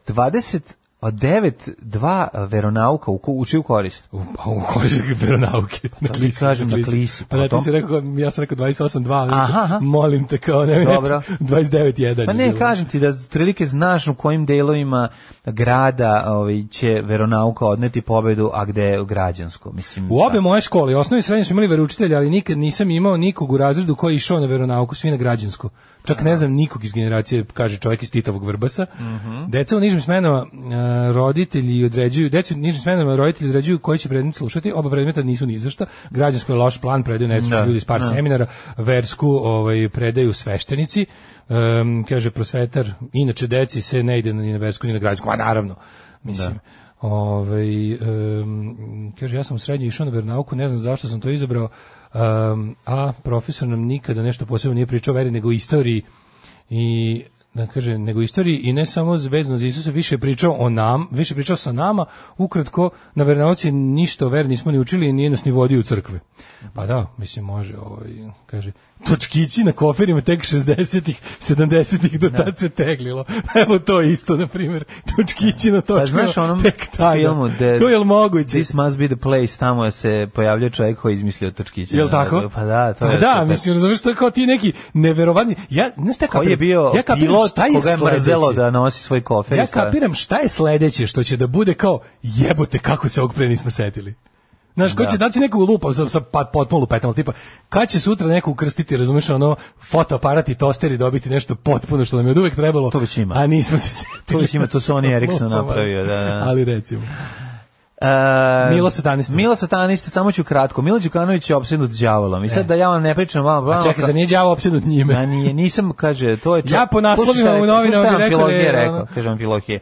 F: 20 od 9, 2 veronauka u, ko- u čiju korist.
E: U, pa u koži veronauke. Na
F: ti
E: klisi,
F: kažem, na klisi,
E: Pa da,
F: potom-
E: ti si rekao, ja sam rekao 28, 2,
F: Aha, aha.
E: molim te kao, ne,
F: Dobro.
E: 29, 1.
F: Pa ne, kažem ti da prilike znaš u kojim delovima grada ovaj, će veronauka odneti pobedu, a gde je građansko. Mislim,
E: U obe
F: tako.
E: moje škole, osnovne i srednje su imali veroučitelja, ali nikad nisam imao nikog u razredu koji je išao na veronauku, svi na građansku. Čak ne znam nikog iz generacije, kaže čovjek iz Titovog Vrbasa.
F: Mhm.
E: Deca u nižim smenama e, roditelji određuju, decu u nižim smenama roditelji određuju koji će predmet slušati, oba predmeta nisu ni za šta. Građansko je loš plan, predaju nestručni
F: Da,
E: ljudi iz par seminara, versku ovaj, predaju sveštenici. Em, kaže prosvetar, inače deci se ne ide ni na versku ni na građansku, a naravno. Mislim, Ovaj, em, kaže, ja sam u srednjoj išao na vernauku, ne znam zašto sam to izabrao, em, a profesor nam nikada nešto posebno nije pričao o veri, nego o istoriji i da kaže, nego o istoriji i ne samo vezano za Isusa, više je pričao o nam, više je pričao sa nama, ukratko na vernauci ništa o veri nismo ni učili i nije nas ni vodio u crkve. Pa da, mislim, može, ovaj, kaže, točkići na koferima tek 60-ih, 70-ih, do tad se teglilo. Evo to isto, na primjer, točkići na to
F: Pa znaš u onom
E: tek tada.
F: filmu da-
E: To je li moguće?
F: This must be the place, tamo je se pojavljao čovjek koji je izmislio točkiće.
E: Jel tako?
F: Pa da, to
E: Pa
F: je.
E: da,
F: to-
E: mislim, razumiješ, to je kao ti neki neverovatni... Ja, znaš šta
F: Koji je
E: kapiram?
F: bio
E: ja kapiram
F: pilot
E: šta je
F: koga je mrzelo
E: sledeće.
F: da nosi svoj kofer. i
E: Ja
F: stavlja-
E: kapiram šta je sledeće što će da bude kao jebote kako se ovog pre nismo setili. Znaš, ko će da će nekog lupa sa, sa pa, potpuno lupetom, ali tipa, kad će sutra neko ukrstiti, razumiješ, ono, fotoaparat i tosteri dobiti nešto potpuno što nam je od uvek trebalo,
F: To već ima.
E: a nismo se setili.
F: To već ima, to Sony Ericsson
E: Lupama.
F: napravio, da, da.
E: Ali recimo.
F: E,
E: Milo satanista.
F: Milo satanista, samo ću kratko. Milo Đukanović je opsjednut đavolom. I sad da ja vam ne pričam vama, vama.
E: E. A čekaj, zar nije đavo opsednut njime?
F: Ma nije, nisam, kaže, to je
E: Ja po naslovima
F: Slušaj šta je
E: u
F: rekao,
E: novinama
F: slušaj šta
E: bi rekao da
F: je Amfilohije
E: je,
F: rekao,
E: ono-
F: kaže Amfilohije,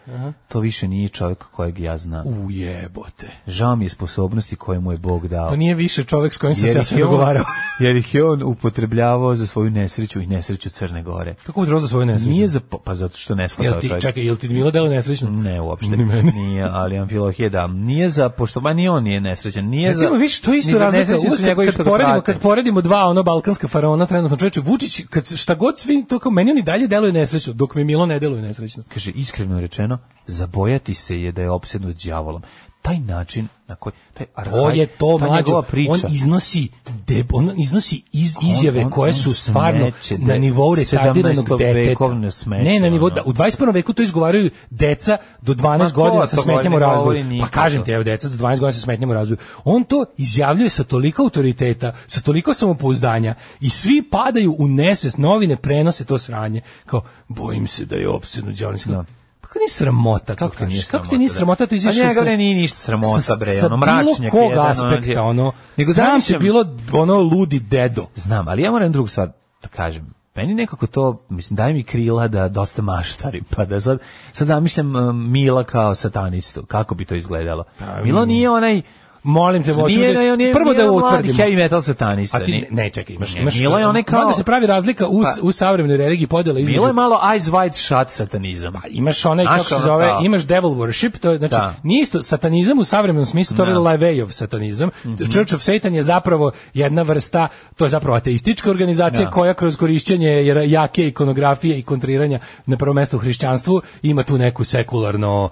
F: to više nije čovjek kojeg ja znam.
E: U jebote.
F: Žao mi je sposobnosti koje mu je Bog dao.
E: To nije više čovek s kojim sam
F: Jer
E: se ja
F: ih
E: sve
F: je on-
E: dogovarao.
F: Jer ih je on upotrebljavao za svoju nesreću i nesreću Crne Gore.
E: Kako udroza svoju nesreću?
F: Nije za... po- Pa zato što ne shvata
E: Jel ti,
F: čovjek.
E: čekaj, jel ti Milo delo nesrećno?
F: Ne, uopšte.
E: Ni meni.
F: Nije, ali Amfilohije da. Nije za, pošto, ba ni on nije nesrećan. Nije
E: Recimo,
F: za,
E: viš, to je
F: ni
E: isto
F: za
E: razlika.
F: nesreću
E: Uvek
F: su
E: kad,
F: njegovi
E: kad,
F: što ga
E: poredimo,
F: prate.
E: kad poredimo dva ono balkanska faraona trenutno čoveče, Vučić, kad, šta god svi to kao, meni oni dalje deluje nesrećno, dok mi Milo ne deluje nesrećno.
F: Kaže, iskreno rečeno, zabojati se je da je opsednut đavolom. Taj način na koji... Taj
E: On
F: arhaj-
E: je to
F: ta
E: mlađo,
F: njegova priča.
E: on iznosi de, on iznosi iz,
F: On-
E: izjave
F: on-
E: koje
F: on
E: su stvarno
F: smeće,
E: na
F: de-
E: nivou retardiranog
F: 17.
E: deteta.
F: vekovno smeće,
E: Ne, na nivou
F: ono.
E: da, u 21. veku to izgovaraju deca do 12
F: Ma ko
E: godina sa
F: to
E: smetnjama u
F: govori,
E: razvoju.
F: govori
E: Pa
F: niko
E: kažem
F: to.
E: ti, evo deca do 12 godina sa smetnjama u razvoju. On to izjavljuje sa toliko autoriteta, sa toliko samopouzdanja i svi padaju u nesvest, novine prenose to sranje. Kao bojim se da je opsednut đavolim.
F: Da.
E: Pa kako nije sramota? Kako,
F: Kako ti Pa nije
E: Kako ti nije sramota? To
F: A
E: izašao
F: njega
E: sa-
F: ne nije ništa sramota,
E: sa-
F: bre,
E: sa
F: ono, mračnjak
E: bilo kog
F: jedan, ono,
E: aspekta,
F: ti-
E: ono,
F: Nego
E: znam se
F: zamišljam-
E: bilo ono ludi dedo.
F: Znam, ali ja moram drugu stvar da kažem. Meni nekako to, mislim, daj mi krila da dosta maštari, pa da sad, sad zamišljam um, Mila kao satanistu, kako bi to izgledalo.
E: Pa,
F: Milo nije onaj,
E: Molim te, hoćemo
F: Znači, nije,
E: mm. da-
F: onaj- on je,
E: prvo
F: nije
E: da
F: onaj mladi
E: utvrdimo.
F: heavy metal satanista.
E: A ti ne,
F: nije.
E: ne čekaj, imaš,
F: Ne,
E: imaš.
F: Milo je onaj kao-
E: mada se pravi razlika u,
F: Pa-
E: u savremenoj religiji podela između
F: Milo je malo eyes wide shut satanizam.
E: imaš onaj
F: Znaš,
E: kako se
F: ono
E: zove,
F: kao-
E: imaš devil worship, to je znači
F: Da.
E: nije isto satanizam u savremenom smislu, to je
F: Da. Mhm.
E: Lavejov satanizam. Church of Satan je zapravo jedna vrsta, to je zapravo ateistička organizacija
F: Da.
E: koja kroz korišćenje jer- jake ikonografije i kontriranja na prvo mesto u hrišćanstvu ima tu neku sekularno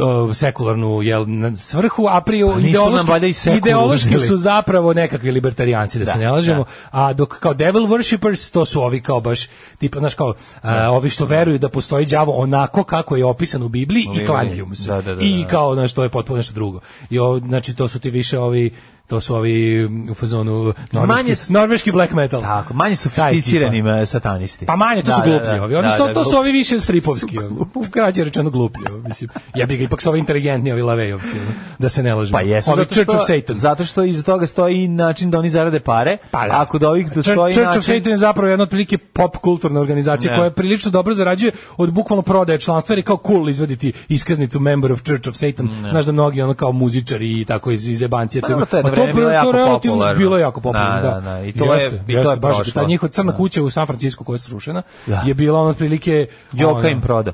E: o, sekularnu jel, na- svrhu, a prije
F: Pa nisu nam
E: ideološki,
F: valjda i sekularnu
E: ideološki
F: uzeli.
E: su zapravo nekakvi libertarijanci, da, se ne lažemo, a dok kao devil worshippers, to su ovi kao baš, tipa, znaš kao, a, ovi što veruju da postoji đavo onako kako je opisan u Bibliji
F: U
E: i
F: Bibliji.
E: klanjaju mu se.
F: Da, da, da,
E: I
F: da.
E: kao, znaš, to je potpuno nešto drugo. I o, znači, to su ti više ovi to su ovi mm, u fazonu norveški,
F: Manje s-
E: norveški black metal.
F: Tako, manje
E: Taj tipa.
F: sofisticirani e, satanisti.
E: Pa manje, to su gluplji ovi. Oni su, to su
F: gluplji.
E: ovi više stripovski. ovi. Krađe rečeno gluplji. ovi, Mislim, ja bih ga ipak su ovi inteligentni, ovi lavejovci. ono, Da se ne lažemo.
F: Pa jesu,
E: ovi
F: zato
E: Church
F: što,
E: of Satan.
F: zato što iza toga stoji i način da oni zarade pare,
E: Pa da.
F: a kod ovih da
E: Church,
F: stoji
E: Church
F: način...
E: of Satan je zapravo jedna otprilike pop kulturna organizacija
F: Ne.
E: koja prilično dobro zarađuje od bukvalno prodaje članstva jer je kao cool izvaditi iskaznicu member of Church of Satan. Znaš da mnogi ono kao muzičari i tako iz, iz jebancije.
F: Pa dobro, to je
E: Ma
F: na vreme bilo
E: to
F: jako
E: relativno
F: popularno.
E: Bilo je jako popularno, da.
F: Da, da, da, i to je- i to je
E: baš
F: prošlo.
E: Ta njihova crna
F: Da.
E: kuća u San Francisco koja je srušena
F: Da.
E: je bila ono otprilike...
F: Joka
E: ono,
F: im proda.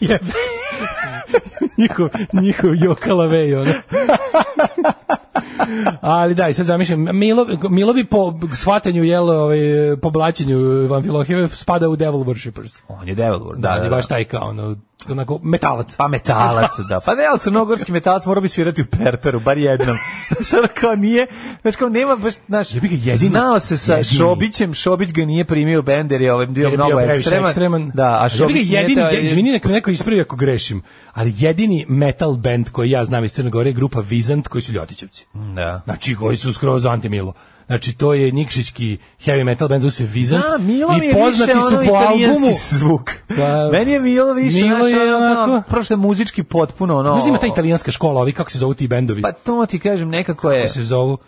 E: je njihov, njihov Joka Lavej, ono. Ali da, i sad zamišljam, Milo, Milo bi po shvatanju, jel, ovaj, po blaćenju Van Filohijeve spada u Devil Worshippers.
F: On je devil world.
E: Da, da, baš taj kao, ono, onako, metalac.
F: Pa metalac, da. Pa ne, ali crnogorski metalac mora bi svirati u perperu, bar jednom. Znaš, ono kao nije, znaš, kao nema baš, znaš,
E: Jebi ga, jedini-
F: znao se sa
E: jedini.
F: Šobićem, Šobić ga nije primio Bender je ovim bio
E: jer je bio
F: mnogo
E: previše
F: ekstreman.
E: ekstreman.
F: Da, a
E: Ali jebi ga,
F: Šobić nije
E: jedini,
F: dao-
E: je- izvini neka me neko ispravi ako grešim, ali jedini metal band koji ja znam iz Crne Gore je grupa Vizant koji su Ljotićevci.
F: Da.
E: Znači, koji su skroz anti-Milo. Znači, to je Nikšićki heavy metal band, zove se Vizant.
F: Da, Milo mi
E: I
F: je
E: poznati
F: više
E: su
F: ono
E: po
F: italijanski
E: albumu.
F: zvuk.
E: Da.
F: Meni je Pa, Milo više,
E: Milo
F: znaš,
E: je
F: ono,
E: onako-
F: prošto je muzički potpuno, ono...
E: Znaš da ima ta italijanska škola, ovi kako se zovu ti bendovi?
F: Pa to ti kažem, nekako je...
E: Kako se zovu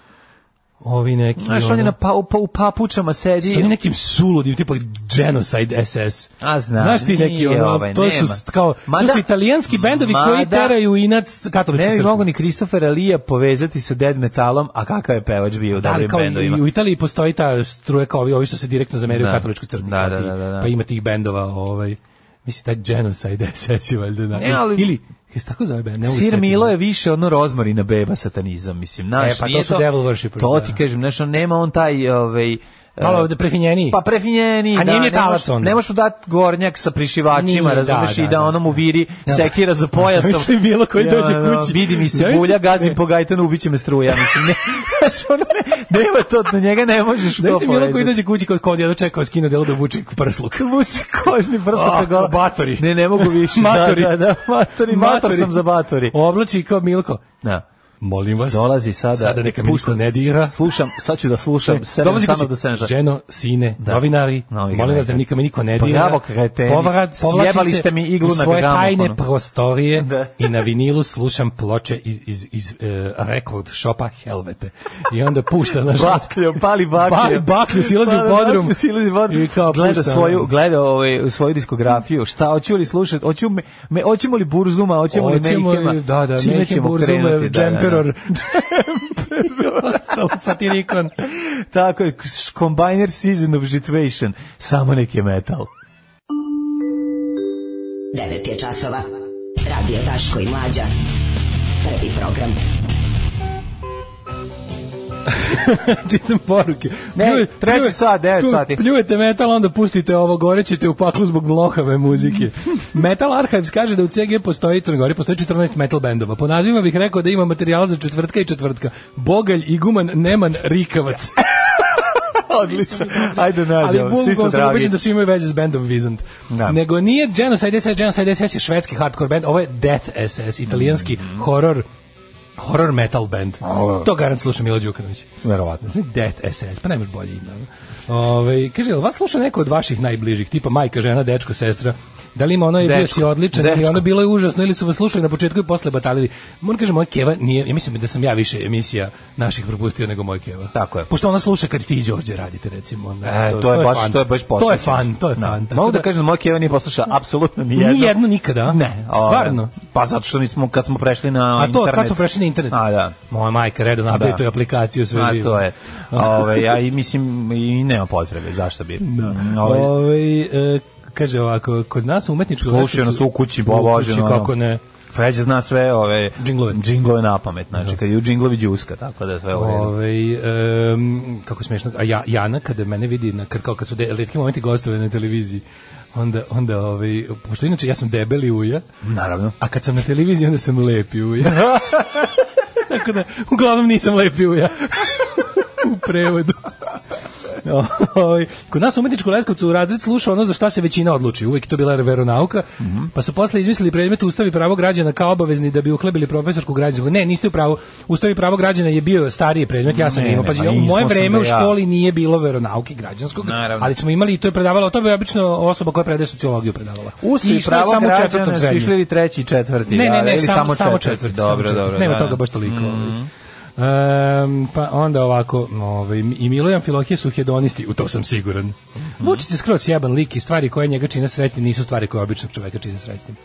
E: ovi neki... ono-
F: Znaš, on je na pa, u, pa- u papučama
E: sa onim
F: sedi.
E: nekim suludim, tipa Genocide SS.
F: A, znam,
E: Znaš ti neki,
F: nije
E: ono,
F: ovaj,
E: to su
F: nema.
E: st- kao,
F: Mada-
E: to su italijanski bendovi koji
F: Mada-
E: teraju inac katoličku
F: Ne bi
E: crkvu.
F: mogu ni Christopher Alija povezati sa dead metalom, a kakav je pevač bio u
E: Da, ali
F: dobrim
E: kao
F: bendovima.
E: i u Italiji postoji ta struja kao ovi, ovi što se direktno zameraju
F: Da.
E: katoličkoj crkvi.
F: Da,
E: kao
F: da,
E: ti,
F: da, da, da.
E: Pa ima tih bendova, ovaj, mislim, taj Genocide SS je valjda. Da.
F: Ne, ali-
E: Ili, kaj se tako zove bend? Ne mogu
F: Sir
E: se
F: Milo
E: setiti.
F: je više ono rozmarina beba satanizam, mislim. Naš,
E: E, pa to su devil worshippers,
F: To
E: da.
F: ti kažem, znaš, on nema on taj... Ovaj,
E: E, Malo
F: eh,
E: da prefinjeniji.
F: Pa prefinjeni,
E: A nije
F: da,
E: ni
F: ne možeš-
E: talac onda.
F: Ne možeš mu dati gornjak sa prišivačima,
E: Nije,
F: razumeš,
E: da,
F: i
E: da,
F: da
E: da.
F: ono mu viri
E: Ja.
F: sekira za pojasom.
E: Zamisli Milo koji
F: Ja,
E: dođe
F: ono,
E: kući. E.
F: Vidi mi se
E: Zamisli-
F: bulja, gazim
E: Ne.
F: po gajtanu, ubiće me struja. Mislim, ne, znaš, ono, ne, nema to, na njega ne možeš to
E: Znaš si Milo koji
F: povezati.
E: dođe kući kod kodja da čeka skino delo da vuče prsluk.
F: Vuci kožni prstak
E: Ah,
F: na gola.
E: batori.
F: Ne, ne mogu više.
E: Matori.
F: Da, da, da, matori, mator sam za batori.
E: Oblači kao Milko.
F: Da.
E: Molim vas.
F: Dolazi sada.
E: Sada neka mi niko
F: puštam-
E: ne dira.
F: Slušam, sad ću da slušam.
E: E,
F: Sedam
E: Dolazi
F: sana
E: kući.
F: do senža.
E: Ženo, sine,
F: Da.
E: novinari,
F: Novinari.
E: molim vas da niko me niko ne
F: Pa
E: dira.
F: bravo, kreteni.
E: Povrad- povlačim
F: Sjebali
E: se
F: ste mi iglu
E: u
F: na
E: svoje
F: gramofonu.
E: tajne prostorije
F: Da.
E: i na vinilu slušam ploče iz, iz, iz e, rekord šopa Helvete. I onda pušta na
F: Baklju, pali baklju.
E: Pali baklju, silazi
F: Pali
E: u podrum.
F: baklju, silazi u podrum.
E: I kao
F: gleda
E: pušta,
F: svoju,
E: ono.
F: gleda ovaj, svoju diskografiju. Šta, hoću li slušati? Hoću me, me, hoćemo li Burzuma, hoćemo li
E: Hoćemo
F: Mehema?
E: li, da, da,
F: Čime
E: Mehim
F: ćemo
E: Burzume,
F: krenuti? Da, da, da.
E: Džemperor, Džemperor, ostalo satirikon.
F: Tako je, s- Combiner Season of Situation. Samo neki metal.
D: 9 je časova. Radio Daško i Mlađa. Prvi program.
E: Čitam poruke.
F: Ne, treći sat, devet
E: tu-
F: sati.
E: Pljujete metal, onda pustite ovo, gorećete u paklu zbog mlohave muzike. metal Archives kaže da u CG postoji, Crnoj Gori postoji 14 metal bendova. Po nazivima bih rekao da ima materijala za četvrtka i četvrtka. Bogalj, Iguman, Neman, Rikavac.
F: Odlično. Ajde nađemo,
E: Ali
F: svi su
E: bukvalno sam
F: dragi.
E: ubeđen da svi imaju veze s bandom Vizant.
F: Da.
E: Nego nije Genocide SS, Genocide SS je švedski hardcore band, ovo je Death SS, italijanski
F: Mhm.
E: horror horror metal band. To garant sluša Milo Đukanović.
F: Verovatno.
E: Death SS, pa nemaš bolje ime. ono. Ove, kaže, jel vas sluša neko od vaših najbližih, tipa majka, žena, dečko, sestra? Da li ima ono je bio
F: Dečko,
E: si odličan ili
F: dečko.
E: ono bilo je užasno ili su vas slušali na početku i posle batalili? Moram kažem, moja keva nije, ja mislim da sam ja više emisija naših propustio nego moja keva.
F: Tako je.
E: Pošto ona sluša kad ti i Đorđe radite, recimo. Ona,
F: E, to, je baš,
E: fan.
F: to je baš
E: To je
F: posvećenost.
E: fan, to je
F: Da.
E: fan. tako
F: Mogu da kažem da moj Keva nije poslušao apsolutno ni jedno.
E: Ni jedno nikada, a?
F: Ne, a,
E: Stvarno.
F: Pa zato što nismo kad smo prešli na
E: A to
F: internet.
E: kad smo prešli na internet.
F: A da.
E: Moja majka redovno
F: Da.
E: update da. aplikaciju sve
F: A
E: živo.
F: to je. Ove, ja i mislim i nema potrebe, zašto bi. Da. Ove,
E: Ovaj, e, kaže ovako, kod nas u umetničkom
F: Slušaju nas u kući,
E: U kući,
F: poboženo, ono.
E: kako ne.
F: Feđa zna sve ove
E: Džinglove.
F: džinglove na pamet, znači kad je u džinglovi đuska, tako da sve u redu.
E: Ovaj em, kako smešno, a ja, Jana kada mene vidi na kr- kao kad su de, retki momenti gostove na televiziji, onda onda ovaj pošto inače ja sam debeli uja,
F: Naravno.
E: a kad sam na televiziji onda sam lepi uja. Tako da uglavnom nisam lepi uja. u prevodu. Ovaj, Kod nas u umetničku Leskovcu razred sluša ono za šta se većina odluči. Uvijek je to bila veronauka.
F: Mhm.
E: Pa su posle izmislili predmet Ustavi pravo građana kao obavezni da bi uhlebili profesorsku građansku. Ne, niste u pravu. Ustavi pravo građana je bio stariji predmet. Ja sam ga
F: Ne,
E: imao.
F: ne,
E: Pazi,
F: pa
E: u
F: nismo
E: moje
F: sam
E: vreme
F: ga
E: u
F: ja.
E: školi nije bilo veronauke građanskog,
F: Naravno.
E: ali smo imali i to je predavalo. To bi obično osoba koja predaje sociologiju predavala. I
F: Usti
E: išlo je
F: pravo
E: samo u četvrtom
F: građana su
E: srednjem.
F: išli ili treći, i četvrti.
E: Ne, ne,
F: da,
E: ne,
F: ili
E: samo, samo, četvrti.
F: četvrti.
E: samo
F: Dobro,
E: četvrti.
F: dobro.
E: Nema
F: da, Mm.
E: toga
F: da.
E: baš toliko. Ehm, pa onda ovako, ovaj, i Milojan Filohije su hedonisti, u to sam siguran.
F: Mm.
E: Vučić je skroz jeban lik i stvari koje njega čine srećnim nisu stvari koje običnog čoveka čine srećnim.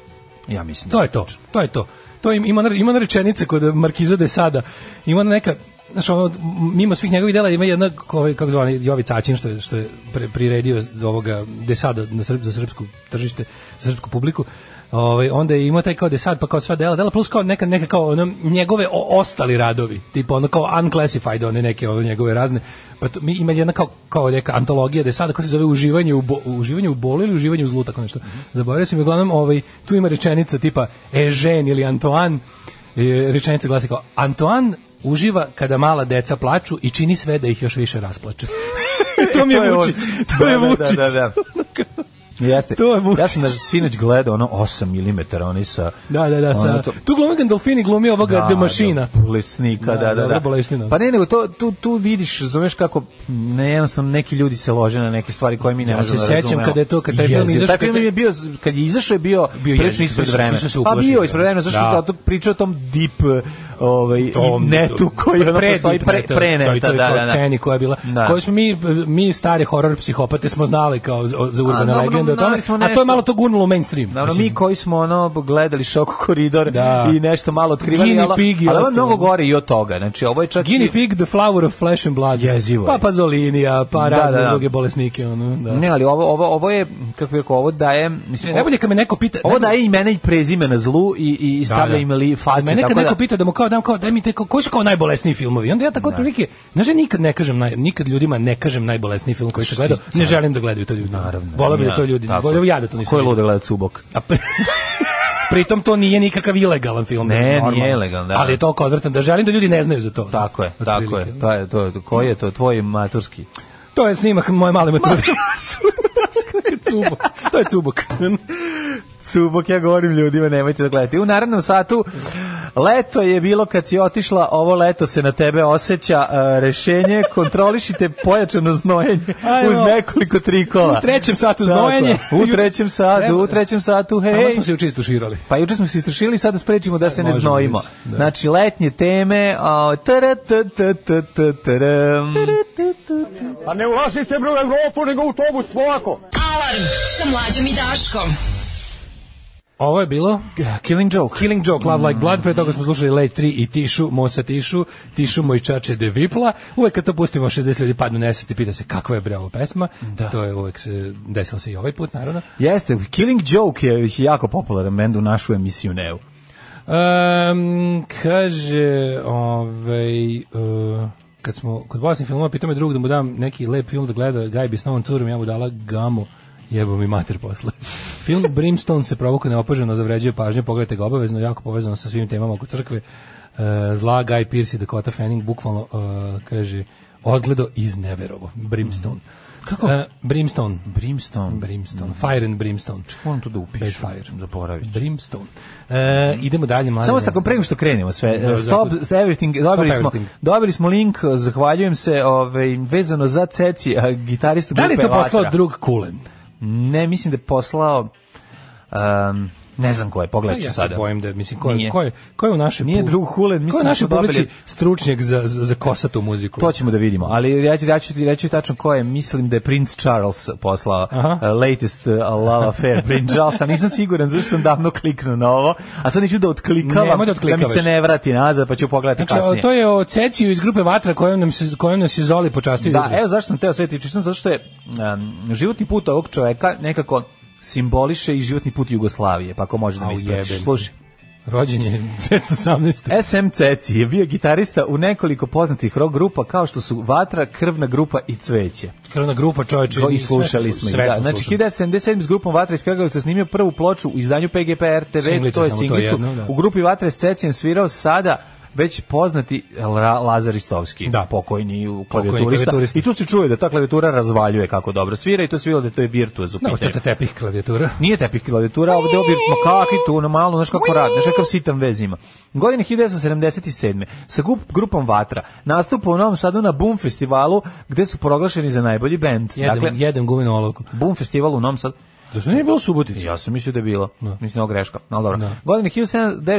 F: Ja mislim.
E: To je to, to je to. To im, ima, ona- ima ona rečenica kod Markiza de Sada, ima ona neka, znaš, ono, mimo svih njegovih dela ima jedna, ovaj, kako zove, onaj Jovi Cacin, što je, što je pre- priredio ovoga de Sada na srp, za srpsku tržište, za srpsku publiku, Ovaj onda je imao taj kao de sad pa kao sva dela, dela plus kao neka neka kao ono, njegove o- ostali radovi, tipa ono kao unclassified one neke ono njegove razne. Pa to, mi ima jedna kao kao neka antologija da sada koja se zove uživanje u bo, uživanje u bolu ili uživanje u zlu tako nešto. Zaboravio sam i uglavnom ovaj tu ima rečenica tipa Eugene ili Antoine e, rečenica glasi kao Antoine uživa kada mala deca plaču i čini sve da ih još više rasplače. to mi je,
F: To je on.
E: Vučić. To je
F: Da, da, da,
E: Vučić.
F: da, da. Jeste.
E: To je Vučić.
F: Ja sam da sinoć gledao ono 8 mm, oni sa...
E: Da, da, da, sa,
F: Ono to-
E: tu glumi Gandolfini glumi ovoga da, mašina.
F: Da, bolesnika,
E: Da,
F: da, da.
E: dobro,
F: da.
E: bolesnina.
F: Pa ne, nego to, tu, tu vidiš, zoveš kako, ne, jednostavno, neki ljudi se lože na neke stvari koje mi ne
E: Ja se
F: možemo da
E: sećam
F: razumemo.
E: kada je to- kad taj film
F: Jezivo.
E: izašao,
F: Taj
E: kad
F: film
E: je-
F: je bio, kad je izašao je bio,
E: Bio
F: bio
E: jezivo,
F: prilično ispred
E: svi su-
F: vremena.
E: svi su se
F: Pa
E: uplašili,
F: bio ispred
E: da.
F: vremena, zašto
E: Da.
F: da. to pričao o tom deep, eh, ovaj,
E: tom
F: i netu koji ono
E: pre
F: postoji,
E: Deep
F: pre,
E: Netu,
F: pre
E: to je- to
F: neta,
E: je
F: da,
E: kao
F: da, da.
E: sceni koja je bila,
F: Da.
E: koju smo mi, mi stari horor psihopate smo znali kao za, za urbane
F: dobro,
E: legende o tome,
F: znali smo
E: a to je
F: nešto.
E: malo to gurnulo u mainstream.
F: Naravno,
E: Mislim,
F: mi koji smo ono gledali šok koridor
E: Da.
F: i nešto malo otkrivali,
E: Guinea
F: ali,
E: pig i
F: ali ovo je
E: ostalo.
F: mnogo gore i od toga. Znači, ovo je čak... i-
E: Guinea pig, the flower of flesh and blood.
F: Jezivo je.
E: Pa pazolinija, pa
F: Da,
E: razne
F: da, da.
E: druge bolesnike. Ono, da.
F: Ne, ali ovo, ovo, ovo je, kako bih rekao, ovo daje... Mislim,
E: E, najbolje kad me neko pita...
F: Ovo
E: najbolje-
F: daje imena i prezime na zlu i, i stavlja im li face.
E: Mene kad
F: tako
E: neko
F: da,
E: pita da mu kao dam kao daj mi te kao, koji su kao najbolesniji filmovi. Onda ja tako otprilike, znaš ja nikad ne kažem naj, nikad ljudima ne kažem najbolesniji film koji sam gledao. Ne želim da gledaju to ljudi. Naravno. Voleo bih da to ljudi,
F: Tako.
E: voleo bih ja da to nisam.
F: Ko je
E: vidio.
F: ludo gleda Cubok?
E: A pri... pritom to nije nikakav ilegalan film.
F: Ne, nije
E: normalno.
F: ilegalan, da.
E: Ali je toliko odvratan da želim da ljudi ne znaju za to.
F: Tako je, tako
E: Otprilike.
F: je. To je to, ko je to tvoj maturski?
E: To je snimak moje male mature. Cubok. To je cubok.
F: Cubok, ja govorim ljudima, nemojte da gledate. U narednom satu, leto je bilo kad si otišla, ovo leto se na tebe osjeća e, rešenje, kontrolišite pojačano znojenje
E: Ajmo.
F: uz nekoliko trikova.
E: U trećem satu
F: Tako,
E: znojenje.
F: U trećem satu,
E: Treba-
F: u trećem satu,
E: Tamo
F: hej.
E: smo se učistuširali.
F: Pa juče smo se istrašili, sada sprečimo da se ne
E: možemo
F: znojimo.
E: ići, da.
F: Znači, letnje teme, a, tara, ta, ta, ta, ta, taram.
C: Pa ne ulazite bre u Evropu, nego u autobus, polako.
D: Alarm sa mlađom i Daškom.
E: Ovo je bilo
F: Killing joke.
E: Killing Joke, Love Like Blood, pre toga smo slušali Late 3 i Tišu, Mosa Tišu, Tišu moj čače de Vipla. Uvek kad to pustimo, 60 ljudi padnu nesvest i pita se kakva je bre ovo pesma. To je uvek se, desilo se i ovaj put, naravno.
F: Jeste, Killing Joke je jako popularan bend u našu emisiju Neu.
E: Um, kaže, ovaj, uh, kad smo kod bolesnih filmova, pitao me drug da mu dam neki lep film da gleda, gaj bi s novom curom, ja mu dala gamu, jebo mi mater posle. film Brimstone se provoka neopaženo zavređuje pažnju, pogledajte ga obavezno, jako povezano sa svim temama oko crkve. Uh, zla, Guy Pearce i Dakota Fanning, bukvalno, uh, kaže, odgledo iz Neverovo, Brimstone. Kako? Brimstone.
F: Brimstone.
E: E, Brimstone. Fire and Brimstone.
F: Moram to da upišem.
E: Backfire.
F: Zaboravit ću.
E: Brimstone. E, idemo dalje, mlađe.
F: Samo sa prema što krenemo sve.
E: Da,
F: e, Stop
E: zato-
F: everything. Dobili smo
E: everything.
F: dobili smo link, e, zahvaljujem se, ovaj vezano za Ceci, a, gitaristu
E: Da li je
F: grupe
E: to poslao
F: Vatra.
E: drug Kulen?
F: Ne, mislim da je poslao um, ne znam ko je, pogledat ću
E: Ja se
F: sada.
E: bojim da, mislim, ko je,
F: Nije.
E: ko je, ko je u našoj
F: Nije
E: publici-
F: drug Kulen,
E: ko je
F: mislim
E: u
F: da
E: našoj
F: su dobili-
E: publici stručnjak za, za, za kosatu muziku?
F: To ćemo da vidimo, ali ja ću, ja ću ti reći tačno ko je, mislim da je Prince Charles poslao
E: Aha.
F: uh, latest uh, love affair Prince Charles, a nisam siguran zašto sam davno kliknuo na ovo, a sad neću da
E: Nemoj
F: otklikavam,
E: da
F: da mi
E: otklikavaš.
F: se ne vrati nazad, pa ću pogledati
E: Znači, o,
F: kasnije.
E: to je o Ceciju iz grupe Vatra kojom, nam se, kojom nas je Zoli počastio.
F: Da,
E: jutros.
F: evo zašto sam teo sve tiče, zato što je um, životni put ovog čoveka nekako simboliše i životni put Jugoslavije, pa ako može da
E: Au,
F: mi ispratiš.
E: jebem.
F: Slušaj.
E: Rođen je 1918.
F: SM Ceci je bio gitarista u nekoliko poznatih rock grupa kao što su Vatra, Krvna grupa i Cveće.
E: Krvna grupa čoveče.
F: Ko- I slušali smo ih.
E: Sve
F: Da.
E: smo
F: Znači,
E: slušali.
F: 1977 s grupom Vatra iz Kragovica snimio prvu ploču u izdanju PGP RTV,
E: Singlicu,
F: to je
E: samo to
F: singlicu.
E: jedno, da.
F: U grupi Vatra s Cecijem svirao sada već poznati Ra- Lazar Istovski,
E: Da.
F: pokojni u
E: Pokojni
F: klavijaturista.
E: klavijaturista.
F: I tu se čuje da ta klavijatura razvaljuje kako dobro svira i to se vidjelo da to je virtuoz u
E: Da, to
F: pitanju.
E: je tepih klavijatura.
F: Nije tepih klavijatura, ovde je obir makaki tu na malo, znaš kako radi, znaš kakav sitan vez ima. Godine 1977. sa grup- grupom Vatra nastupa u Novom Sadu na Boom festivalu gde su proglašeni za najbolji bend.
E: Jedem,
F: Dakle,
E: jedem gumenu olovku.
F: Boom festival u Novom Sadu.
E: Zašto nije bilo Subotica?
F: Ja sam mislio da je bilo.
E: Da.
F: Mislim, ovo greška. No, dobro.
E: Da.
F: Godine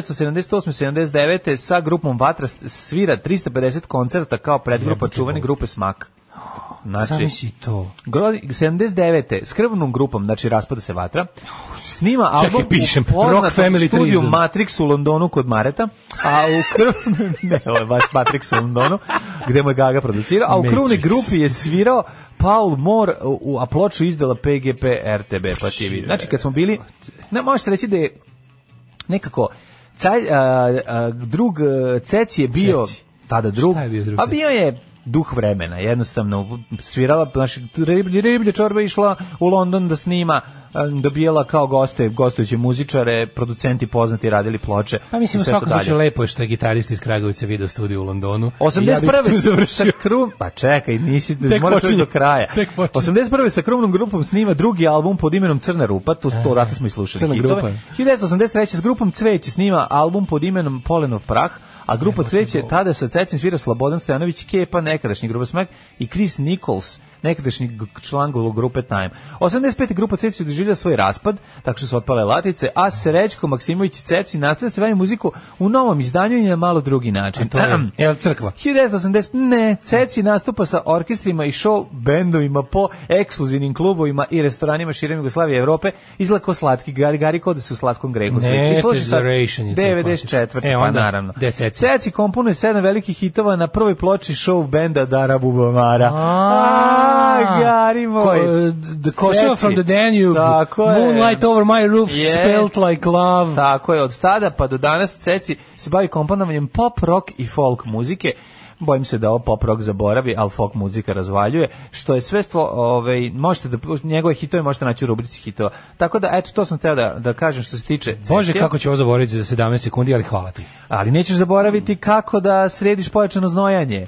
F: 1978. 79. sa grupom Vatra s- svira 350 koncerta kao predgrupa
E: Jebote,
F: čuvene
E: Bog.
F: grupe Smak. znači-
E: Sami si to.
F: Gro- 79. s krvnom grupom, znači raspada se vatra, snima
E: Čekaj,
F: album
E: pišem,
F: u poznatom
E: Rock Family
F: studiju
E: Treason.
F: Matrix u Londonu kod Mareta, a u krvnom, ne, ovo je baš Matrix u Londonu, gde mu je Gaga producirao, a u krvnoj
E: Matrix.
F: grupi je svirao Paul Moore, u, a ploču izdala PGP RTB, pa ti vidi. Znači, kad smo bili, ne, možeš reći da je nekako, caj, a, a, drug a, Ceci je bio,
E: Ceci.
F: tada drug,
E: Šta je bio drug
F: a
E: Ceci?
F: bio je duh vremena, jednostavno svirala, znači riblje, riblje čorba je išla u London da snima, em, dobijala kao goste, gostujuće muzičare, producenti poznati radili ploče.
E: Pa mislim,
F: i
E: u
F: sve to
E: svakom slučaju
F: dalje.
E: lepo je što je gitarist iz Kragovica video studiju u Londonu. I ja bih
F: 81.
E: tu
F: sa
E: završio.
F: krum, pa čekaj, nisi
E: Tek
F: moraš čuti
E: počinje.
F: do kraja.
E: Tek počinje.
F: 81. sa krumnom grupom snima drugi album pod imenom Crna rupa, to to odatle smo i slušali
E: E, Crna
F: hitove.
E: grupa.
F: 1983. s grupom Cveće snima album pod imenom Polenov prah, a grupa Cveće tada sa Cecim svira Slobodan Stojanović, Kepa, nekadašnji grupa Smak i Chris Nichols, nekadašnji g- član grupe Time. 85. grupa Ceci doživlja svoj raspad, tako što su otpale latice, a Srećko Maksimović Ceci nastavlja se bavi muziku u novom izdanju i na malo drugi način.
E: To je, jel crkva?
F: 1980, ne, Ceci nastupa sa orkestrima i show bendovima po ekskluzivnim klubovima i restoranima širom Jugoslavije i Evrope, izgleda ko slatki gari, gari kod da se u slatkom grehu slika.
E: Ne,
F: I slušaj sad,
E: Tesoration je to
F: 94.
E: E,
F: pa
E: onda,
F: naravno.
E: gde je Ceci?
F: Ceci komponuje sedam velikih hitova na prvoj ploči show benda Dara Bubamara. A, gari moj.
E: Ko- The Kosova
F: Ceci.
E: from the Danube.
F: Tako je.
E: Moonlight over my roof,
F: Je.
E: spelt like love.
F: Tako je, od tada pa do danas Ceci se bavi komponovanjem pop, rock i folk muzike. Bojim se da ovo pop rock zaboravi, ali folk muzika razvaljuje, što je sve stvo, ovaj, možete da, njegove hitove možete naći u rubrici hitova. Tako da, eto, to sam teo da, da kažem što se tiče Cecija.
E: Bože, kako ću ovo zaboraviti za 17 sekundi, ali hvala ti.
F: Ali nećeš zaboraviti kako da središ pojačano znojanje.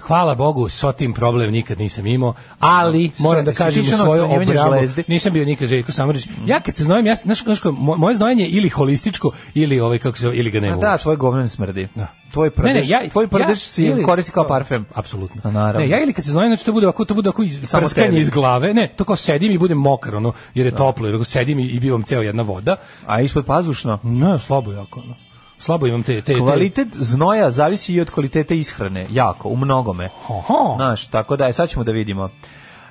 E: Hvala Bogu, so tim problem nikad nisam imao, ali moram da
F: jesi
E: kažem
F: ti
E: u
F: išao na
E: svoju
F: ostranjivanje
E: obravu,
F: žlezdi?
E: nisam bio nikad Željko Samarić. Ja kad se znojim, ja, znaš, znaš, ko, mo- moje znojanje je ili holističko, ili, ovaj, kako se, zove, ili ga
F: A
E: nema.
F: Pa da, tvoj govnen smrdi.
E: Da.
F: Tvoj prdež, tvoj prdež si
E: ili-
F: koristi kao parfem.
E: Apsolutno.
F: A, naravno.
E: Ne, ja ili kad se znojim, znači to bude ovako, to bude ovako iz,
F: Samo
E: prskanje
F: tebi.
E: iz glave, ne, to kao sedim i budem mokar, ono, jer je toplo, jer ako sedim i, i bivam ceo jedna voda.
F: A ispod pazušno?
E: Ne, slabo jako, ono. Slabo imam te... te, te
F: Kvalitet znoja zavisi i od kvalitete ishrane, jako, u mnogome.
E: Oho.
F: Znaš, tako da, e, sad ćemo da vidimo.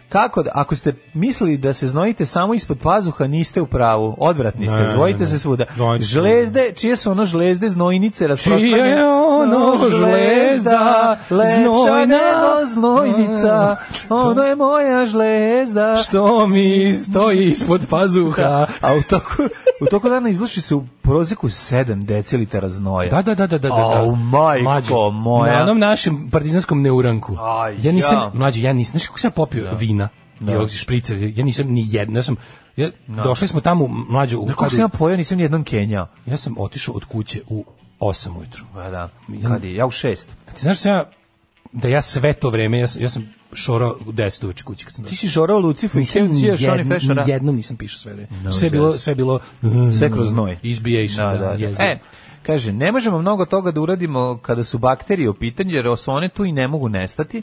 F: Kako, da- ako ste mislili da se znojite samo ispod pazuha, niste u pravu. Odvratni ste,
E: Ne,
F: zvojite
E: ne, ne.
F: se svuda.
E: Znojite se
F: žlezde, čije su ono žlezde, znojnice, rasprostranjene?
E: Čije je ono žlezda,
F: lepša
E: znojna?
F: nego znojnica, ono je moja žlezda.
E: Što mi stoji ispod pazuha?
F: A u toku, u toku dana izluši se u prozeku 7 decilitara znoja.
E: Da, da, da, da, da, da.
F: Au, majko
E: Mlađo,
F: moja.
E: Na onom našem partizanskom neuranku.
F: Aj,
E: ja nisam,
F: ja.
E: mlađo, ja nisam, znaš kako sam ja popio vina i ovog špricer, ja nisam ni jedno, ja sam, ja, došli smo tamo, mlađo, u
F: Znaš Kako
E: kad
F: sam
E: je-
F: ja pojao, nisam nijednom Kenjao.
E: ja sam otišao od kuće u 8 ujutru.
F: Pa da, kad je, ja u šest.
E: A Ti znaš da sam ja, da ja sve to vreme, ja sam, ja sam šorao u 10 uveče kući kad sam
F: Ti
E: došao.
F: si žorao Lucifu i
E: Nisam
F: Kevin
E: ni,
F: Cijaš, oni
E: jedn-
F: fešara.
E: ni jednom nisam pišao sve vreme. sve, je bilo, sve je bilo...
F: Sve kroz znoj.
E: Izbijation, da, da,
F: E, kaže, ne možemo mnogo toga da uradimo kada su bakterije u pitanju, jer su one tu i ne mogu nestati.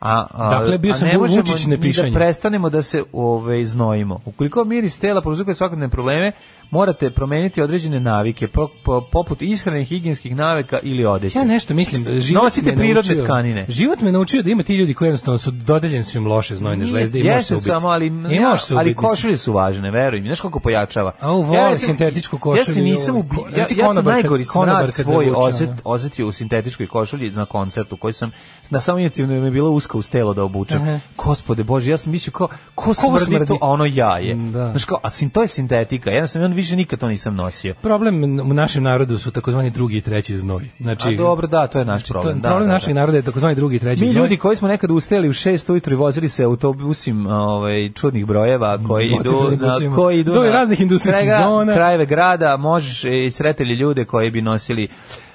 F: A, a,
E: Dakle, bio
F: a
E: sam
F: ne možemo
E: Vučić ne
F: ni
E: pišanje.
F: Da prestanemo da se ove, znojimo. Ukoliko miris tela prouzukuje svakodnevne probleme, morate promeniti određene navike, po- po- poput ishrane, higijenskih navika ili odeće.
E: Ja nešto mislim, život
F: Nosite
E: me
F: prirodne
E: naučio-
F: tkanine.
E: Život me naučio da ima ti ljudi koji jednostavno su dodeljeni su im loše znojne žlezde i može se
F: Jeste
E: ubiti.
F: samo, ali,
E: I može se ubiti,
F: ali
E: mislim.
F: košulje su važne, veruj mi. Znaš koliko pojačava?
E: A, u, volim
F: recimo-
E: sintetičku košulju,
F: Ja se nisam,
E: joj,
F: ubi,
E: ko-
F: ja,
E: znači
F: ja sam
E: konobar kad-
F: najgori
E: konobar
F: smrad
E: kad
F: svoj
E: zavuče,
F: oset,
E: ono.
F: osetio u sintetičkoj košulji na koncertu koji sam, na samom inicijativno mi je bilo guska uz telo da obučem.
E: Aha.
F: Gospode Bože, ja sam mislio kao, ko smrdi,
E: smrdi? Mm,
F: to, a ono jaje.
E: Da.
F: Znaš kao, a sin, to je sintetika. Ja sam, on više nikad to nisam nosio.
E: Problem u našem narodu su takozvani drugi i treći znoj. Znači,
F: A dobro, da, to je naš
E: to je
F: problem. da,
E: problem
F: da,
E: našeg
F: da.
E: naroda je takozvani drugi i treći
F: Mi
E: znoj.
F: ljudi koji smo nekad ustajali u 6 ujutru i vozili se autobusim ovaj, čudnih brojeva koji idu na,
E: Autobusima.
F: koji idu
E: Do
F: na
E: raznih industrijskih zona.
F: krajeve grada, možeš i sreteli ljude koji bi nosili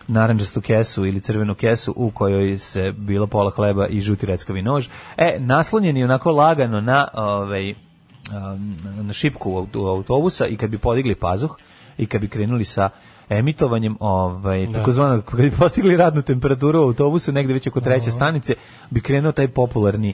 F: naranđastu kesu ili crvenu kesu u kojoj se bilo pola hleba i žuti reckavi nož. E, naslonjeni onako lagano na ovaj, um, na šipku auto- autobusa i kad bi podigli pazuh i kad bi krenuli sa emitovanjem ovaj takozvanog kad bi postigli radnu temperaturu u autobusu negde već oko treće stanice bi krenuo taj popularni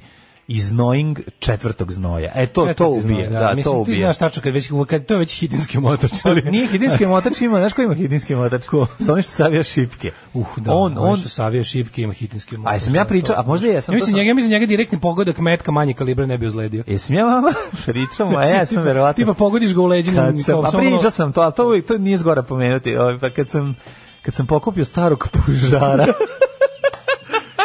F: iznojing četvrtog znoja. E to to
E: Četvrti znoj,
F: ubije, da,
E: Mislim,
F: to
E: ti
F: ubije. Pa
E: znaš tačno kad već kad to je već hidinski motor, ali
F: Nije hidinski motač ima, znaš ko ima hidinski motač? Ko? Sa onim što savija šipke.
E: Uh, da,
F: on, on,
E: što savije šipke ima hitinski motor.
F: a jesam ja pričao, a možda
E: Ja
F: jesam, to
E: mislim,
F: sam-
E: njega, ja mislim njega direktni pogodak metka manje kalibra ne bi ozledio.
F: jesam ja vama pričao, a ja sam verovatno.
E: Tipa pogodiš ga u leđinu.
F: kad sam, a
E: ono
F: pričao sam to, ali to, uvijek, to nije zgora pomenuti, ovaj, pa kad sam, kad sam pokupio starog pužara,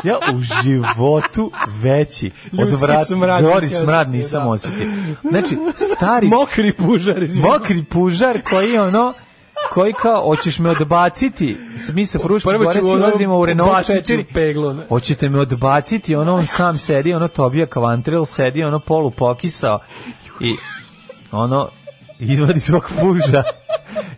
F: ja u životu veći od
E: Ljudski
F: vrata,
E: smrad
F: gori
E: nisi
F: smrad
E: osetio,
F: nisam
E: da.
F: osetio. Znači, stari
E: Mokri pužar, izvini.
F: mokri pužar koji je ono, koji kao, hoćeš me odbaciti, mi sa Fruške
E: Prvo
F: gore
E: ću ono,
F: silazimo u Renault
E: bacit ću
F: 4,
E: peglo, ne.
F: hoćete me odbaciti, ono on sam sedi, ono Tobija Kavantril sedi, ono polu pokisao i ono izvadi svog puža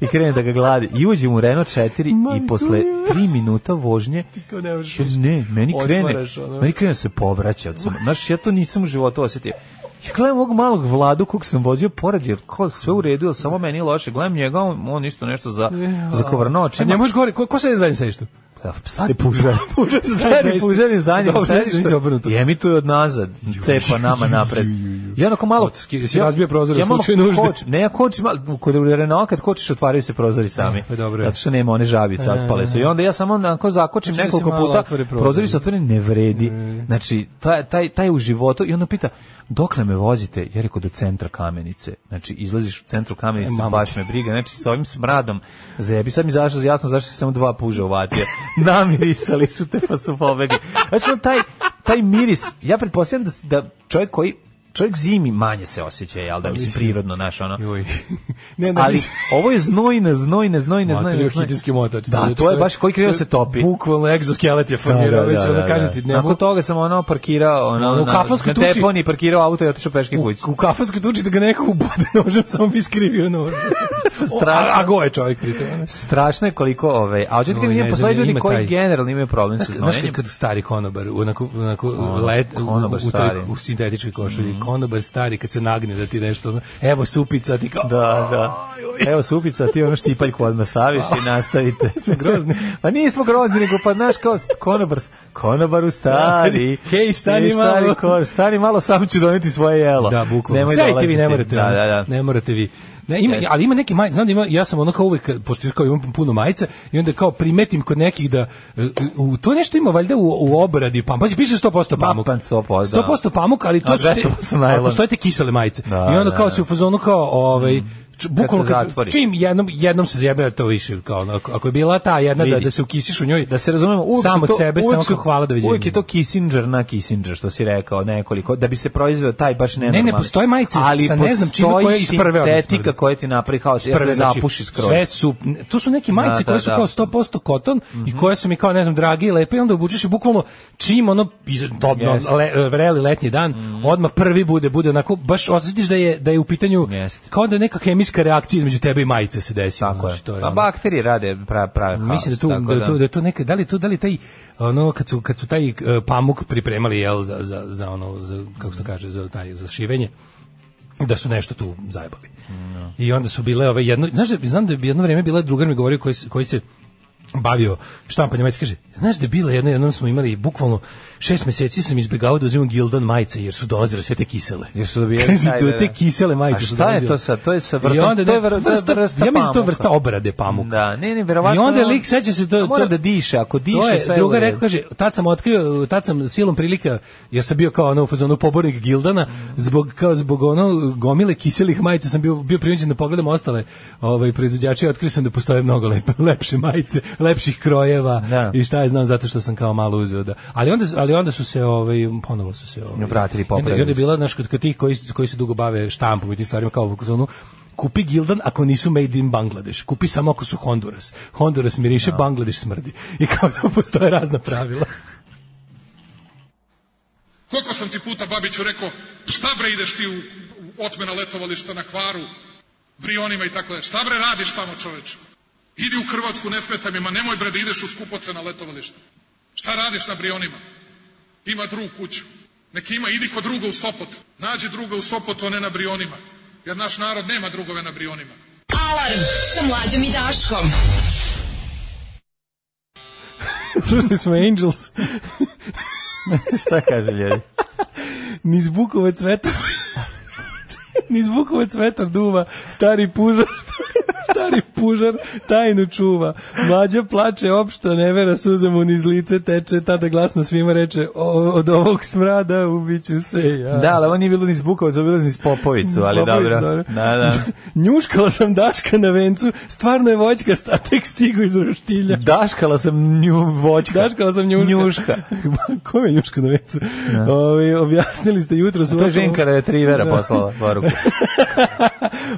F: i krene da ga gladi. I uđe mu Renault 4 i
E: Majko
F: posle 3 minuta vožnje
E: kao ne možeš
F: Ja,
E: više.
F: ne, meni krene,
E: Otvaraš, ono.
F: meni krene da se povraća. od samo- Znaš, ja to nisam u životu osetio. Ja gledam ovog malog vladu kog sam vozio pored, jer kao sve u redu, ali samo meni loše. Gledam njega, on, on isto nešto za, za kovrno
E: A
F: očima.
E: ne možeš gore, ko, ko se je zadnji sedištu?
F: Da, Stari pužar.
E: Pužar sa
F: Stari
E: sedišta.
F: pužar je za njim.
E: Dobro, sedište nisi obrnuto.
F: I emituje od nazad. Cepa nama napred. Ja onako malo...
E: Otski- si razbio prozor u
F: malo
E: slučaju nužde.
F: koč- ne, ja kočim, ali kod Renault kad kočiš otvaraju se prozori sami.
E: E, pa dobro je. E,
F: Zato što nema one žabice, otpale su. I onda ja samo onako zakočim
E: Znači da se
F: nekoliko
E: malo
F: puta,
E: otvore prozori. E.
F: prozori se otvoreni ne vredi. Znači, taj, taj, taj u životu, i onda pita, dokle me vozite? Ja rekao, do centra kamenice. Znači, izlaziš u centru kamenice,
E: E, mamo
F: baš me briga. Znači, sa ovim smradom zebi. Sad mi zašlo jasno zašto se samo dva puža uvatio. Namirisali su te pa su pobegli. Znači, on taj, taj miris, ja pretpostavljam da, s- da čovjek koji čovjek zimi manje se osjeća, jel da, mislim, prirodno, naš, ono.
E: Joj. ne, ne,
F: Ali
E: mislim-
F: ovo je znojna, znojna, znojna,
E: Materijal
F: znojna.
E: hidinski motač.
F: Da,
E: Znači,
F: to je baš koji krenuo
E: to je
F: se topi.
E: Bukvalno egzoskelet je formirao, već ono kaže ti, ne
F: Nakon
E: mogu-
F: toga sam ono parkirao ono,
E: Ono, u
F: na,
E: kafanskoj
F: na
E: tuči.
F: deponi, parkirao auto i otišao peške kući.
E: U, u kafanskoj tuči da ga neko ubode nožem, samo bi skrivio nožem.
F: Strašno.
E: A, a go je čovjek pritom. ne?
F: Strašno je koliko ove, a hoćete
E: Oj,
F: kad
E: ne
F: vidim
E: znam,
F: postoje ljudi
E: ima
F: koji
E: taj-
F: generalno imaju problem sa
E: Znaš kad,
F: znojenjem.
E: kad stari konobar, onako, onako
F: Ono,
E: let, u-
F: konobar
E: u, toj,
F: stari. Mhm.
E: u sintetičkoj košulji, konobar stari, kad se nagne da ti nešto, ono, evo supica, ti kao,
F: Da, da. Evo supica, ti ono štipaljku odmah staviš i nastavite. Smo
E: grozni.
F: Pa nismo grozni, nego pa znaš kao konobar, konobaru stari.
E: Hej, stani malo.
F: ko- stani malo, sam ću doneti svoje jelo.
E: Da, bukvalno.
F: Nemoj
E: Sedite vi,
F: dolaziti.
E: ne morate.
F: Da,
E: ono,
F: da, da.
E: Ne morate vi. Ne, ima, ali ima neki maj, znam da ima, ja sam ono kao uvek, pošto kao imam puno majica, i onda kao primetim kod nekih da, e, u, to nešto ima valjda u, u obradi, pa, pazi, piše 100%
F: Ma,
E: pamuk.
F: pa 100%, da.
E: 100% pamuk, ali to
F: A
E: su te,
F: 200% najlon.
E: ali postoje te kisele majice.
F: Da,
E: I onda
F: da,
E: kao
F: da. Mm.
E: se u fazonu kao, ovaj, č- bukvalno
F: se
E: kad-
F: zatvori.
E: čim jednom jednom se zjebe to više kao ono, ako- ako je bila ta jedna da,
F: Vidi.
E: da se ukisiš u njoj
F: da se razumemo, uvek
E: sam
F: su
E: od
F: to,
E: sebe
F: uvek
E: samo
F: su-
E: kao hvala doviđenja
F: Uvek je to Kissinger na Kissinger, što si rekao nekoliko, da bi se proizveo taj baš
E: ne,
F: nenormalni.
E: postoje majice
F: Ali
E: sa ne znam čime
F: postoji
E: koje iz prve odmah
F: sintetika
E: smrde.
F: koja ti napravi haos, jer te
E: prve, znači,
F: zapuši skroz.
E: Sve su, tu su neke majice
F: Da, da,
E: koje su
F: da.
E: kao 100% koton i koje su mi kao, ne znam, dragi i lepe i onda obučeš i bukvalno čim ono, iz, dobno,
F: Jeste.
E: le, vreli letnji dan, odmah prvi bude, bude onako, baš osjetiš da je, da je u pitanju
F: Jeste.
E: kao da je neka hemijska reakcija između tebe i majice se desi.
F: Tako je.
E: znači, to je
F: Pa
E: ono.
F: bakterije rade pra, prave haos.
E: Mislim da tu
F: tako
E: da, je tu da je tu neka da li je tu da li taj ono kad su kad su taj e, pamuk pripremali jel za za za ono za kako se to kaže za taj za šivenje da su nešto tu zajebali. I onda su bile ove jedno znaš da znam da je jedno vrijeme bila drugar mi govorio koji se- koji se bavio štampanjem majica kaže znaš da je bila jedno jednom smo imali bukvalno šest meseci sam izbegavao da uzimam Gildan majice jer su dolazile sve te kisele
F: Jer su dobijali
E: Kaže,
F: taj,
E: do
F: da, da.
E: te kisele majice
F: A
E: su
F: šta je
E: dolazile.
F: to sad? To je sa
E: I
F: vrstom-
E: onda
F: to je
E: ne,
F: vr- to je vrsta
E: ja mislim da je to
F: pamuka.
E: vrsta obrade pamuka
F: Da, ne, ne, verovatno.
E: i onda
F: je on-
E: lik seća se to
F: A mora
E: to-
F: da diše, ako diše
E: to je,
F: sve
E: druga
F: u redu.
E: rekao kaže tad sam otkrio tad sam silom prilika jer sam bio kao ono u fazonu pobornik Gildana zbog kao zbog ono gomile kiselih majica sam bio bio prinuđen da pogledam ostale ovaj proizvođače i otkrio sam da postoje mnogo lepe lepše majice lepših krojeva
F: Da.
E: i šta je znam zato što sam kao malo uzeo da. Ali onda ali onda su se ovaj ponovo su se ovaj
F: Vratili,
E: i onda- I onda
F: popravili
E: je
F: su.
E: bila znaš kod, kod tih koji koji se dugo bave štampom i tim stvarima kao u zonu kupi Gildan ako nisu made in Bangladesh. Kupi samo ako su Honduras. Honduras miriše, Bangladeš smrdi. I kao da postoje razna pravila.
K: Koliko sam ti puta Babiću rekao, šta bre ideš ti u, u otmena letovališta na Hvaru, Brionima i tako dalje. Šta bre radiš tamo čoveče? Idi u Hrvatsku, ne smeta mi, ma nemoj bre da ideš u skupocena letovališta. Šta radiš na Brionima? Ima drug kuću. Neki ima, idi kod druga u Sopot. Nađi druga u Sopotu, a ne na Brionima. Jer naš narod nema drugove na Brionima.
D: Alarm sa mlađom i Daškom.
E: Slušali smo Angels.
F: Šta kaže ljudi?
E: Niz bukove cveta. Niz bukove cveta duva, stari pužar, stari pužar tajnu čuva. Mlađa plače, opšta nevera, suza mu niz lice teče, tada glasno svima reče, "O- od ovog smrada ubiću se ja.
F: Da, ali ovo nije bilo ni zbukovac, ovo je bilo ni spopovicu, ali
E: Popović,
F: dobro. Da, da.
E: Njuškala sam Daška na vencu, stvarno je voćkast, a tek stigu iz roštilja.
F: Daškala sam nju voćka.
E: Daškala sam njuška.
F: Njuška.
E: Kome je njuška na vencu? Ovi, objasnili ste jutro su...
F: To je ženka retrivera
E: Da.
F: poslala poruku.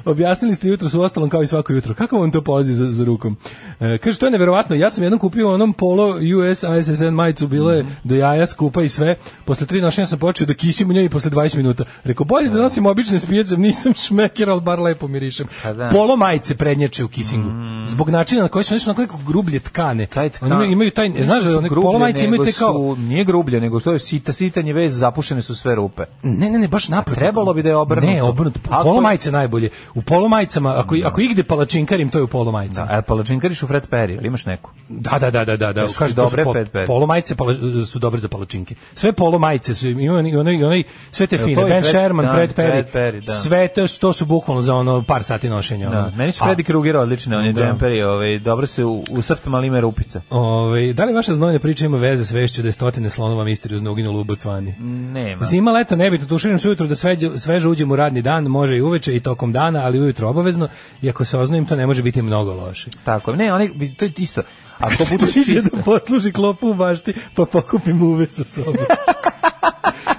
E: Objasnili ste jutro su ostalom kao i svako jutro. Kako vam to polazi za, za rukom? E, kaže, to je neverovatno. Ja sam jednom kupio onom polo US ISSN majicu, bilo
F: Mhm.
E: je do jaja, skupa i sve. Posle tri nošenja sam počeo da kisim u njoj i posle 20 minuta. Rekao, bolje da nosim obične spijice, nisam šmeker, ali bar lepo mirišem.
F: Pa da. Mhm.
E: Polo majice prednjače u kisingu. Zbog načina na koji su, oni su onako nekako grublje tkane.
F: Taj tkan-
E: Oni imaju, imaju taj, e, znaš, da one
F: Grublje
E: polo majice imaju
F: nego
E: te kao...
F: Su, nije grublje, nego što je sita, sitanje vez, zapušene su sve rupe.
E: Ne, ne, ne, baš naprotiv.
F: trebalo bi da je obrnuto.
E: Ne, obrnuto.
F: Ako-
E: Polo majice najbolje. U polo majicama, ako, ako igde palačinkarim, to je u polo majicama.
F: Da, e, palačinkariš u Fred Perry, ili imaš neku?
E: Da, da, da, da, da, da.
F: Jesu
E: Kaže
F: dobre
E: dobre po,
F: Fed Bed?
E: Polo majice pala, su dobre za palačinke. Sve polo majice su imaju onaj onaj onaj sve te fine.
F: to i
E: Ben
F: Fred-
E: Sherman,
F: da,
E: Fred Perry.
F: Fred Perry, da.
E: Sve to, su- to su bukvalno za ono par sati nošenja.
F: Da,
E: ono.
F: meni su
E: A,
F: Freddy Krueger odlične, on je
E: Da.
F: džemperi, ovaj, dobro se u, u srtu malime rupice.
E: Ovaj, da li vaša znojna priča ima veze s vešću da je stotine slonova misteriozno uginulo u Bocvani?
F: Nema.
E: Zima, leto, nebitno, tuširam se ujutro da sveđe, sveže uđem u radni dan, može i uveče i tokom dana, ali ujutro obavezno, i ako se oznojim, to ne može biti mnogo loše.
F: Tako, ne, oni, to je isto. Ako bučeš
E: Ide
F: čisto,
E: da posluži klopu u bašti, pa pokupim uve sa sobom.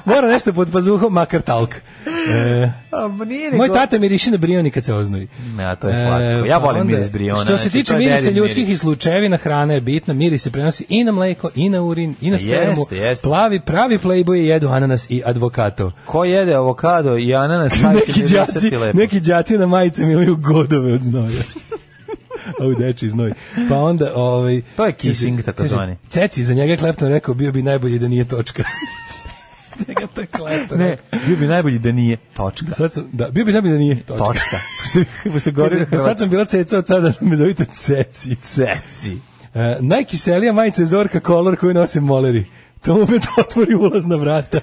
E: Mora nešto pod pazuhom, makar talk. E,
F: A, nije
E: moj
F: nego-
E: tata miriši na brijoni kad se oznoji.
F: Ja, to je slatko. Ja
E: pa
F: volim miris brijona,
E: Što se
F: znači, to
E: tiče
F: je
E: mirisa
F: dedin
E: ljudskih i
F: miris.
E: slučajevina, hrana je bitna, miris se prenosi i na mleko, i na urin, i na
F: Jeste,
E: spermu.
F: Pa jeste.
E: Plavi, pravi playboy jedu ananas i advokato.
F: Ko jede avokado i ananas, taj će
E: neki
F: mi
E: đaci,
F: visati lepo.
E: neki đaci na majicama imaju godove od znoja. A u deči znoj. Pa onda, ovaj...
F: To je kissing,
E: kaže-
F: takozvani.
E: kaže, Ceci, za njega je Klepton rekao, bio bi najbolji da nije točka. njega to je Klepton
F: Ne,
E: rekao.
F: bio bi najbolji da nije. Točka.
E: Sad sam, da, bio bi najbolji da nije točka.
F: Točka. Pošto- Pošto
E: Kaže,
F: gori
E: sad sam bila ceca, od sada me zovite Ceci.
F: ceci.
E: E, najkiselija majica je Zorka Color koju nosim moleri. To mu opet otvori ulazna vrata.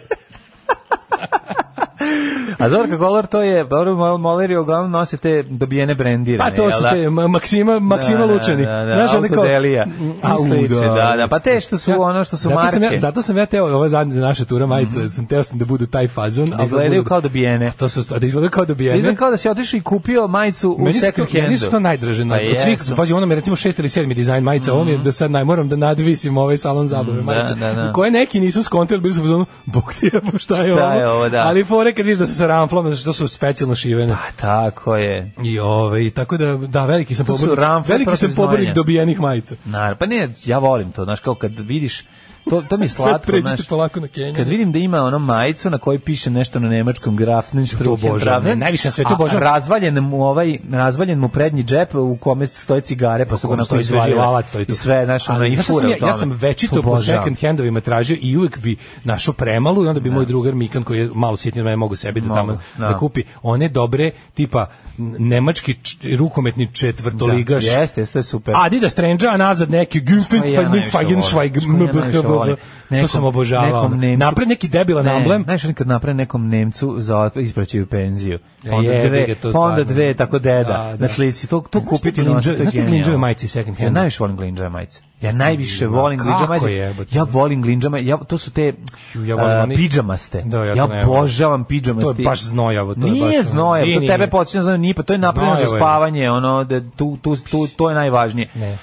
F: A Zorka Kolor to je, dobro, mol- moleri uglavnom nose te dobijene
E: Pa
F: brendirane.
E: to su
F: jel da?
E: te, ma- Maksima, Maksima
F: Da, da,
E: Lučani.
F: Da, da,
E: Znaš, Mm, one kao-
F: Autodelija.
E: Au,
F: I sliče, da, da. Pa te što su
E: Ja-
F: ono što su
E: zato Sam
F: marke. Mhm.
E: ja, zato sam ja teo, ova zadnja naša tura majica, sam teo sam da budu taj fazon. ali
F: Da izgledaju
E: budu-
F: kao dobijene.
E: To su, sta- da izgledaju kao dobijene.
F: Izgleda kao da si otišao i kupio majicu u
E: Meni su,
F: second
E: to,
F: handu.
E: meni su to najdraže.
F: Pa
E: Pa od svih,
F: jesu. Mhm.
E: pazi, ono mi je recimo šest ili sedmi dizajn majica, ovo mi je da sad naj, moram da nadvisim ovaj salon zabave majice,
F: da, da.
E: u koje neki nisu skontili, bili su u zonu, bog ti jebo, šta je
F: Šta
E: ovo?
F: je ovo, da.
E: Ali fore kad vidiš da su sa ramflama, zato što su specijalno šivene.
F: A tako je.
E: I ovaj tako da da veliki sam
F: To su
E: pobornik.
F: ramfe
E: Veliki
F: protiv
E: sam pobornik
F: znojanja.
E: dobijenih majica.
F: Naravno, pa ne, ja volim to, znaš, kao kad vidiš, to, to mi je
E: Sad
F: slatko,
E: pređite
F: znaš,
E: polako na Kenju.
F: kad vidim da ima ono majicu na kojoj piše nešto na nemačkom grafnen
E: obožavam, najviše na svetu obožavam.
F: razvaljen mu ovaj razvaljen mu prednji džep u kome stoje cigare pa su ga na
E: stoji
F: koji
E: izvaživač, stoji
F: i sve znaš ono
E: Ali
F: i
E: znaš šta
F: fura
E: sam
F: u
E: ja,
F: tome.
E: ja sam večito po
F: Obožavam.
E: second handovima tražio i uvek bi našao premalu i onda bi moj drugar Mikan koji je malo sitniji od mene mogu sebi da tamo
F: da.
E: da kupi one dobre tipa n- nemački č- rukometni četvrtoligaš.
F: Da, jeste, jeste, to je super.
E: Adidas Trenđa, a nazad neki Günfen
F: Što ja najviše
E: Feigenschweig
F: volim? Što ja najviše volim?
E: to sam obožavao.
F: nekom Nemcu-
E: Napred neki debilan
F: ne,
E: amblem.
F: Znaš, oni kad napre nekom Nemcu za otp- ispraćaju penziju.
E: E,
F: Onda
E: jebi
F: dve,
E: ga, to
F: pa onda
E: stvarno.
F: dve, tako deda,
E: Da, da.
F: na slici. To, to
E: Znaš
F: kupiti
E: te glindžave-
F: nositi, to je
E: znaš te
F: genijalno.
E: glindžave majice second hand?
F: Ja najviše volim glinđave majice. Ja najviše volim
E: Ma,
F: glinđave
E: kako
F: majice.
E: jebote.
F: Ja volim glinđave majice. Ja, to su te
E: Ju, ja volim
F: a,
E: oni-
F: pidžamaste.
E: Da, ja to
F: ja
E: ne volim.
F: obožavam pidžamaste.
E: To je baš znojavo, to je
F: Nije
E: baš ono-
F: znojavo,
E: Nije,
F: to
E: nije.
F: tebe podsjeća na znojavo, nije, pa to je napravljeno za
E: Znojavo je.
F: spavanje, ono, da, tu, tu, tu, to je najvažnije.
E: Ne.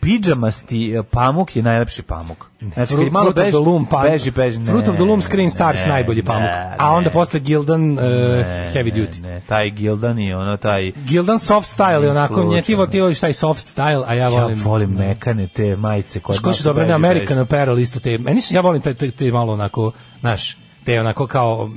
F: Pidžamasti e, pamuk je najlepši pamuk. Znači, kad
E: Fruit,
F: malo
E: Fruit of
F: beži,
E: the Loom, pa,
F: beži, beži. ne,
E: Fruit of the Loom, Screen Stars,
F: ne,
E: najbolji pamuk.
F: ne,
E: A onda
F: ne,
E: posle Gildan, uh,
F: ne,
E: Heavy
F: ne,
E: Duty.
F: Ne, taj Gildan i ono, taj...
E: Gildan soft style je
F: Ni
E: onako, nje ti
F: slučajno.
E: voli, ti voliš taj soft style, a ja
F: Ja
E: volim...
F: volim, mekane te majice koje...
E: Što su
F: nosi
E: dobre, ne,
F: beži, beži.
E: American Apparel isto te, meni su, ja volim te, te, te malo onako, znaš, te onako kao,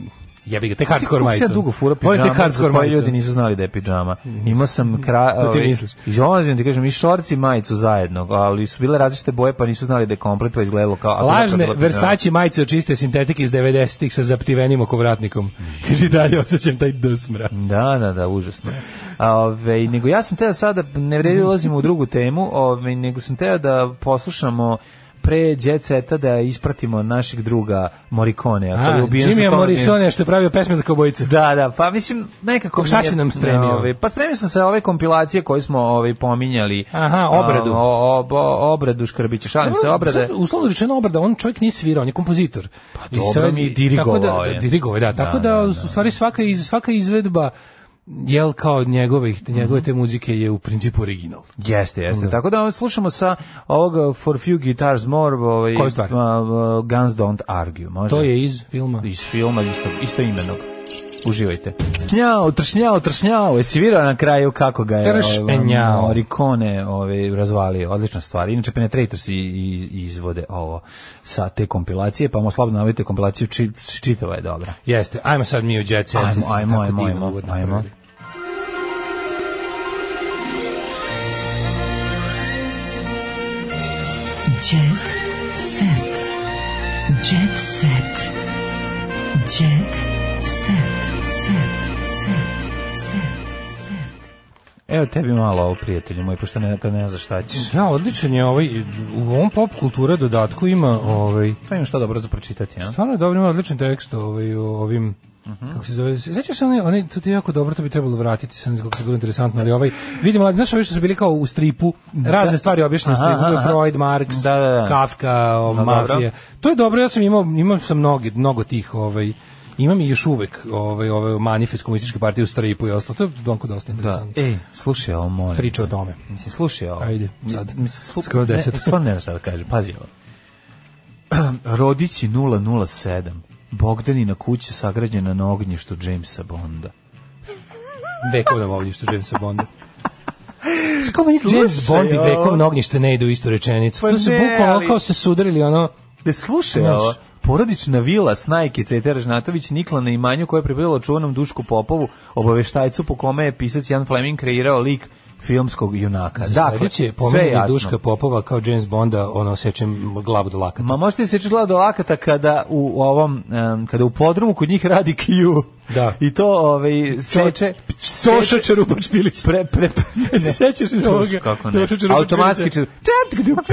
E: jebi ga, te hardcore
F: Kako
E: majice.
F: se ja dugo fura
E: Volim te
F: pidžama,
E: hardcore
F: za koje ljudi
E: majice. Mhm.
F: nisu znali da je pidžama. Imao sam kra...
E: To ti
F: ovaj,
E: misliš?
F: I olazim ti kažem, i šorci i majicu zajedno, ali su bile različite boje pa nisu znali da je komplet pa izgledalo kao... a to je zapravo
E: Lažne
F: bila pidžama.
E: Versace majice od čiste sintetike iz 90-ih sa zaptivenim okovratnikom. Kaže dalje, osjećam taj dsmra.
F: Da, da, da, užasno. A, ove, nego ja sam teo sada, ne vredi ulazimo u drugu temu, ove, nego sam teo da poslušamo pre Jet Seta da ispratimo našeg druga Morikone.
E: A, Jimmy Morrison što je pravio pesme za kaubojice.
F: Da, da, pa mislim nekako
E: Šta
F: mi je-
E: si nam spremio?
F: Ovaj, pa spremio sam se ove kompilacije koje smo ovaj pominjali.
E: Aha, obradu.
F: A, O, o, o, obradu Škrbića, šalim se, obrade.
E: Sad, uslovno rečeno obrada, on čovjek nije svirao, on je kompozitor. Pa
F: dobro, mi je ovaj. dirigovao
E: Tako da,
F: je.
E: dirigovao je, da. Tako da, u stvari svaka, iz, svaka izvedba jel kao njegove,
F: Mhm.
E: njegove te muzike je u principu original.
F: Jeste, jeste. Tako da ovaj, slušamo sa ovog For Few Guitars More, ovaj
E: Koju stvar?
F: a, a, Guns Don't Argue, može?
E: To je iz filma.
F: iz filma isto, isto imenog. Uživajte. Njao, tršnjao, tršnjao. Jesi virao na kraju kako ga je
E: Tršnjao.
F: Orikone ove, razvalio. Odlična stvar. Inače, Penetrators i, i, izvode ovo sa te kompilacije, pa mu slabno navite kompilaciju, či, čitava je dobra.
E: Jeste, ajmo sad mi u Jet Set.
F: Ajmo,
E: Tako
F: ajmo, ajmo,
E: divno
F: ajmo,
E: uvod
F: ajmo.
E: napravili.
D: Jet set. Jet set. Jet set. Set. Set.
F: Evo tebi malo ovo, prijatelju moj, pošto ne, kad ne znaš šta ćeš.
E: Da, odličan je ovaj, u ovom pop kultura dodatku ima ovaj,
F: Pa imam što dobro za pročitati, ja?
E: Stvarno je dobro, ima odličan tekst ovaj, o ovim
F: Mhm.
E: Kako se zove? Sećaš se onaj, onaj, to ti je jako dobro, to bi trebalo vratiti, sam ne znam kako je bilo interesantno, ali ovaj, vidim, mladi, znaš ovi što su bili kao u stripu, razne stvari objašnjene u
F: Aha,
E: stripu, bio je
F: aha.
E: Freud, Marx,
F: Da, da, da.
E: Kafka, o,
F: Da, dobro.
E: mafija. To je dobro, ja sam imao, imao sam mnogi, mnogo tih, ovaj, imam i još uvek ovaj, ovaj manifest komunističke partije u stripu i ostalo, to je donko dosta
F: Da.
E: interesantno.
F: Ej, slušaj ovo, molim.
E: Priča o tome.
F: Mislim, slušaj ovo.
E: Ajde, sad.
F: Mislim, slu...
E: Skoro
F: ne,
E: deset.
F: Stvarno ne znam šta da kažem, pazi ovo. Rodići 007. Bogdanina kuća sagrađena na ognjištu Jamesa Bonda.
E: vekovno ognjište Jamesa Bonda. Kako meni James
F: Slušaj,
E: Bond i
F: ovo.
E: vekovno ognjište ne ide u istu rečenicu?
F: Pa
E: to se
F: ne,
E: bukvalno
F: ali-
E: kao se sudarili ono...
F: Da slušaj
E: Znaš.
F: ovo. Porodična vila Snajke Cetera Žnatović nikla na imanju koje je pribililo čuvanom Dušku Popovu, obaveštajcu po kome je pisac Jan Fleming kreirao lik filmskog junaka.
E: Da,
F: Dakle,
E: sledeće je
F: sve je
E: pomenuli
F: jasno.
E: Duška Popova kao James Bonda, ono, sečem glavu do lakata.
F: Ma možete se čitati do lakata kada u ovom em, kada u podrumu kod njih radi Q.
E: Da.
F: I to ovaj seče
E: Soša Čerupač Bilić.
F: pre pre, pre
E: E, se sećaš iz ovoga?
F: kako ne?
E: Soša Čerupač
F: Automatski
E: Bilića.
F: čer...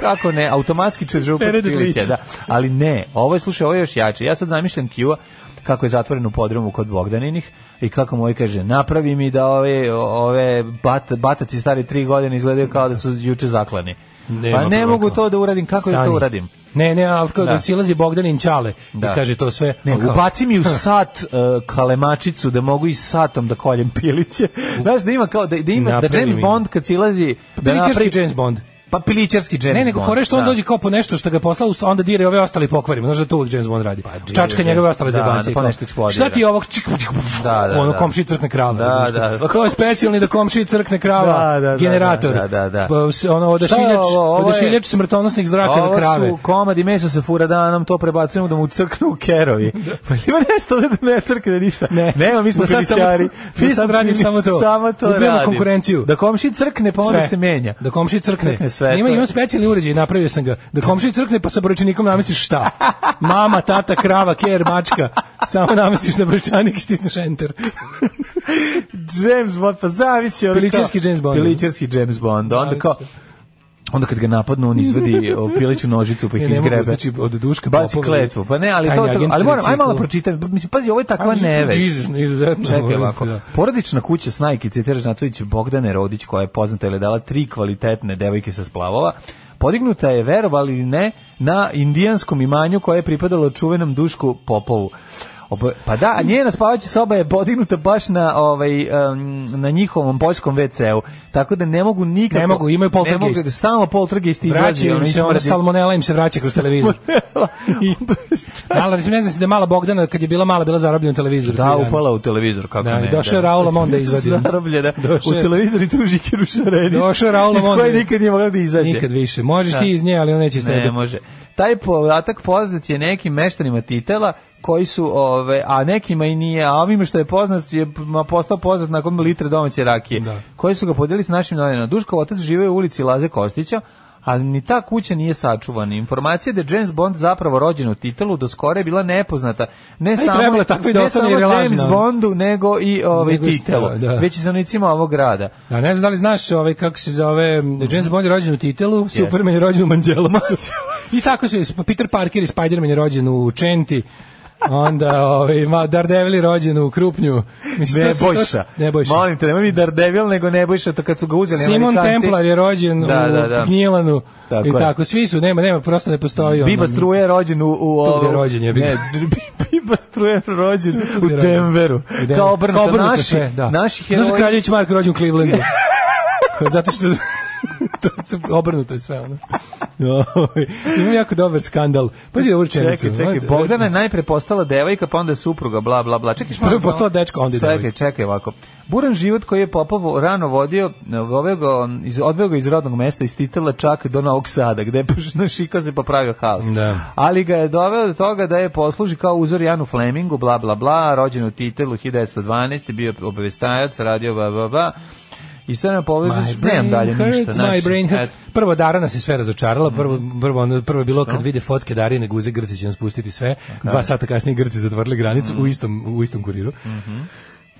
F: Kako ne? Automatski čeržupac
E: Ferede
F: pilića,
E: Glića.
F: da. Ali ne, ovo je, slušaj, ovo je još jače. Ja sad zamišljam Q-a kako je zatvoren u podrumu kod Bogdaninih i kako mu ovaj kaže, napravi mi da ove, ove bat, bataci stari tri godine izgledaju kao da su juče zaklani.
E: Nema
F: pa ne
E: problema.
F: mogu to da uradim, kako da to
E: Stani.
F: uradim?
E: Ne, ne, ali kao
F: Da.
E: da, silazi Bogdanin Čale
F: Da.
E: i kaže to sve.
F: Ne,
E: a kao-
F: Pa ubaci mi u sat uh, kalemačicu da mogu i satom da koljem piliće. Znaš, da ima kao, da, da ima, da
E: Napravi
F: James
E: mi.
F: Bond kad silazi... Da
E: Pilićarski
F: napravi-
E: James Bond.
F: Pa pilićarski James Bond.
E: Ne, nego fore što on dođe kao po nešto što ga je poslao, us- onda dire ove ostale i pokvarimo. Znaš da to uvek James Bond radi. Čačka
F: dire,
E: njegove ostale
F: Pa da,
E: zajebance.
F: da,
E: i
F: pa
E: kao,
F: nešto eksplodira.
E: Šta ti je ovog čik, čik,
F: Da, da,
E: ono
F: da.
E: komšiji crkne krava.
F: Da,
E: razumeš
F: da.
E: kao? To je specijalni da komšiji crkne krava.
F: Da, da, da,
E: generator.
F: da, da, da.
E: Pa, s- ono
F: Šta je
E: odašiljač,
F: ovo? Ovo je-
E: odašiljač smrtonosnih zraka na
F: Ovo
E: krave.
F: su komadi mesa sa furadanom, to prebacujemo da mu crknu u kerovi. Pa ima nešto ovde da ne crkne ništa.
E: Ne.
F: Nema, mi smo
E: Da sad samo-
F: pilićari.
E: da
F: Mi
E: sad
F: smo
E: radim
F: pili-
E: samo to.
F: Samo to
E: Ubijamo
F: radim.
E: konkurenciju.
F: Da komši crkne, pa onda se menja.
E: Da komšiji crkne.
F: Crkne sve,
E: Ima,
F: to je-
E: ima specijalni uređaj, napravio sam ga. Da komšiji crkne pa sa brojčanikom namestiš šta? Mama, tata, krava, ker, mačka. Samo namestiš na brojčanik i stisneš enter.
F: James Bond, pa zavisi ono kao-
E: Pilićarski James Bond. ono.
F: Pilićarski James Bond. Onda kao onda kad ga napadnu on izvadi o, piliću nožicu pa ih
E: Ja ne mogu,
F: izgrebe.
E: znači, od Duška
F: baci
E: Popovića.
F: kletvu. Pa ne, ali to,
E: Tajni
F: to
E: agent Pa
F: ali moram aj malo
E: Tricikla.
F: pročitam. Mislim pazi, ovo je takva
E: Ali,
F: nevest.
E: izuzetno, izuzetno,
F: Čekaj
E: ovaj,
F: ovako.
E: da.
F: Porodična kuća Snajki Citera Žnatović Bogdane Rodić koja je poznata jer je dala tri kvalitetne devojke sa splavova. Podignuta je, verovali ili ne, na indijanskom imanju koje je pripadalo čuvenom Dušku Popovu. Obo- Pa da, a njena spavaća soba je podignuta baš na ovaj em, na njihovom poljskom WC-u. Tako da ne mogu nikako
E: Ne mogu, imaju poltergeist.
F: ne mogu, stalno poltergeist izlazi,
E: Vraćaju im
F: ono, i
E: se, ona
F: smrdi.
E: salmonela im se vraća kroz televizor.
F: Pa
E: Mala, mislim, ne znam se da je mala Bogdana, kad je bila mala, bila zarobljena u televizoru.
F: Da, upala u televizor, kako
E: Da,
F: ne.
E: i došao je Raul Amon da izvadi.
F: Zarobljena
E: Došao
F: u
E: je-
F: televizor i tu žikiru šarenicu.
E: Došao je Raul
F: Iz
E: Amon
F: koje
E: da-
F: nikad nije mogla da izađe.
E: Nikad više. Možeš ti iz nje, ali on neće iz tebe.
F: Ne može. Znači, Taj podatak poznat je nekim meštanima titela koji su, ove, a nekima i nije, a ovime što je poznat je ma, postao poznat nakon litre domaće rakije,
E: Da.
F: koji su ga podijeli s našim novinama. Duškov otac žive u ulici Laze Kostića, ali ni ta kuća nije sačuvana. Informacija da je James Bond zapravo rođen u titelu do skore je bila nepoznata. Ne samo,
E: trebalo je tako i da
F: ne
E: ostane
F: samo
E: jer je
F: James
E: lažna.
F: Bondu, nego i ovaj,
E: Nego i
F: titelu,
E: stela, da.
F: već i zanicima ovog grada.
E: Da, ne znam da li znaš ovaj, kako se zove,
F: Mhm.
E: James Bond je rođen u titelu, Superman je rođen u Manđelovcu. I tako se, Peter Parker i Spider-Man je rođen u Čenti, onda ovaj, ma, Daredevil je rođen u Krupnju. Mislim,
F: Ne
E: to su- to su-
F: bojša.
E: Nebojša.
F: Molim te, nemoj mi Daredevil, nego ne bojša, to kad su ga uzeli
E: Simon
F: Amerikanci.
E: Templar je rođen
F: Da, da, da.
E: u Gnjilanu.
F: Tako
E: I
F: je.
E: tako, svi su, nema, nema, prosto ne postoji.
F: Biba
E: ono-
F: Struje je rođen u... u
E: Tu gde je
F: ovu-
E: rođen, jebi ga.
F: Ne, Biba Struje je rođen u
E: gde je rođen.
F: Denveru.
E: Ide-
F: Kao obrnuto, naši,
E: sve, da.
F: naši
E: Znaš da
F: heroji...
E: Kraljević Marko rođen u Clevelandu? Zato što... to se- obrnuto je sve, ono. Oj, Imam jako dobar skandal. Pazi ovu rečenicu.
F: Čekaj, čekaj,
E: Ajde,
F: Bogdana je najpre postala devojka, pa onda supruga, bla, bla, bla. Čekaj,
E: Prvo
F: malo samo-
E: postala dečko, onda je
F: Čekaj,
E: devojka.
F: čekaj ovako. Buran život koji je Popov rano vodio, odveo ga, iz, odveo ga iz rodnog mesta, iz Titela čak do Novog Sada, gde je našikao se pa pravio haos.
E: Da.
F: Ali ga je doveo do toga da je posluži kao uzor Janu Flemingu, bla, bla, bla, rođen u Titelu 1912, bio obavestajac, radio, bla, bla, bla. I sad nam povezaš,
E: My brain
F: nemam dalje
E: hurts,
F: ništa. znači,
E: my brain hurts.
F: eto.
E: znači,
F: Pa
E: Prvo Darana se sve razočarala,
F: Mhm.
E: prvo prvo ono prvo je bilo kad vide fotke Darine Guze Grci će nam spustiti sve. Dva sata kasnije Grci zatvorili granicu
F: Mhm.
E: u istom u istom kuriru.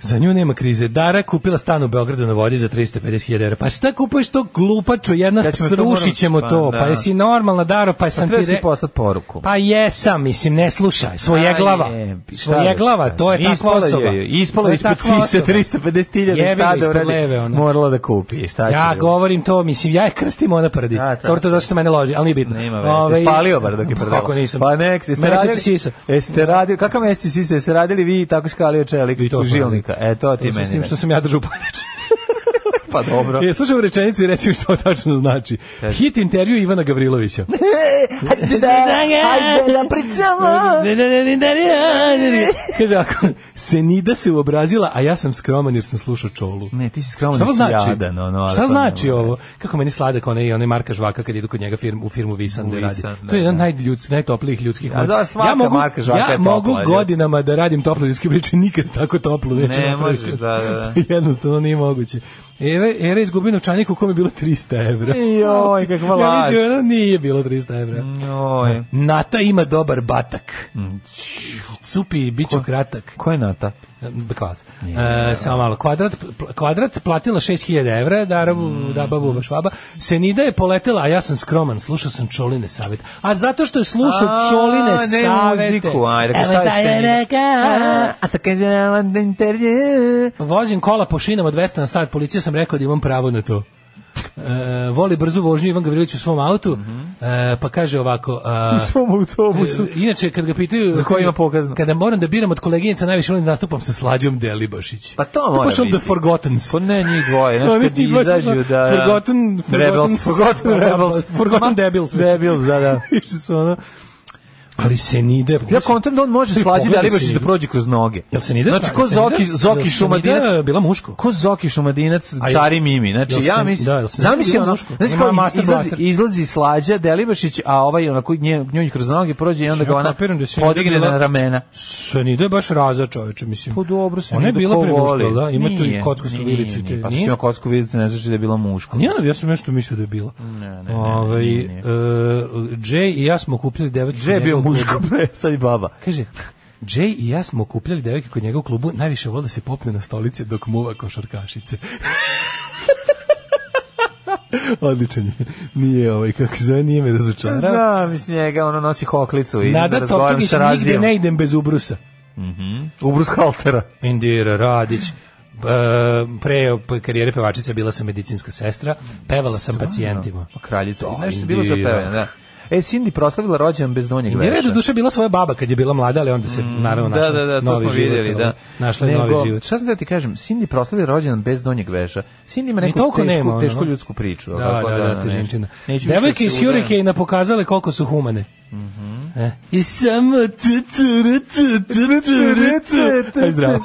E: Za nju nema krize. Dara kupila stan u Beogradu na vodi za 350.000 evra. Pa šta kupuješ to glupačo, jedna
F: Ja ćemo to moram-
E: srušit ćemo
F: pa
E: to.
F: da.
E: Pa jesi normalna Daro, pa sam
F: Treba
E: ti
F: si
E: re...
F: poslati poruku.
E: Pa jesam, mislim, ne slušaj, svoje
F: Aj,
E: glava.
F: jebi, šta
E: Svoje
F: da
E: glava,
F: kažem.
E: to je takva
F: e, Ispalo
E: osoba.
F: joj je, Ispalo
E: To
F: je
E: je
F: ispod
E: takva
F: sise
E: osoba.
F: 350.000
E: Jebi ga
F: šta da
E: ispod
F: uradi.
E: leve, ono.
F: Morala da kupi, šta će.
E: Ja
F: da-
E: govorim to, mislim, ja je krstim, ona prdi.
F: Da,
E: Da,
F: tako.
E: Dobro, to zato što mene loži, ali nije bitno.
F: Nema veze. Ovaj, Spalio bar dok je prdelo.
E: Kako nisam.
F: Pa nek, jeste
E: Mene
F: radili.
E: se sisa.
F: Jeste radili. Kakav mesi sisa? Jeste radili vi i tako skalio čelik
E: I to
F: u
E: smo
F: žilnika?
E: radili.
F: E, to ti
E: To sam
F: meni.
E: S tim
F: ne.
E: što sam ja držao paljač.
F: Pa dobro.
E: E, slušam rečenicu i reci mi što tačno znači. Hit intervju Ivana Gavrilovića.
F: Hajde da, hajde da pričamo.
E: Kaže ako, Senida se uobrazila, a ja sam skroman jer sam slušao čolu.
F: Ne, ti si skromno
E: Šta ovo znači?
F: jadan. Ono, ali
E: šta
F: to
E: znači
F: nema
E: ovo?
F: veze.
E: Kako meni sladak onaj, onaj Marka Žvaka kad idu kod njega firmu, u firmu Visan
F: U
E: da radi.
F: Visan,
E: to je
F: da,
E: jedan
F: da.
E: najljudski, najtoplijih ljudskih
F: A da,
E: moj-
F: svaka Marka Žvaka je
E: ja
F: topla,
E: mogu
F: ljudska.
E: godinama da radim toplo ljudske priče, nikad tako toplo neću
F: Ne
E: napraviti.
F: možeš, da, da,
E: Jednostavno nije moguće. Era, era izgubio novčanik u kom je bilo 300 evra.
F: Joj, kakva
E: Ja
F: laž. Mm.
E: mislim, ono nije bilo 300 evra.
F: Joj.
E: Nata ima dobar batak. Cupi, bit ću kratak.
F: Mm. Ko je Nata?
E: Kvadrat. E, samo malo. Kvadrat, pl- kvadrat platila 6000 evra, darabu, mm. daba, buba, švaba. Senida je poletela, a ja sam skroman, slušao sam Čoline savjet. A zato što je slušao
F: A,
E: Čoline
F: ne
E: savete.
F: muziku, ajde,
E: Evo
F: šta je
E: šta je
F: Senida?
E: rekao.
F: A to kaže nam da intervju.
E: Vozim kola po šinama 200 na sat, policija sam rekao da imam pravo na to. E, voli brzu vožnju Ivan Gavrilović u svom autu, E, pa kaže ovako... a,
F: Mhm. U svom autobusu.
E: E, Inače, kad ga pitaju...
F: Za koje
E: kaže,
F: ima pokazno?
E: Kada moram da biram od koleginica, najviše volim da nastupam sa Slađom Delibašić.
F: Pa to mora
E: baš on
F: biti.
E: The Forgottens.
F: Pa ne, njih dvoje, znaš,
E: Oni
F: kad
E: ti baš
F: izađu,
E: ono,
F: da, da.
E: tipo, Forgotten,
F: Rebels,
E: Forgotten,
F: Forgotten Rebels.
E: Forgotten Debils. više.
F: Debils, da, da.
E: Više su ono... Ali se nide...
F: Ja kontam da on može
E: Ti
F: slađi da
E: pogledaj
F: ribaš da
E: Senidu.
F: prođe kroz noge.
E: Jel se nide?
F: Znači, ko
E: Jel se nide?
F: Zoki,
E: Jel
F: Zoki
E: se nide
F: Šumadinac,
E: bila muško.
F: ko Zoki Šumadinac,
E: A jel-
F: cari Mimi. Znači,
E: jel se-
F: ja mislim,
E: da, jel se nide
F: zamisli
E: bila
F: ono,
E: muško?
F: znači,
E: Ima
F: kao iz-
E: master
F: izlazi,
E: blaster.
F: izlazi slađa Delibašić, a ovaj onako nje, njoj kroz noge prođe i onda
E: Ja
F: ga ona
E: kapiram da se nide
F: podigne
E: bila-
F: na ramena.
E: Se nide baš raza čoveče, mislim.
F: Pa dobro se
E: Ona je
F: nide
E: bila
F: ko
E: premuška,
F: voli.
E: da? Ima tu i
F: Nije,
E: kockastu
F: nije,
E: vilicu. i te-
F: nije, Pa što
E: nije?
F: ima kocku vilicu, ne znači da je bila muško.
E: A Nije ona, ja sam nešto mislio da je bila.
F: ne, ne,
E: Ovaj,
F: nije, nije.
E: e, Jay i ja smo kupljali devojke. kod
F: Že je
E: njega
F: bio
E: u klubu.
F: muško pre, sad i baba.
E: Kaže, Jay i ja smo kupljali devojke kod njega u klubu, najviše vole da se popne na stolice dok muva košarkašice.
L: Odličan je. Nije ovaj, kako se zove, nije me razočarao.
F: Da, mislim njega, ono nosi hoklicu i
E: Nada
F: da razgovaram
E: Topčagić,
F: sa
E: nigde
F: razijom.
E: ne idem bez ubrusa.
F: Mhm. Ubrus haltera.
E: Indira Radić, e, pre p- karijere pevačice bila sam medicinska sestra, pevala sam pacijentima.
F: Pa Kraljica.
E: Da,
F: Nešto je bilo za
E: Indira.
F: pevanje, da. E, Cindy proslavila rođendan bez donjeg
E: Indira je
F: veša.
E: do duše bila svoja baba kad je bila mlada, ali onda se naravno
F: Mm, da,
E: našla
F: da, da, to
E: novi
F: smo
E: život,
F: vidjeli,
E: ovaj,
F: da.
E: Našla je
F: Nego,
E: novi život.
F: Šta sam da ti kažem, Cindy proslavila rođendan bez donjeg veša. Cindy ima
E: Ni
F: neku
E: toliko
F: tešku,
E: nema, ono.
F: tešku ljudsku priču.
E: Da,
F: ovako,
E: da, da,
F: nešto.
E: težinčina.
F: Neću više
E: Devojke
F: da
E: iz
F: se udajem.
E: Hurricane pokazale koliko su humane. E. I samo tu, tu, ru, tu, tu, tu, ru, tu. Aj, zdravo.